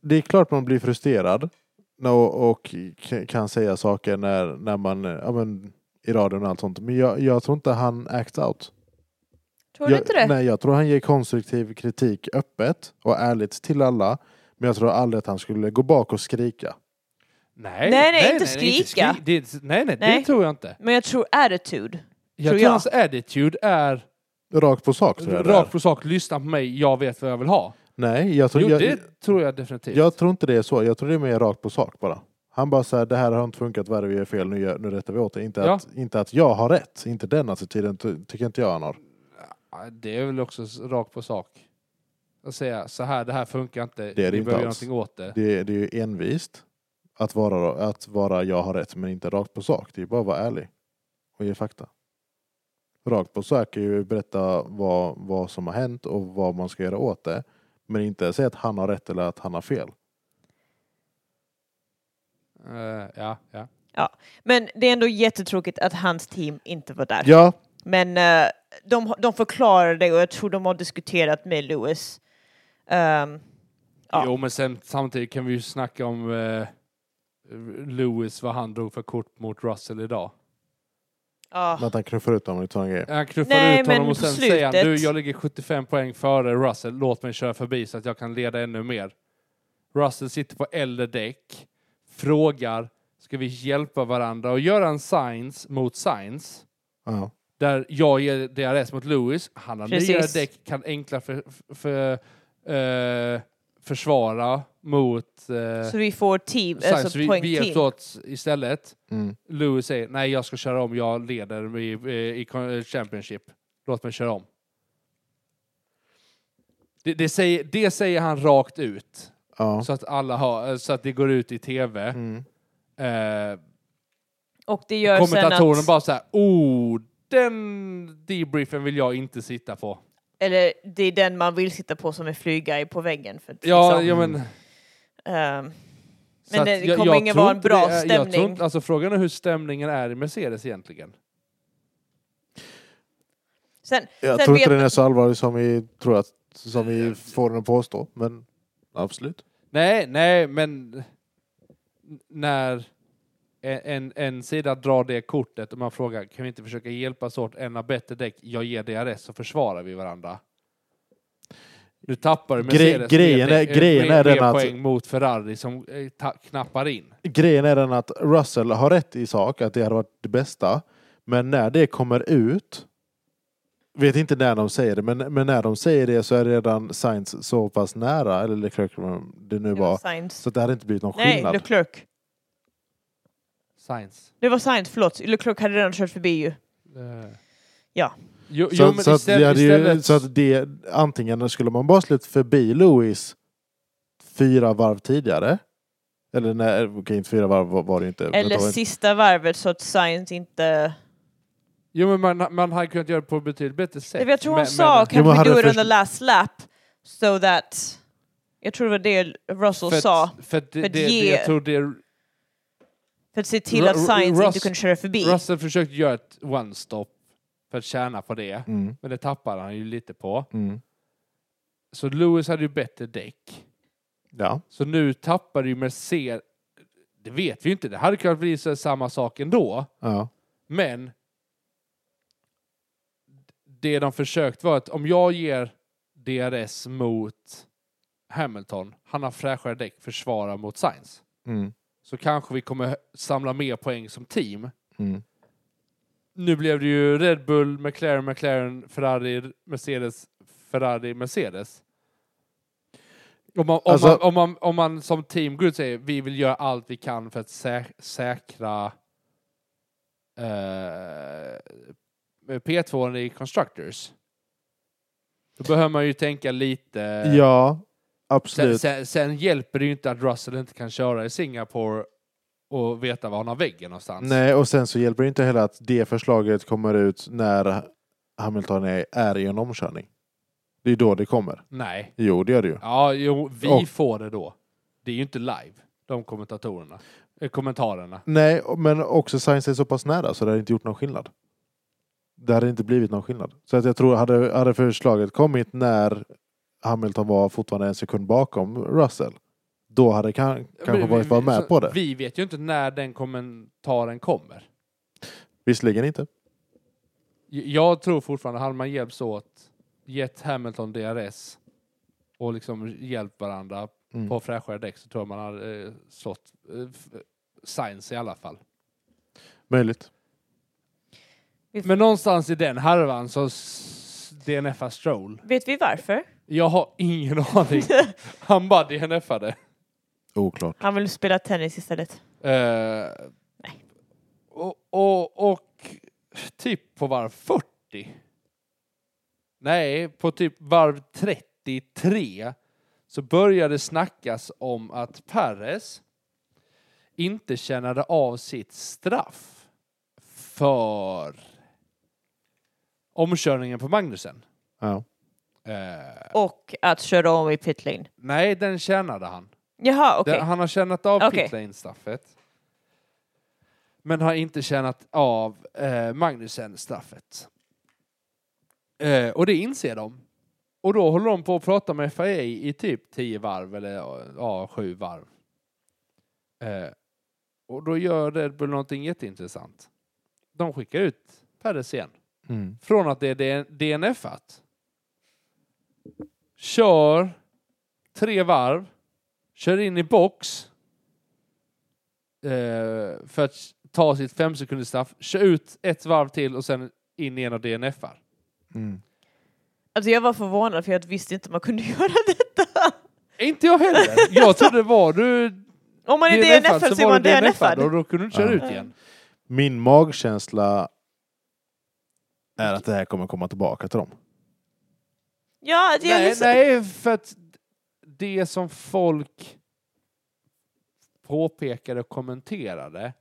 Speaker 1: det är klart man blir frustrerad när- och, och k- kan säga saker när, när man, ja men i radion och allt sånt. Men jag, jag tror inte han acts out.
Speaker 3: Tror du
Speaker 1: jag,
Speaker 3: inte det?
Speaker 1: Nej, jag tror han ger konstruktiv kritik öppet och ärligt till alla. Men jag tror aldrig att han skulle gå bak och skrika.
Speaker 2: Nej,
Speaker 3: Nej, nej, inte skrika.
Speaker 2: skri- det, nej, nej,
Speaker 3: Nej.
Speaker 2: det tror jag inte.
Speaker 3: Men jag tror attitude.
Speaker 2: Jag
Speaker 3: Tror
Speaker 2: tror,
Speaker 3: jag.
Speaker 2: hans attitude är
Speaker 1: Rakt på sak tror jag det är.
Speaker 2: rakt på sak, lyssna på mig, jag vet vad jag vill ha.
Speaker 1: Nej, jag tror,
Speaker 2: Jo,
Speaker 1: jag,
Speaker 2: det tror jag definitivt.
Speaker 1: jag tror inte det är så. Jag tror det är mer rakt på sak bara. Han bara säger det här har inte funkat, vad är det vi gör fel, nu, gör, nu rättar vi åt det. Inte,
Speaker 2: Ja.
Speaker 1: att, inte att jag har rätt, inte den attityden ty, tycker inte jag han har.
Speaker 2: Ja, Det är väl också s- rakt på sak. Att säga så här, det här funkar inte,
Speaker 1: det
Speaker 2: vi
Speaker 1: inte
Speaker 2: behöver göra
Speaker 1: alls.
Speaker 2: någonting åt det.
Speaker 1: Det, är- det är ju envist att vara, att vara jag har rätt men inte rakt på sak. Det är ju bara att vara ärlig och ge fakta. Rakt på sak är ju att berätta vad, vad som har hänt och vad man ska göra åt det. Men inte säga att han har rätt eller att han har fel.
Speaker 2: Eh, ja, ja.
Speaker 3: Men det är ändå jättetråkigt att hans team inte var
Speaker 2: Äh.
Speaker 3: där.
Speaker 1: Ja,
Speaker 3: Men eh, de, de förklarade det och jag tror de har diskuterat med Lewis. Ehm, Ja.
Speaker 2: Jo, men sen samtidigt kan vi ju snacka om eh, Lewis, vad han drog för kort mot Russell idag.
Speaker 3: ja.
Speaker 2: Ah.
Speaker 1: att han knuffar ut dem och lite sådana grejer.
Speaker 2: Han knuffade
Speaker 3: Nej,
Speaker 2: ut honom
Speaker 3: men
Speaker 2: och sen
Speaker 3: på
Speaker 2: säger han,
Speaker 3: slutet-
Speaker 2: du jag ligger 75 poäng före Russell, låt mig köra förbi så att jag kan leda ännu mer. Russell sitter på äldre däck, frågar, ska vi hjälpa varandra och göra en science mot science?
Speaker 1: Ja.
Speaker 2: Där jag ger DRS mot Lewis, han har
Speaker 3: Precis.
Speaker 2: nyare däck, kan enklare för, för, eh, försvara mot eh,
Speaker 3: Så vi får team,
Speaker 2: science.
Speaker 3: alltså
Speaker 2: Så vi,
Speaker 3: poäng
Speaker 2: vi hjälps
Speaker 3: team.
Speaker 2: åt istället.
Speaker 1: Mm.
Speaker 2: Lewis säger nej, jag ska köra om, jag leder i, eh, i, i Championship. Låt mig köra om. Det, det, säger, det säger han rakt ut,
Speaker 1: Ja.
Speaker 2: så att alla har, eh, så att det går ut i tv.
Speaker 1: Mm.
Speaker 2: Eh,
Speaker 3: Och det gör sen
Speaker 2: kommentatorerna
Speaker 3: att...
Speaker 2: bara så här, oh, den debriefen vill jag inte sitta på.
Speaker 3: Eller det är den man vill sitta på som är flygguy på väggen. För att,
Speaker 2: Ja,
Speaker 3: liksom,
Speaker 2: ja men...
Speaker 3: ehm,
Speaker 2: så
Speaker 3: Men
Speaker 2: att
Speaker 3: det kommer ingen
Speaker 2: tror
Speaker 3: vara en
Speaker 2: inte
Speaker 3: bra
Speaker 2: det är- Jag tror
Speaker 3: stämning.
Speaker 2: inte, alltså frågan är hur stämningen är i Mercedes egentligen.
Speaker 3: sen,
Speaker 1: Jag
Speaker 3: sen
Speaker 1: tror
Speaker 3: vet
Speaker 1: inte den är så allvarlig som vi tror att som vi får den att påstå. Men absolut.
Speaker 2: Nej, nej, men n- när en, en, en sida drar det kortet och man frågar kan vi inte försöka hjälpas åt, en har bättre däck, jag ger DRS så försvarar vi varandå. Nu tappar Mercedes
Speaker 1: grejen
Speaker 2: mer
Speaker 1: är-
Speaker 2: däck-
Speaker 1: grejen
Speaker 2: mer,
Speaker 1: är den
Speaker 2: mer
Speaker 1: att-
Speaker 2: poäng mot Ferrari som eh, ta, knappar in.
Speaker 1: Grejen är den att Russell har rätt i sak, att det hade varit det bästa. Men när det kommer ut, vet inte när de säger det, men, men när de säger det så är redan Sainz så pass nära, eller Leclerc vad det nu
Speaker 3: det var
Speaker 1: var,
Speaker 3: Sainz.
Speaker 1: så att det hade inte blivit någon
Speaker 3: Nej,
Speaker 1: skillnad.
Speaker 3: Leclerc.
Speaker 2: Science.
Speaker 3: Det var Sainz, förlåt. Leclerc hade redan kört förbi ju.
Speaker 2: Eh.
Speaker 3: Ja.
Speaker 2: Jo,
Speaker 1: Så,
Speaker 2: jo men
Speaker 1: så, att det
Speaker 2: istället,
Speaker 1: hade ju,
Speaker 2: istället
Speaker 1: så att det, antingen skulle man bara släppt förbi Lewis fyra varv tidigare, eller nej, okej, inte fyra varv var, var det ju inte. men det
Speaker 3: Eller
Speaker 1: var inte-
Speaker 3: sista varvet så att Sainz inte...
Speaker 2: jo, men man, man hade kunnat göra det på betydligt bättre sätt.
Speaker 3: Jag tror hon
Speaker 2: Men-
Speaker 3: sa
Speaker 2: men-
Speaker 1: Jo, men hade
Speaker 3: kanske do it
Speaker 1: först-
Speaker 3: on the last lap so that... Jag tror det var det Russell
Speaker 2: för att-
Speaker 3: sa.
Speaker 2: för att det,
Speaker 3: för att
Speaker 2: det, det,
Speaker 3: ge-
Speaker 2: jag tror det
Speaker 3: För att se till
Speaker 2: Ru-
Speaker 3: att Sainz
Speaker 2: Rus-
Speaker 3: inte kunde köra förbi.
Speaker 2: Russell försökte göra ett one-stop för att tjäna på det,
Speaker 1: Mm,
Speaker 2: men det tappade han ju lite på.
Speaker 1: mm,
Speaker 2: Så Lewis hade ju bättre däck.
Speaker 1: ja.
Speaker 2: Så nu tappade ju Mercedes... Det vet vi ju inte, det hade kunnat bli så samma sak ändå,
Speaker 1: ja.
Speaker 2: men det de försökt var att om jag ger DRS mot Hamilton, han har fräschare däck, försvara mot Sainz.
Speaker 1: Mm.
Speaker 2: så kanske vi kommer samla mer poäng som team.
Speaker 1: Mm.
Speaker 2: Nu blev det ju Red Bull, McLaren, McLaren, Ferrari, Mercedes, Ferrari, Mercedes. Om man, om
Speaker 1: Alltså-
Speaker 2: man, om man, om man som team går ut och säger vi vill göra allt vi kan för att sä- säkra eh, P2 i Constructors. Då behöver man ju tänka lite...
Speaker 1: Ja,
Speaker 2: Sen,
Speaker 1: absolut.
Speaker 2: Eh, sen, sen hjälper det ju inte att Russell inte kan köra i Singapore och veta var han har väggen någonstans.
Speaker 1: Nej, och sen så hjälper det inte heller att det förslaget kommer ut när Hamilton är, är i en omkörning. Det är då det kommer.
Speaker 2: Nej.
Speaker 1: Jo, det gör det ju.
Speaker 2: Ja, jo, vi
Speaker 1: Och-
Speaker 2: får det då. Det är ju inte live, de kommentatorerna. Eh, kommentarerna.
Speaker 1: Nej, men också Sainz är så pass nära så det hade inte gjort någon skillnad. Det hade inte blivit någon skillnad. Så att jag tror, hade, hade förslaget kommit när Hamilton var fortfarande en sekund bakom Russell, då hade kan,
Speaker 2: Vi-
Speaker 1: kanske
Speaker 2: vi-
Speaker 1: varit var
Speaker 2: vi-
Speaker 1: med
Speaker 2: så-
Speaker 1: på det.
Speaker 2: Vi vet ju inte när den kommentaren kommer.
Speaker 1: Visserligen inte.
Speaker 2: J- Jag tror fortfarande, hade man hjälps åt, gett Hamilton DRS och liksom hjälpt varandra
Speaker 1: Mm.
Speaker 2: på fräschare däck så tror jag man hade eh, slått eh, f- Science i alla fall.
Speaker 1: Möjligt.
Speaker 2: Men någonstans i den härvan så s- DNFar Stroll.
Speaker 3: Vet vi varför?
Speaker 2: Jag har ingen *laughs* aning. Han bara DNFade.
Speaker 1: Oklart.
Speaker 3: Han vill spela tennis istället.
Speaker 2: Eh,
Speaker 3: Nej.
Speaker 2: och, och, och typ på varv 40. Nej, på typ varv 33 så började snackas om att Perez inte tjänade av sitt straff för omkörningen på Magnusen.
Speaker 1: Ja.
Speaker 2: Eh,
Speaker 3: Och att köra om i pit lane.
Speaker 2: nej, den tjänade han.
Speaker 3: Jaha, Ah, okej.
Speaker 2: Det- Han har tjänat av
Speaker 3: Okej.
Speaker 2: pitlane-straffet. Men har inte tjänat av eh, Magnusen-straffet. Eh, och det inser de. Och då håller de på att prata med FIA i typ 10 varv eller ja, 7 varv. Eh, och då gör Red Bull någonting jätteintressant. De skickar ut Perez igen.
Speaker 1: Mm.
Speaker 2: Från att det är DNF-at. Kör tre varv. Kör in i box. Eh, för att ta sitt fem sekunders straff. Kör ut ett varv till och sen in i en av DNF-ar.
Speaker 1: Mm.
Speaker 3: Alltså jag var förvånad för jag visste inte man kunde *laughs* göra detta.
Speaker 2: Inte jag heller. Jag trodde var du
Speaker 3: Om man är
Speaker 2: DNF-ad
Speaker 3: DNF så är man DNF-ad.
Speaker 2: och då kunde du inte köra
Speaker 1: Ja.
Speaker 2: ut igen.
Speaker 1: Min magkänsla är att det här kommer komma tillbaka till dem.
Speaker 3: Ja, det är
Speaker 2: Nej,
Speaker 3: liksom...
Speaker 2: nej, för att det som folk påpekade och kommenterade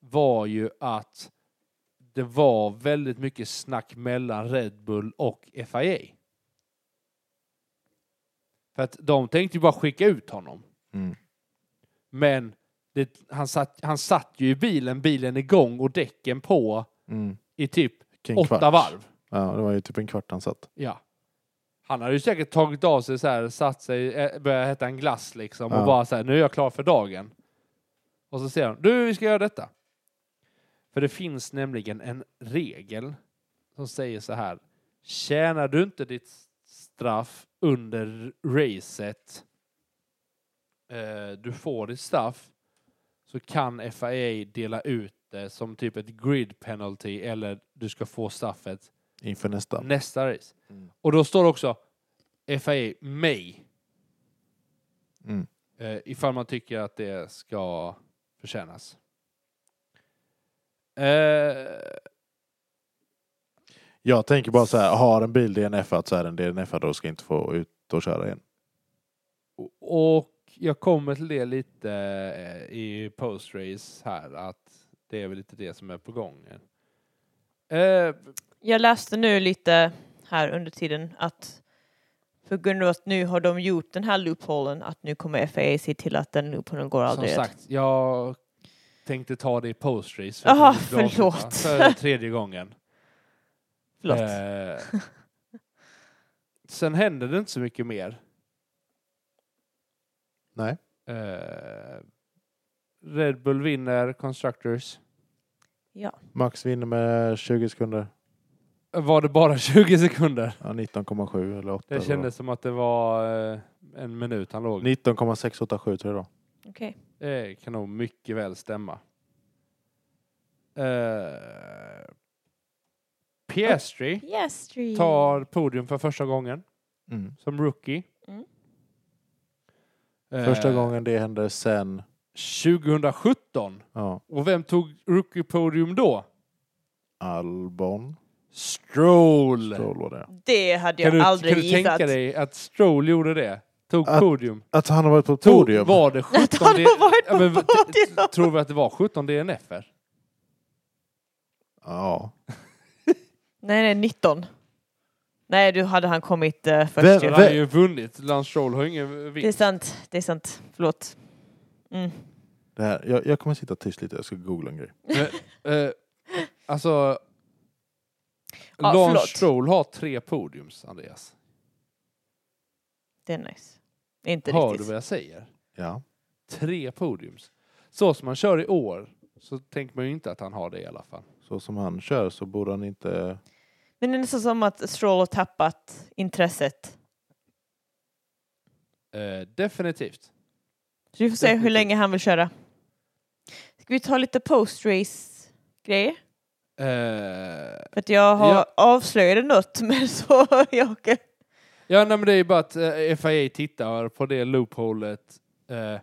Speaker 2: var ju att det var väldigt mycket snack mellan Red Bull och FIA. För att de tänkte ju bara skicka ut honom.
Speaker 1: Mm.
Speaker 2: Men det, han, satt, han satt ju i bilen, bilen igång och däcken på
Speaker 1: Mm.
Speaker 2: i typ
Speaker 1: Kring
Speaker 2: åtta
Speaker 1: kvart.
Speaker 2: varv.
Speaker 1: Ja, det var ju typ en kvart han satt.
Speaker 2: Ja. Han hade ju säkert tagit av sig så här, satt sig, eh, börjat äta en glass liksom
Speaker 1: Ja.
Speaker 2: och bara så här, nu är jag klar för dagen. Och så säger han, du vi ska göra detta. För det finns nämligen en regel som säger så här, tjänar du inte ditt straff under racet, eh, du får ditt straff, så kan FIA dela ut det som typ ett grid penalty eller du ska få straffet
Speaker 1: Inför nästa.
Speaker 2: nästa race.
Speaker 1: Mm.
Speaker 2: Och då står det också FIA May.
Speaker 1: Mm.
Speaker 2: Eh, ifall man tycker att det ska förtjänas. Eh,
Speaker 1: Jag tänker bara så här, har en bil DNF så är den DNF och ska inte få ut och köra igen.
Speaker 2: och jag kommer till det lite eh, i post-race här, att det är väl lite det som är på gång. Eh,
Speaker 3: Jag läste nu lite här under tiden att på grund av att nu har de gjort den här loopholen att nu kommer FAA se till att den loopholen går
Speaker 2: som
Speaker 3: aldrig rätt.
Speaker 2: sagt, jag tänkte ta det i post-race. för
Speaker 3: Jaha,
Speaker 2: att det blir bra att
Speaker 3: förlåt.
Speaker 2: sitta För tredje gången.
Speaker 3: Förlåt.
Speaker 2: Eh, sen hände det inte så mycket mer.
Speaker 1: Nej.
Speaker 2: Eh, Red Bull vinner Constructors.
Speaker 3: Ja.
Speaker 1: Max vinner med 20 sekunder.
Speaker 2: Eh, Var det bara *laughs* 20 sekunder?
Speaker 1: Ja, 19,7 eller 8.
Speaker 2: Det kändes som att det var eh, en minut han låg.
Speaker 1: 19,687 tror jag då.
Speaker 3: Okej.
Speaker 2: Det kan nog mycket väl stämma. Eh, Piastri
Speaker 3: Yes,
Speaker 2: tar podium för första gången
Speaker 1: Mm.
Speaker 2: som rookie.
Speaker 3: Mm.
Speaker 2: Eh,
Speaker 1: Första gången det hände sen...
Speaker 2: 2017.
Speaker 1: Ja,
Speaker 2: Och vem tog rookie-podium då?
Speaker 1: Albon.
Speaker 2: Stroll!
Speaker 1: Stroll var det.
Speaker 3: Det hade jag
Speaker 2: Kan du, kan
Speaker 3: aldrig
Speaker 2: du
Speaker 3: gissat.
Speaker 2: tänka
Speaker 3: *laughs*
Speaker 2: dig att Stroll gjorde det? Tog
Speaker 1: Att-
Speaker 2: podium.
Speaker 1: Att han har varit på ett
Speaker 2: Tog,
Speaker 1: podium.
Speaker 2: Var det 17
Speaker 3: Att han
Speaker 2: D-
Speaker 3: har varit
Speaker 2: Ja,
Speaker 3: på
Speaker 2: men t-
Speaker 3: podium.
Speaker 2: Tror vi att det var 17 DNF-er?
Speaker 1: Ja.
Speaker 3: Nej, nej, 19. Nej, du hade han kommit eh,
Speaker 1: Vem-
Speaker 3: först ju.
Speaker 2: Han har ju vunnit. Lance Stroll har ju ingen
Speaker 3: Det är
Speaker 2: vinst.
Speaker 3: sant, det är sant. Förlåt. Mm.
Speaker 1: Det här, jag, jag kommer sitta tyst lite, jag ska googla en grej.
Speaker 2: Eh, alltså...
Speaker 3: Ja,
Speaker 2: Lance
Speaker 3: förlåt.
Speaker 2: Stroll har tre podiums, Andreas.
Speaker 3: Det är nice. Inte
Speaker 2: Hör du
Speaker 3: riktigt.
Speaker 2: vad jag säger?
Speaker 1: Ja.
Speaker 2: Tre podiums. Så som han kör i år så tänker man ju inte att han har det i alla fall.
Speaker 1: Så som han kör så borde han inte...
Speaker 3: Men det är nästan som att Stroll har tappat intresset.
Speaker 2: Eh, definitivt.
Speaker 3: Så vi får se hur
Speaker 2: Definitivt.
Speaker 3: länge han vill köra. Ska vi ta lite post-race grejer?
Speaker 2: Eh,
Speaker 3: För att jag har
Speaker 2: Ja.
Speaker 3: avslöjade något, *laughs* men så jag...
Speaker 2: Ja, nej, men det är ju bara att eh, FIA tittar på det loopholet. Eh,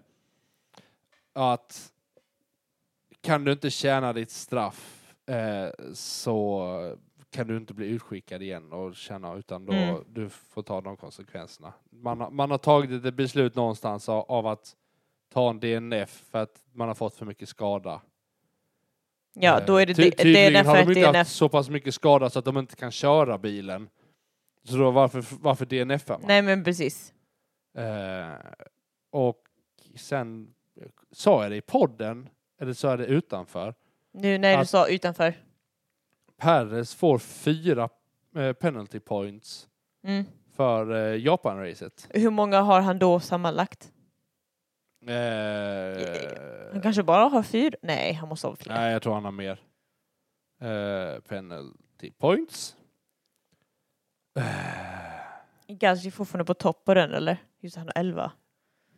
Speaker 2: att kan du inte tjäna ditt straff eh, så kan du inte bli utskickad igen och tjäna utan då
Speaker 3: Mm.
Speaker 2: du får ta de konsekvenserna. Man har, man har tagit ett beslut någonstans av, av att ta en DNF för att man har fått för mycket skada.
Speaker 3: Ja,
Speaker 2: Eh,
Speaker 3: då är det,
Speaker 2: ty-
Speaker 3: det, det är
Speaker 2: tydligen
Speaker 3: därför
Speaker 2: har
Speaker 3: att
Speaker 2: de
Speaker 3: det
Speaker 2: inte
Speaker 3: är
Speaker 2: haft så pass mycket skada så att de inte kan köra bilen. Så då varför, varför DNF? -ar man?
Speaker 3: Nej, men precis.
Speaker 2: Eh, och sen sa jag det i podden, eller sa jag det utanför.
Speaker 3: Nu när du
Speaker 2: Att-
Speaker 3: sa utanför.
Speaker 2: Perez får fyra eh, penalty points
Speaker 3: Mm.
Speaker 2: för eh, Japan-racet.
Speaker 3: Hur många har han då sammanlagt? Han
Speaker 2: Eh,
Speaker 3: kanske bara har fyra? Nej, han måste ha fler.
Speaker 2: nej, jag tror han har mer eh, penalty points. Eh,
Speaker 3: Gasly är fortfarande på topp på den, eller? Just det, han har elva.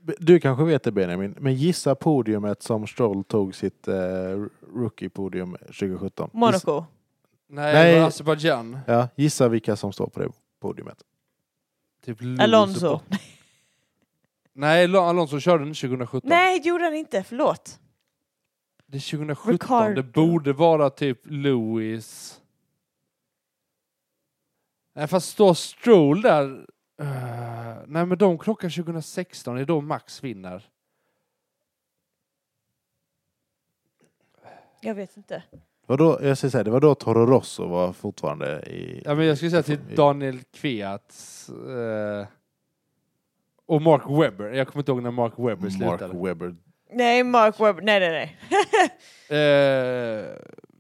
Speaker 1: Du kanske vet det Benjamin, men gissa podiumet som Stroll tog sitt eh, rookie-podium 2017. Gissa,
Speaker 3: Monaco.
Speaker 2: Nej,
Speaker 1: Nej.
Speaker 2: nej. Azerbajdzjan.
Speaker 1: ja, gissa vilka som står på det podiumet.
Speaker 2: Typ Lewis
Speaker 3: Alonso.
Speaker 2: och- Nej, Lo- Alonso körde den 2017.
Speaker 3: Nej, det gjorde han inte. Förlåt.
Speaker 2: Det är 2017.
Speaker 3: Ricardo.
Speaker 2: Det borde vara typ Lewis. Nej, fast står Stroll där. Eh, nej, men de krockar 2016. Det är då Max vinner.
Speaker 3: Jag vet inte.
Speaker 1: Vadå, jag ska säga, det var då Toro Rosso var fortfarande i...
Speaker 2: Ja, men jag skulle säga till Daniel Kviat eh, och Mark Webber. Jag kommer inte ihåg när Mark Webber slutade.
Speaker 1: Mark Webber.
Speaker 3: Nej, Mark Webber. Nej, nej, nej.
Speaker 2: Eh,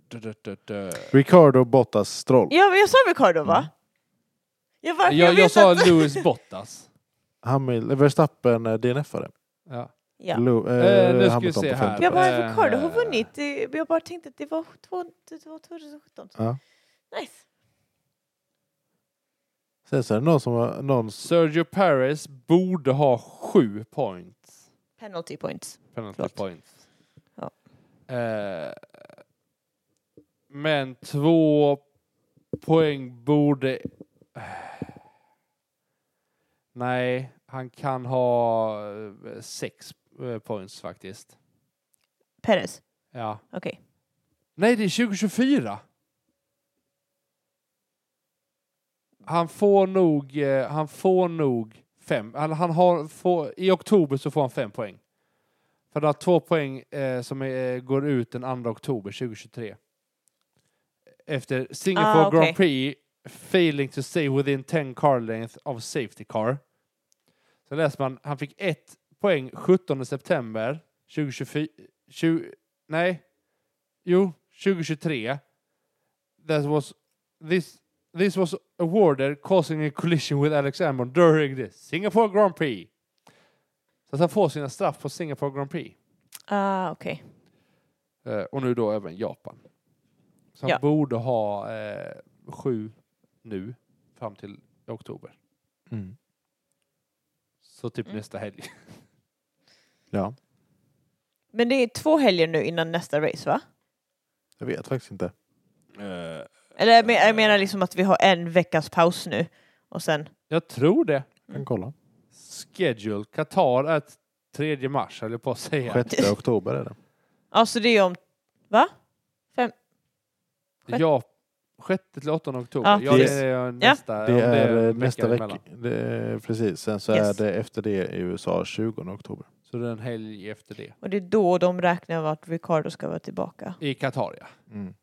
Speaker 2: du, du, du, du.
Speaker 1: Ricardo Bottas Stroll.
Speaker 3: Ja, men jag sa Ricardo, va?
Speaker 1: Mm.
Speaker 3: Ja, varför jag,
Speaker 2: Jag, jag
Speaker 3: vet
Speaker 2: sa
Speaker 3: att...
Speaker 2: Lewis Bottas.
Speaker 1: Hamil, Verstappen eh, DNF-are.
Speaker 2: Ja.
Speaker 3: Ja.
Speaker 1: Lo,
Speaker 2: Eh, nu ska vi
Speaker 1: Hamilton
Speaker 2: se
Speaker 1: på
Speaker 2: här.
Speaker 1: femte
Speaker 3: Jag
Speaker 1: plats.
Speaker 3: bara, Ricardo har vunnit. Det- Jag bara tänkte att det var två- det var 2017.
Speaker 1: Ja.
Speaker 3: Nice.
Speaker 1: Sen så är det någon som har... Någon,
Speaker 2: Sergio Perez borde ha sju points.
Speaker 3: Penalty points.
Speaker 2: Penalty
Speaker 3: Klart.
Speaker 2: points.
Speaker 3: Ja.
Speaker 2: Eh, men två poäng borde... eh, Nej, han kan ha eh, sex eh, points faktiskt.
Speaker 3: Perez.
Speaker 2: Ja.
Speaker 3: Okej.
Speaker 2: Nej, det är 2024! Han får nog, eh, han får nog fem, han, han har, får, i oktober så får han fem poäng. För han har två poäng eh, som är, går ut den 2 oktober 2023. Efter Singapore
Speaker 3: Ah, okej.
Speaker 2: Grand Prix, failing to stay within 10 car length of safety car. Så läser man, han fick ett poäng 17 september 2024, 20, nej, jo, 2023. That was, this, this was awarded causing a collision with Alex Albon during the Singapore Grand Prix. Så att han får sina straff på Singapore Grand Prix.
Speaker 3: Ah, okej.
Speaker 2: Eh, och nu då även Japan. Så han
Speaker 3: Ja.
Speaker 2: borde ha eh, sju nu fram till oktober.
Speaker 1: mm,
Speaker 2: Så typ
Speaker 3: Mm.
Speaker 2: nästa helg.
Speaker 1: ja.
Speaker 3: Men det är två helger nu innan nästa race va?
Speaker 1: Jag vet faktiskt inte.
Speaker 3: Eller jag, men,
Speaker 2: Eh.
Speaker 3: jag menar liksom att vi har en veckas paus nu och sen
Speaker 2: Jag tror det.
Speaker 3: Mm.
Speaker 1: Kan kolla.
Speaker 2: Schedule. Qatar är t- 3 mars, höll jag på att säga.
Speaker 3: *laughs*
Speaker 1: 6 oktober är det.
Speaker 3: Ja, så det är om... Va? sjätte.
Speaker 2: Ja, 6 till 8 oktober.
Speaker 3: Ja,
Speaker 2: Ja, det
Speaker 1: precis.
Speaker 2: är nästa, om
Speaker 1: Det är,
Speaker 2: en
Speaker 1: eh, nästa vecka.
Speaker 2: emellan.
Speaker 1: Det är, precis. Sen så
Speaker 3: Yes.
Speaker 1: är det efter det i USA 20 oktober.
Speaker 2: Så det är en helg efter det.
Speaker 3: Och det är då de räknar med att Ricardo ska vara tillbaka.
Speaker 2: I Qatar, ja.
Speaker 1: Mm.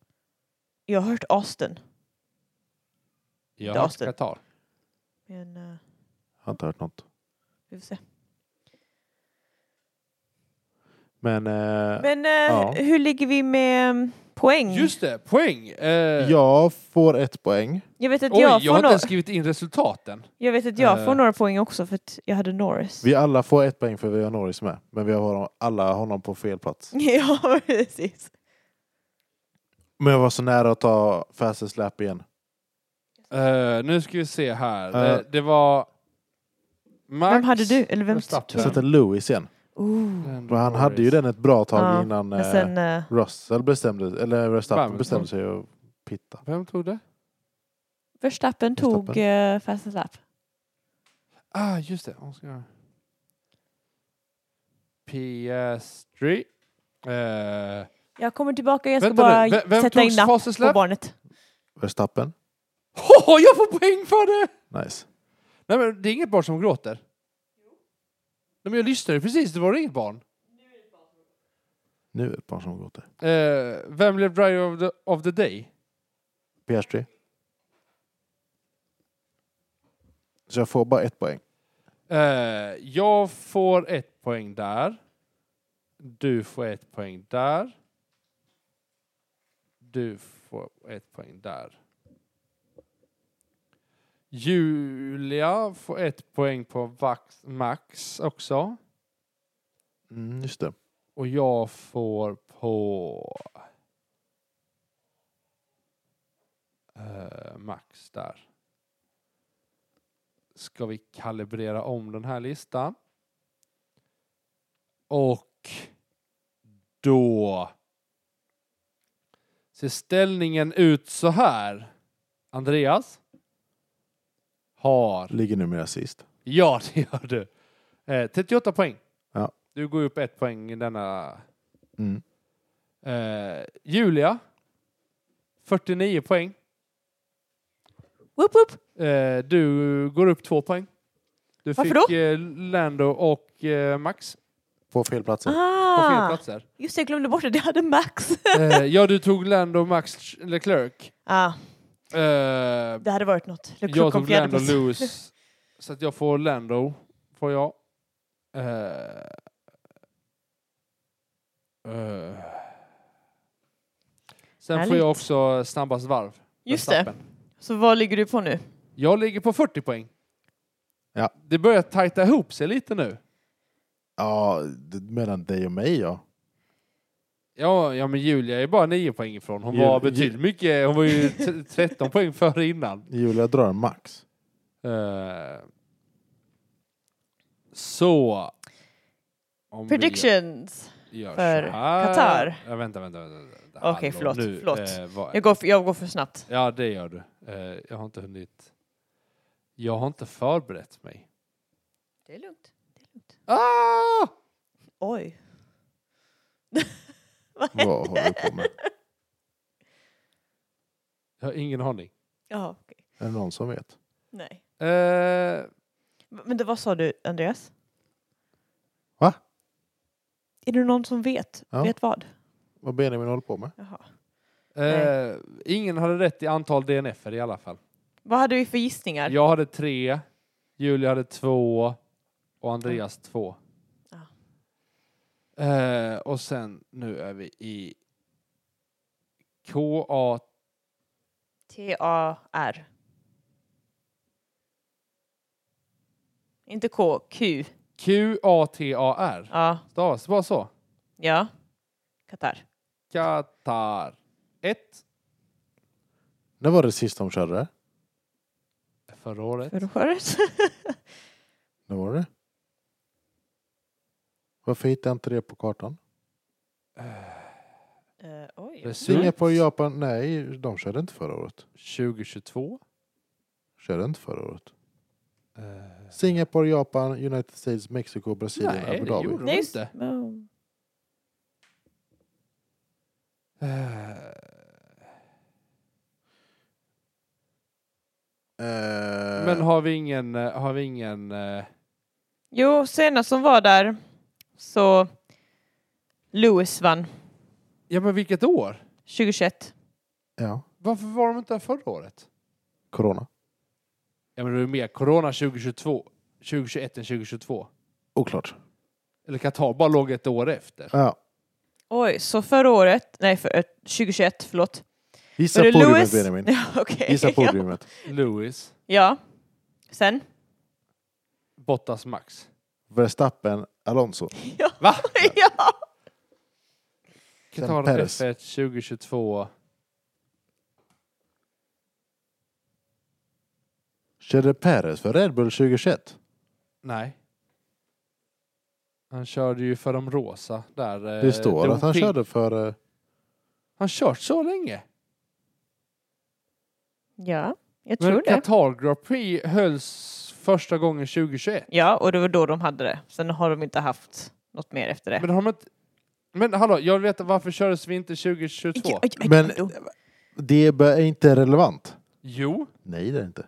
Speaker 3: Jag har hört Austin.
Speaker 2: Jag
Speaker 3: Det
Speaker 2: har
Speaker 3: är
Speaker 2: hört
Speaker 3: Austin.
Speaker 2: Qatar.
Speaker 3: Men eh,
Speaker 1: Jag har inte hört något.
Speaker 3: vi får se.
Speaker 1: Men, eh,
Speaker 3: Men eh,
Speaker 1: Ja.
Speaker 3: hur ligger vi med mm, poäng?
Speaker 2: Just det, poäng! Eh,
Speaker 1: jag får ett poäng.
Speaker 3: Jag vet att
Speaker 2: Oj,
Speaker 3: jag,
Speaker 2: jag har
Speaker 3: får
Speaker 2: inte
Speaker 3: några...
Speaker 2: ens skrivit in resultaten.
Speaker 3: Jag vet att jag
Speaker 2: Eh.
Speaker 3: får några poäng också för att jag hade Norris.
Speaker 1: Vi alla får ett poäng för vi har Norris med. Men vi har alla honom på fel plats.
Speaker 3: *laughs* ja, precis.
Speaker 1: Men jag var så nära att ta fastest lap igen.
Speaker 2: Eh, nu ska vi se här.
Speaker 1: Eh.
Speaker 2: Det, det var... Max
Speaker 3: Vem hade du? Eller vem
Speaker 2: Verstappen.
Speaker 1: Jag satte Lewis igen.
Speaker 3: Oh.
Speaker 1: Men han hade ju den ett bra tag
Speaker 3: Ja,
Speaker 1: innan
Speaker 3: Men
Speaker 1: eh,
Speaker 3: sen... eh,
Speaker 1: Russell bestämde, eller Verstappen
Speaker 2: Bam.
Speaker 1: bestämde sig att pitta.
Speaker 2: Vem tog det?
Speaker 3: Verstappen
Speaker 1: Verstappen.
Speaker 3: tog uh, fastest lap.
Speaker 2: Ah, just det. Hon ska- PS3. Eh, *laughs*
Speaker 3: Jag kommer tillbaka, jag ska
Speaker 2: vänta
Speaker 3: bara
Speaker 2: nu, Ve- vem
Speaker 3: sätta in
Speaker 2: tog
Speaker 3: napp
Speaker 2: fastest
Speaker 3: på
Speaker 2: lap?
Speaker 3: barnet.
Speaker 1: Verstappen?
Speaker 2: Hoho, jag får poäng för det!
Speaker 1: Nice.
Speaker 2: Nej, men det är inget barn som gråter. Nej, men jag lyssnade precis, det var inget barn.
Speaker 1: Nu är det ett barn som gått där.
Speaker 2: Eh, vem blev driver of the, of the day?
Speaker 1: Piastri. Så jag får bara ett poäng.
Speaker 2: Eh, jag får ett poäng där. Du får ett poäng där. Du får ett poäng där. Julia får ett poäng på Vax, Max också.
Speaker 1: Mm, just det.
Speaker 2: Och jag får på... eh, Max där. Ska vi kalibrera om den här listan? Och då ser ställningen ut så här. Andreas har
Speaker 1: Ligger numera sist.
Speaker 2: Ja, *laughs* det gör du. Eh, 38 poäng.
Speaker 1: Ja.
Speaker 2: Du går upp ett poäng i denna.
Speaker 1: Mm.
Speaker 2: Eh, Julia, 49 poäng.
Speaker 3: Whoop, whoop.
Speaker 2: Eh, du går upp två poäng. Du
Speaker 3: Varför
Speaker 2: fick
Speaker 3: då?
Speaker 2: Eh, Lando och eh, Max
Speaker 1: På fel platser.
Speaker 2: på fel
Speaker 3: Ah,
Speaker 2: platser.
Speaker 3: just det, jag glömde bort det. Det
Speaker 2: *laughs*
Speaker 3: hade Max.
Speaker 2: Eh, ja, du tog Lando och Max Leclerc.
Speaker 3: ah,
Speaker 2: Eh,
Speaker 3: det hade varit något. Leclerc
Speaker 2: jag
Speaker 3: kom
Speaker 2: tog
Speaker 3: fjärde
Speaker 2: Lando
Speaker 3: plats.
Speaker 2: Lewis. Så att jag får Lando. Får jag. Eh, eh. Sen får
Speaker 3: Härligt.
Speaker 2: jag också snabbast varv.
Speaker 3: Just det.
Speaker 2: Verstappen.
Speaker 3: Så vad ligger du på nu?
Speaker 2: Jag ligger på 40 poäng.
Speaker 1: Ja.
Speaker 2: Det börjar tajta ihop sig lite nu.
Speaker 1: Ja, det- mellan dig och mig ja.
Speaker 2: Ja, ja men Julia är bara 9 poäng ifrån. Hon
Speaker 1: Ju-
Speaker 2: var
Speaker 1: Ju-
Speaker 2: betydligt mycket. Hon var
Speaker 1: *laughs*
Speaker 2: ju t- 13 poäng före innan.
Speaker 1: Julia drar en max.
Speaker 2: Eh, så. Om vi
Speaker 3: Predictions.
Speaker 2: gör
Speaker 3: för
Speaker 2: så här-
Speaker 3: Qatar.
Speaker 2: Ja, vänta, vänta. vänta, vänta.
Speaker 3: Okej,
Speaker 2: Hallå,
Speaker 3: förlåt,
Speaker 2: nu,
Speaker 3: förlåt.
Speaker 2: eh, vad-
Speaker 3: Jag går, för, jag går för snabbt.
Speaker 2: Ja, det gör du. Eh, jag har inte hunnit. Jag har inte förberett mig.
Speaker 3: Det är lugnt. Det är lugnt.
Speaker 2: Ah!
Speaker 3: Oj. *laughs*
Speaker 1: Vad håller du på med?
Speaker 2: Jag har ingen aning.
Speaker 3: Jaha, okej.
Speaker 1: Är det någon som vet?
Speaker 3: Nej.
Speaker 2: Eh,
Speaker 3: Men det, vad sa du, Andreas?
Speaker 1: Va?
Speaker 3: Är det någon som vet?
Speaker 1: Ja.
Speaker 3: Vet vad?
Speaker 1: Vad Benjamin håller på med?
Speaker 3: Jaha.
Speaker 2: eh, ingen hade rätt i antal DNF i alla fall.
Speaker 3: Vad hade vi för gissningar?
Speaker 2: Jag hade tre, Julia hade två och Andreas två.
Speaker 3: Ja.
Speaker 2: Eh, och sen nu är vi i KA
Speaker 3: T-A-R. Inte K, Q.
Speaker 2: Q-A-T-A-R.
Speaker 3: Ja,
Speaker 2: Stavas det bara så?
Speaker 3: ja. Qatar.
Speaker 2: Qatar 1
Speaker 1: När var det sist de körde?
Speaker 2: förra året.
Speaker 3: Hur var det?
Speaker 1: När var det? Varför hittade jag inte det på kartan?
Speaker 3: *laughs* Eh, oj.
Speaker 2: Precis.
Speaker 1: Singapore och Japan, nej, de körde inte förra året.
Speaker 2: 2022.
Speaker 1: Körde inte förra året.
Speaker 2: Eh,
Speaker 1: Singapore, Japan, United States, Mexiko, Brasilien,
Speaker 2: Nej,
Speaker 1: Abu
Speaker 2: det
Speaker 1: Dhabi.
Speaker 2: gjorde de
Speaker 3: Nej, just
Speaker 2: inte.
Speaker 3: Mm.
Speaker 2: eh,
Speaker 1: Eh,
Speaker 2: Men har vi ingen, eh, har vi ingen, eh,
Speaker 3: Jo, senast som var där så Lewis vann
Speaker 2: ja men vilket år?
Speaker 3: 2021.
Speaker 1: Ja,
Speaker 2: Varför var de inte där förra året?
Speaker 1: corona.
Speaker 2: Ja men det är ju mer corona 2022, 2021 än 2022.
Speaker 1: Oklart.
Speaker 2: Eller Qatar bara låg ett år efter.
Speaker 1: Ja.
Speaker 3: Oj, så förra året, nej för, eh, 2021, förlåt.
Speaker 1: Gissa
Speaker 3: Var det
Speaker 1: podiumet
Speaker 3: Lewis?
Speaker 1: Benjamin.
Speaker 3: *laughs* Ja,
Speaker 2: *laughs*
Speaker 3: Okej.
Speaker 1: Gissa podiumet.
Speaker 2: Lewis,
Speaker 3: Ja. Sen?
Speaker 2: Bottas, Max.
Speaker 1: Verstappen, Alonso.
Speaker 3: Ja.
Speaker 2: Va?
Speaker 3: *laughs* ja.
Speaker 1: Sen
Speaker 2: Qatar
Speaker 1: Perez.
Speaker 2: F1 2022.
Speaker 1: Körde Perez för Red Bull 2021?
Speaker 2: Nej. Han körde ju för de rosa där. eh,
Speaker 1: Det står att han körde för... eh,
Speaker 2: Han kört så länge.
Speaker 3: Ja, jag tror
Speaker 2: Men
Speaker 3: det.
Speaker 2: Qatar Grand Prix hölls första gången 2021.
Speaker 3: Ja, och det var då de hade det. Sen har de inte haft något mer efter det.
Speaker 2: Men har man inte... Men hallå, jag vet varför kördes vi inte 2022?
Speaker 3: Ja, ja, ja,
Speaker 1: Men-
Speaker 3: då.
Speaker 1: Det är inte relevant.
Speaker 2: Jo.
Speaker 1: Nej, det är det inte.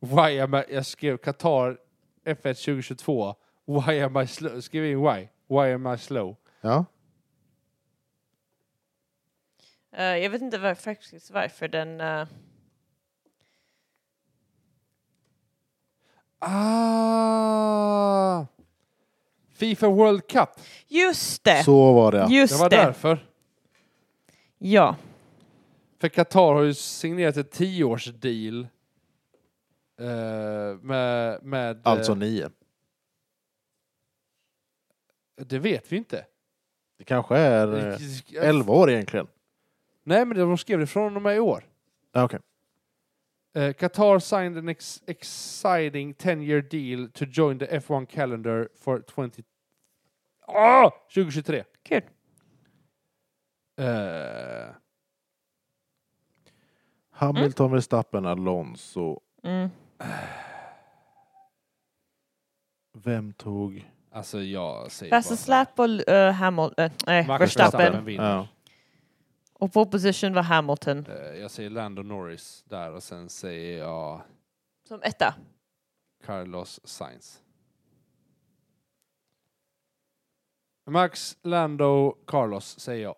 Speaker 2: Why am I... Jag skrev Qatar F1 2022. Why am I slow? Skriv in why. Why am I slow?
Speaker 1: Ja.
Speaker 3: Eh, jag vet inte var, faktiskt varför den... eh,
Speaker 2: Ah! Fifa World Cup.
Speaker 3: Just det!
Speaker 1: Så var det. ja.
Speaker 2: Det
Speaker 3: Just
Speaker 2: var
Speaker 3: det!
Speaker 2: därför.
Speaker 3: Ja.
Speaker 2: För Qatar har ju signerat ett tioårsdeal eh, med, med... eh,
Speaker 1: Alltså nio.
Speaker 2: eh, Det vet vi inte.
Speaker 1: Det kanske är eh, elva år egentligen.
Speaker 2: Nej, men de skrev det från och med i år.
Speaker 1: Ja, okej.
Speaker 2: Eh, Qatar signed an ex exciting 10-year deal to join the F1 calendar for 20... Ah! 2023.
Speaker 3: Kul.
Speaker 2: Eh,
Speaker 1: Hamilton, Verstappen, Alonso.
Speaker 3: Mm.
Speaker 1: Vem tog...
Speaker 2: alltså, jag säger
Speaker 3: Fast släp på uh, Hamil- eh, nej,
Speaker 2: Max
Speaker 3: Verstappen.
Speaker 2: vinner.
Speaker 1: Ja.
Speaker 3: Och på opposition var Hamilton
Speaker 2: Eh, jag säger Lando Norris där och sen säger jag
Speaker 3: som etta.
Speaker 2: Carlos Sainz. Max, Lando, Carlos säger jag.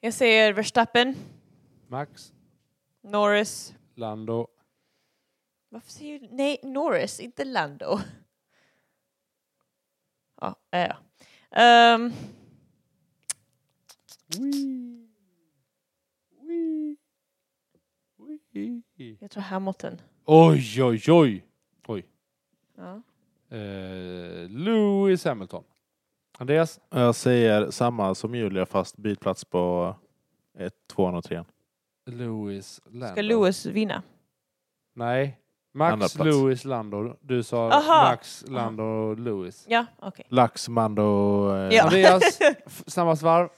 Speaker 3: Jag säger Verstappen,
Speaker 2: Max,
Speaker 3: Norris.
Speaker 2: Lando,
Speaker 3: Varför säger du nej, Norris, inte Lando? Ja, eh, ja. Ehm, jag tror Hamilton.
Speaker 2: Oj, oj, oj!
Speaker 3: Ja.
Speaker 2: Eh, Lewis Hamilton. Andreas?
Speaker 1: Jag säger samma som Julia fast byt plats på ett, tvåan och trean.
Speaker 2: Lewis, Lando.
Speaker 3: Ska Lewis vinna?
Speaker 2: Nej.
Speaker 1: Andra
Speaker 2: Max,
Speaker 1: plats.
Speaker 2: Lewis, Lando. Du sa
Speaker 3: Aha.
Speaker 2: Max, Lando, Lewis.
Speaker 3: Ja, okej.
Speaker 1: Lax, Mando... eh,
Speaker 3: Ja.
Speaker 2: Andreas, f- snabbast varv.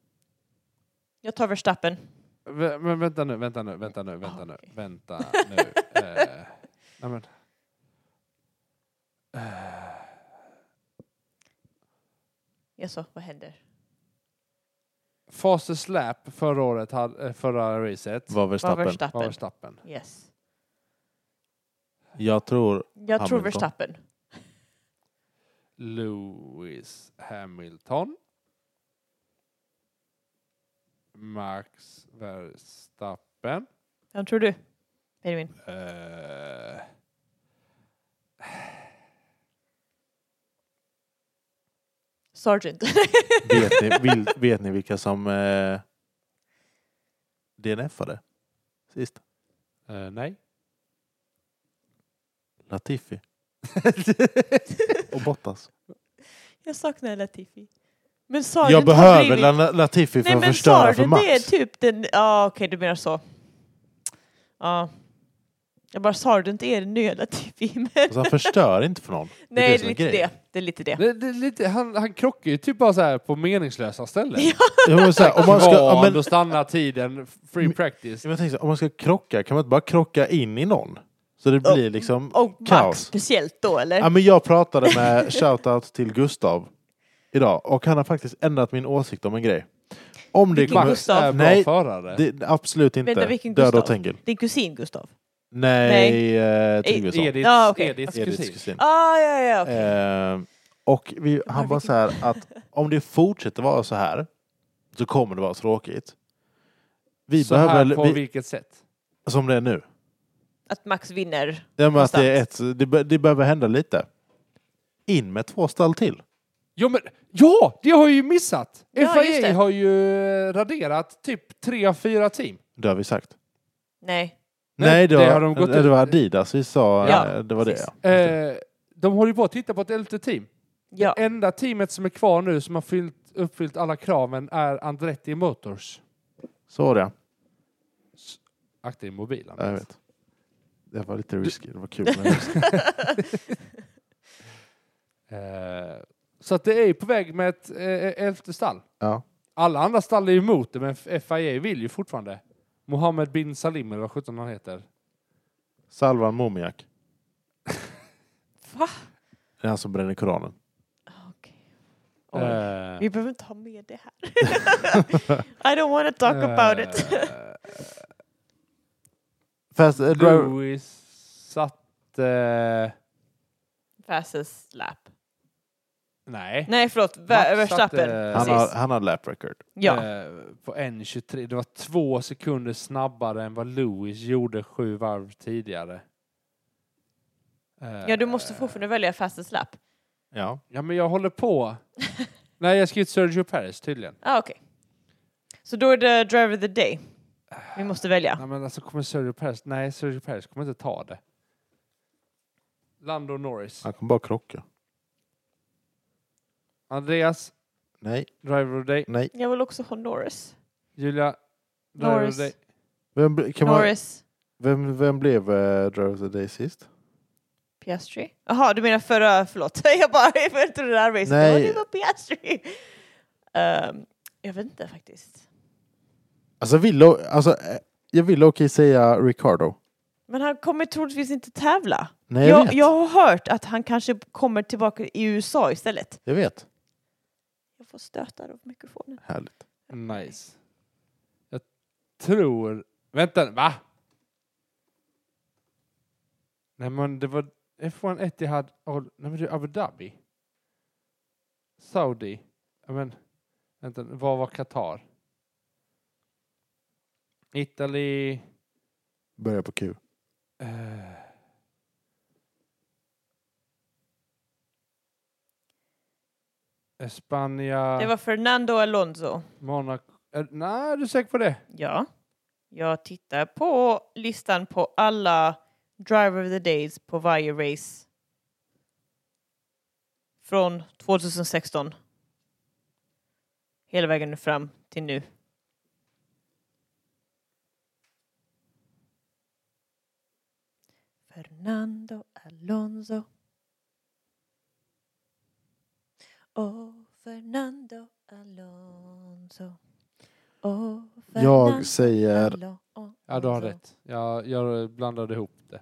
Speaker 3: *laughs* Jag tar Verstappen.
Speaker 2: Vä- Men vänta nu, vänta nu, vänta nu, vänta nu,
Speaker 3: okej.
Speaker 2: vänta nu. Eh, nej men. Eh,
Speaker 3: Jaså, vad händer?
Speaker 2: Fastest slap förra året, hade, eh, förra racet,
Speaker 1: Var
Speaker 3: Var
Speaker 1: Verstappen.
Speaker 2: var
Speaker 3: Verstappen.
Speaker 2: Verstappen.
Speaker 3: Yes.
Speaker 1: Jag tror...
Speaker 3: Jag tror
Speaker 1: Hamilton.
Speaker 3: Verstappen.
Speaker 2: Lewis Hamilton. Max Verstappen.
Speaker 3: Vem tror du? Benjamin.
Speaker 2: Eh.
Speaker 1: *laughs*
Speaker 3: Sargent.
Speaker 1: Vet ni, vil, vet ni vilka som eh, DNF-ade sist?
Speaker 2: Eh, nej.
Speaker 1: Latifi och Bottas.
Speaker 3: *laughs* jag saknar Latifi. Men Sargent
Speaker 1: jag
Speaker 3: har
Speaker 1: behöver
Speaker 3: blivit...
Speaker 1: La- Latifi för
Speaker 3: Nej
Speaker 1: att
Speaker 3: men
Speaker 1: förstöra för
Speaker 3: typ
Speaker 1: Max.
Speaker 3: Sargent är typ den... Ja okej, du menar så. Ja. Jag bara, Sargent är den nya Latifi. *laughs*
Speaker 1: Alltså, han förstör inte för någon. Det är det
Speaker 3: Nej, det
Speaker 1: som
Speaker 3: är
Speaker 1: är
Speaker 3: lite
Speaker 1: grejen.
Speaker 3: det. Det är lite det.
Speaker 2: Det, det, är lite, han, han krockar ju typ bara så här på meningslösa ställen.
Speaker 3: Ja.
Speaker 1: Jo, men så här, om, man ska,
Speaker 2: Kval,
Speaker 1: ja, men, Mm.
Speaker 2: då stannar tiden, free practice.
Speaker 1: Ja, men *laughs* jag tänker så här, om man ska krocka, kan man inte bara krocka in i någon? Så det
Speaker 3: Oh,
Speaker 1: blir liksom...
Speaker 3: Och Max
Speaker 1: Kaos.
Speaker 3: speciellt då, eller?
Speaker 1: Ja, men jag pratade med *laughs* shoutout till Gustav idag och han har faktiskt ändrat min åsikt om en grej. Om det
Speaker 3: Vilken
Speaker 1: kommer...
Speaker 2: Max
Speaker 3: Gustav.
Speaker 2: är bra
Speaker 1: Nej,
Speaker 2: förare.
Speaker 1: Det, absolut inte.
Speaker 3: Vänta, vilken
Speaker 1: Död
Speaker 3: Gustav?
Speaker 1: åt Tengil.
Speaker 3: Din kusin Gustav?
Speaker 1: Nej, eh,
Speaker 3: E-
Speaker 1: Tryggvesson.
Speaker 2: Ediths,
Speaker 3: Ja, okej.
Speaker 2: Ediths
Speaker 1: Ediths
Speaker 2: kusin.
Speaker 1: kusin.
Speaker 3: Ah, ja, ja, okej.
Speaker 1: Eh, och vi, han var så här att om det fortsätter vara så här så kommer det vara tråkigt. Vi
Speaker 2: Så här på
Speaker 1: behöver, vi,
Speaker 2: vilket sätt?
Speaker 1: som det är nu,
Speaker 3: Att Max vinner.
Speaker 1: det, är med att det, är ett, det, be- det behöver hända lite. In med två stall till.
Speaker 2: Ja, men, ja, det har jag ju missat!
Speaker 3: Ja, just
Speaker 2: FIA
Speaker 3: det.
Speaker 2: har ju eh, raderat typ tre av fyra team.
Speaker 1: Det har vi sagt.
Speaker 3: Nej.
Speaker 2: Nej,
Speaker 1: Nej, det,
Speaker 2: det
Speaker 1: var,
Speaker 2: har de gått
Speaker 1: nej, det
Speaker 2: ut-
Speaker 1: var Adidas vi sa.
Speaker 3: Ja,
Speaker 1: eh, det var det.
Speaker 3: precis.
Speaker 1: ja. Just det.
Speaker 2: Eh, de håller ju på att titta på ett elfte team.
Speaker 3: Ja.
Speaker 1: Eh.
Speaker 2: Enda teamet som är kvar nu som har fyllt, uppfyllt alla kraven är Andretti Motors.
Speaker 1: Så var det
Speaker 2: Akta i mobilen.
Speaker 1: ja. Jag vet. Det var lite risky. Det var kul.
Speaker 2: *laughs*
Speaker 1: Men risky.
Speaker 2: Eh, så att det är ju på väg med ett eh, elfte stall.
Speaker 1: ja.
Speaker 2: Alla andra stall är ju emot det, men FIA vill ju fortfarande. Mohammed bin Salim, eller vad sjutton han heter.
Speaker 1: Salvan Momiak.
Speaker 3: Va?
Speaker 1: Det är han som bränner Koranen.
Speaker 3: Okej. Oj.
Speaker 2: Eh,
Speaker 3: Vi behöver inte ha med det här.
Speaker 1: *laughs*
Speaker 3: I don't want to talk about it.
Speaker 2: eh,
Speaker 1: Fast, eh, driver-
Speaker 2: Lewis satt... eh,
Speaker 3: Fastest lap.
Speaker 2: nej.
Speaker 3: Nej, förlåt.
Speaker 2: Max satte-
Speaker 3: Verstappen.
Speaker 1: han,
Speaker 3: Precis.
Speaker 1: har, han har lap record.
Speaker 3: Ja.
Speaker 2: Eh, på 1.23. Det var två sekunder snabbare än vad Lewis gjorde sju varv tidigare. Eh,
Speaker 3: ja, du måste fortfarande välja fastest lap.
Speaker 1: Ja.
Speaker 2: Ja, men jag håller
Speaker 3: *laughs*
Speaker 2: på. nej, jag skrivit Sergio Perez tydligen.
Speaker 3: Ah, Okej. Så då är det driver of the day. Vi måste välja.
Speaker 2: Nej, men alltså kommer Sergio Perez... Nej, Sergio Perez kommer inte ta det. Lando Norris.
Speaker 1: Han kommer bara krocka.
Speaker 2: Andreas,
Speaker 1: Nej,
Speaker 2: driver of the day.
Speaker 1: nej.
Speaker 3: Jag vill också ha Norris.
Speaker 2: Julia, driver
Speaker 3: Norris.
Speaker 2: of the day.
Speaker 1: Vem, bli- kan man,
Speaker 3: Norris.
Speaker 1: vem, vem blev eh, Driver of the Day sist?
Speaker 3: Piastri? Jaha, du menar förra, förlåt. *laughs* Jag bara, jag trodde det här racet.
Speaker 1: Nej.
Speaker 3: Ja, Det var Piastri. Ehm, jag vet inte faktiskt.
Speaker 1: Alltså, vill, o- alltså, eh, jag vill okej säga Ricardo.
Speaker 3: Men han kommer troligtvis inte tävla.
Speaker 1: Nej, jag,
Speaker 3: jag,
Speaker 1: vet.
Speaker 3: jag
Speaker 1: Jag...
Speaker 3: har hört att han kanske kommer tillbaka i USA istället.
Speaker 1: vet.
Speaker 3: Jag får stötar av mikrofonen.
Speaker 1: Härligt.
Speaker 2: Nice. Jag tror... Vänta, va? Nej men det var F1 Etihad... Oh, nej men det är Abu Dhabi. Saudi. Ja, men vänta, vad var Qatar? Italy...
Speaker 1: Börja på Q.
Speaker 2: eh. Spanien,
Speaker 3: Det var Fernando Alonso.
Speaker 2: Monaco. eh, Nej, är du säker på det?
Speaker 3: Ja. Jag tittar på listan på alla Driver of the Days på varje race. Från 2016. Hela vägen fram till nu. Fernando Alonso. Oh, Fernando Alonso. Oh, Fernando
Speaker 1: Jag säger...
Speaker 3: Alonso.
Speaker 2: Ja, du har rätt. Jag, jag blandade ihop det.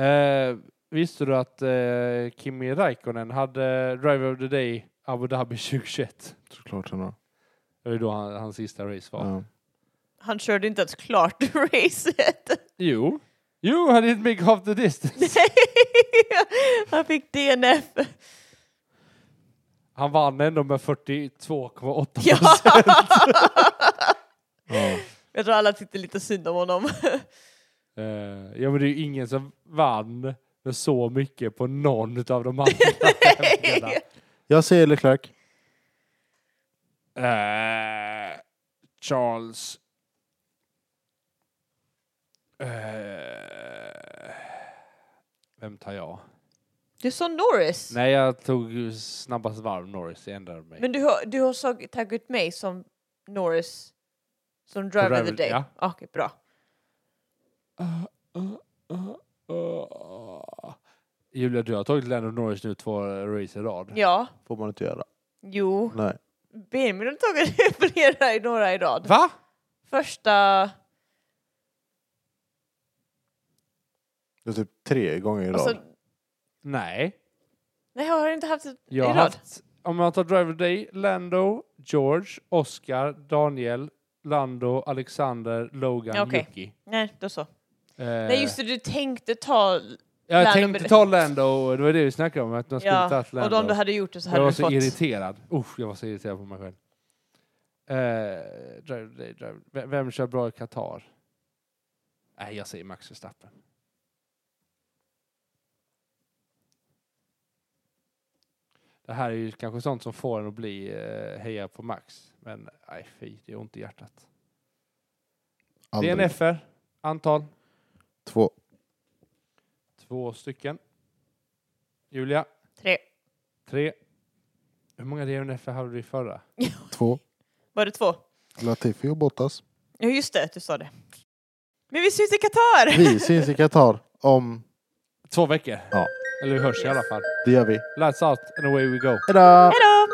Speaker 2: Eh, visste du att eh, Kimi Räikkönen hade Driver of the Day Abu Dhabi *laughs* 2021?
Speaker 1: Såklart han har.
Speaker 2: Det var ju då han, hans sista race var.
Speaker 1: Ja.
Speaker 3: Han körde inte ens klart *laughs* racet.
Speaker 2: Jo. Jo, han didn't make half the distance.
Speaker 3: Han fick
Speaker 2: *laughs*
Speaker 3: DNF.
Speaker 2: Han vann ändå med 42,8
Speaker 3: Ja.
Speaker 1: Ja.
Speaker 3: Jag tror alla tyckte lite synd om honom.
Speaker 2: Eh, ja, men det är ju ingen som vann med så mycket på någon av de andra tävlingarna.
Speaker 1: Jag säger Leclerc.
Speaker 2: Eh, Charles. Eh, vem tar jag?
Speaker 3: Du sa Norris.
Speaker 2: Nej, jag tog snabbast varv Norris. Jag ändrade mig.
Speaker 3: Men du har, du har sagt- tagit mig som Norris som driver of the Ah,
Speaker 2: driver,
Speaker 3: day?
Speaker 2: ja.
Speaker 3: Okej, bra.
Speaker 2: Uh, uh. Åh. Eh, Julia, du har tagit Lando Norris nu två race i rad.
Speaker 3: Ja,
Speaker 1: Får man inte göra.
Speaker 3: jo.
Speaker 1: Nej.
Speaker 3: Benjamin har tagit *laughs* flera i några i rad.
Speaker 2: Va?
Speaker 3: Första,
Speaker 1: Det är typ tre gånger i rad.
Speaker 3: alltså,
Speaker 2: Nej.
Speaker 3: nej jag har inte haft ett i
Speaker 2: Jag har
Speaker 3: rad.
Speaker 2: haft, om jag tar Driver Day, Lando, George, Oscar, Daniel, Lando, Alexander, Logan,
Speaker 3: Okej.
Speaker 2: Yuki.
Speaker 3: Nej, då så.
Speaker 2: Eh,
Speaker 3: Nej just det, du tänkte ta,
Speaker 2: jag
Speaker 3: Lando-
Speaker 2: tänkte ta Lando, det var det vi snackade om, att man skulle
Speaker 3: ja,
Speaker 2: tagit Lando.
Speaker 3: och då om du hade gjort det så
Speaker 2: jag
Speaker 3: hade
Speaker 2: var
Speaker 3: du
Speaker 2: så
Speaker 3: fått.
Speaker 2: irriterad. Usch, jag var så irriterad på mig själv. Eh, driver, driver, driver. V- Vem kör bra i Qatar? Nej, jag säger Max Verstappen. Det här är ju kanske sånt som får en att bli eh, heja på Max. Men nej, fy, det är ont i hjärtat.
Speaker 1: Aldrig.
Speaker 2: Det är en FR, antal,
Speaker 1: Två.
Speaker 2: två stycken. Julia,
Speaker 3: Tre. *laughs*
Speaker 2: tre. Hur många DNF hade du i förra?
Speaker 1: Två.
Speaker 3: Var det två?
Speaker 1: Latifi och Bottas.
Speaker 3: Ja just det, du sa det. Men vi syns i Qatar!
Speaker 1: Vi syns i Qatar om...
Speaker 2: Två veckor.
Speaker 1: Ja.
Speaker 2: Eller vi hörs i alla fall.
Speaker 1: Det gör vi.
Speaker 2: Lights out and away we go.
Speaker 1: Hejdå!
Speaker 3: *laughs* Hejdå!